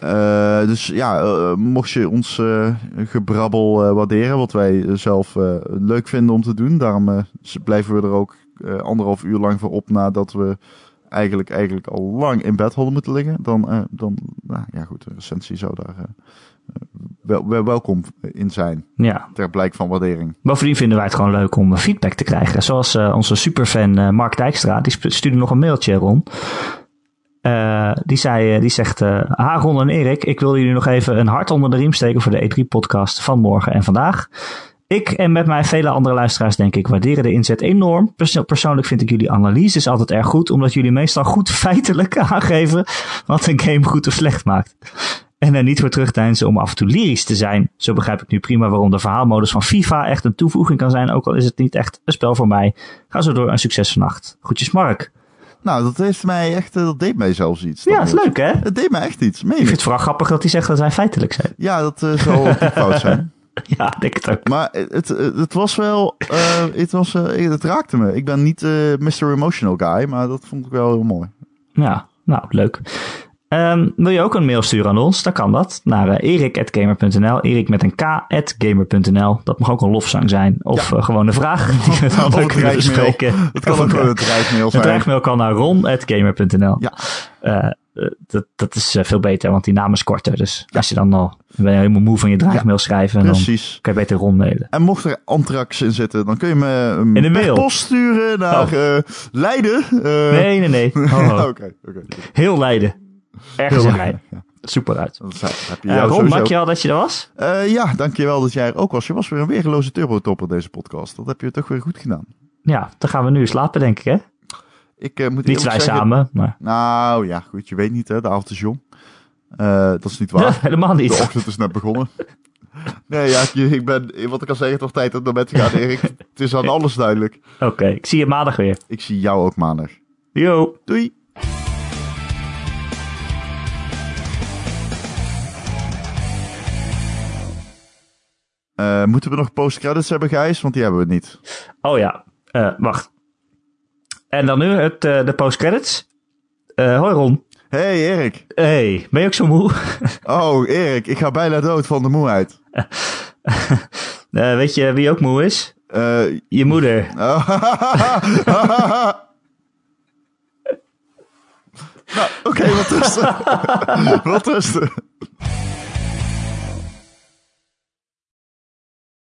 B: Eh, dus ja, eh, mocht je ons eh, gebrabbel eh, waarderen, wat wij zelf eh, leuk vinden om te doen. Daarom eh, z- blijven we er ook eh, anderhalf uur lang voor op nadat we eigenlijk, eigenlijk al lang in bed hadden moeten liggen. Dan, eh, dan nou ja goed, de recensie zou daar eh, wel, wel- welkom in zijn.
A: ja.
B: Ter blijk van waardering.
A: Bovendien vinden wij het gewoon leuk om eh, feedback te krijgen. Zoals eh, onze superfan eh, Mark Dijkstra, die sp- stuurde nog een mailtje rond. Eh, die, zei, eh, die zegt, eh ha Ron en Erik, ik wil jullie nog even een hart onder de riem steken voor de E3-podcast van morgen en vandaag. Ik en met mij vele andere luisteraars, denk ik, waarderen de inzet enorm. Perso- persoonlijk vind ik jullie analyses altijd erg goed, omdat jullie meestal goed feitelijk aangeven wat een game goed of slecht maakt. En er niet voor terugdeinzen om af en toe lyrisch te zijn. Zo begrijp ik nu prima waarom de verhaalmodus van FIFA echt een toevoeging kan zijn, ook al is het niet echt een spel voor mij. Ga zo door en succes vannacht. Groetjes Mark.
B: Nou, dat heeft mij echt, eh, dat deed mij zelfs iets.
A: Ja,
B: Dat
A: is leuk hè?
B: Het deed mij echt iets, meen
A: Ik
B: ik.
A: vind het vooral grappig dat hij zegt dat wij feitelijk zijn.
B: Ja, dat eh, zal ook niet fout zijn.
A: Ja, ik denk het ook.
B: Maar het, het was wel, eh, het, was, eh, het raakte me. Ik ben niet eh Mr. Emotional Guy, maar dat vond ik wel heel mooi.
A: Ja, nou, leuk. Ehm, wil je ook een mail sturen aan ons? Dan kan dat naar eh, erik.gamer.nl. Erik met een k.gamer.nl. Dat mag ook een lofzang zijn. Of eh, gewoon een vraag die we dan
B: Of
A: ook
B: een
A: kunnen
B: dreigmail.
A: bespreken.
B: Het kan
A: Of een
B: ook wel
A: dre-
B: een dreigmail
A: Een
B: zijn.
A: dreigmail kan naar ron.gamer.nl.
B: Ja.
A: Eh, eh, dat, dat is eh, veel beter, want die naam is korter. Dus als je dan al ben je helemaal moe van je dreigmail schrijven, en dan
B: Precies.
A: kan je beter ron mailen.
B: En mocht er anthrax in zitten, dan kun je me
A: In de
B: een
A: mail.
B: post sturen naar
A: Oh.
B: eh, Leiden. Eh,
A: Nee, nee, nee. Ho, ho.
B: Oké, oké.
A: Heel Leiden. Ergens in Leiden.
B: Ja,
A: Super uit.
B: dat zou- heb je
A: Eh
B: jou
A: Ron,
B: sowieso.
A: dank je al dat je er was.
B: Eh, ja, dankjewel dat jij er ook was. Je was weer een weergeloze turbotopper deze podcast. Dat heb je toch weer goed gedaan.
A: Ja, dan gaan we nu slapen, denk ik, hè?
B: Ik eh, moet
A: Niet
B: eerlijk
A: wij
B: zeggen-
A: samen, maar...
B: Nou ja, goed. Je weet niet hè, de avond is jong. Eh, dat is niet waar.
A: helemaal
B: De
A: niet.
B: ochtend is net begonnen. Nee, ja, je- ik ben, wat ik al zeggen, toch tijd om naar bed te gaan, Erik. Het is aan alles duidelijk.
A: Oké, ik zie je maandag weer.
B: Ik zie jou ook maandag.
A: Yo!
B: Doei! Eh, moeten we nog post-credits hebben, Gijs? Want die hebben we niet.
A: Oh ja, eh, wacht. En dan nu het, eh, de postcredits. Eh hoi Ron.
B: hey, Erik.
A: Hey, ben je ook zo moe?
B: Oh, Erik, ik ga bijna dood van de moeheid.
A: Eh, weet je wie ook moe is?
B: Eh,
A: Je moeder.
B: nou, oké, wat rusten. wat rusten.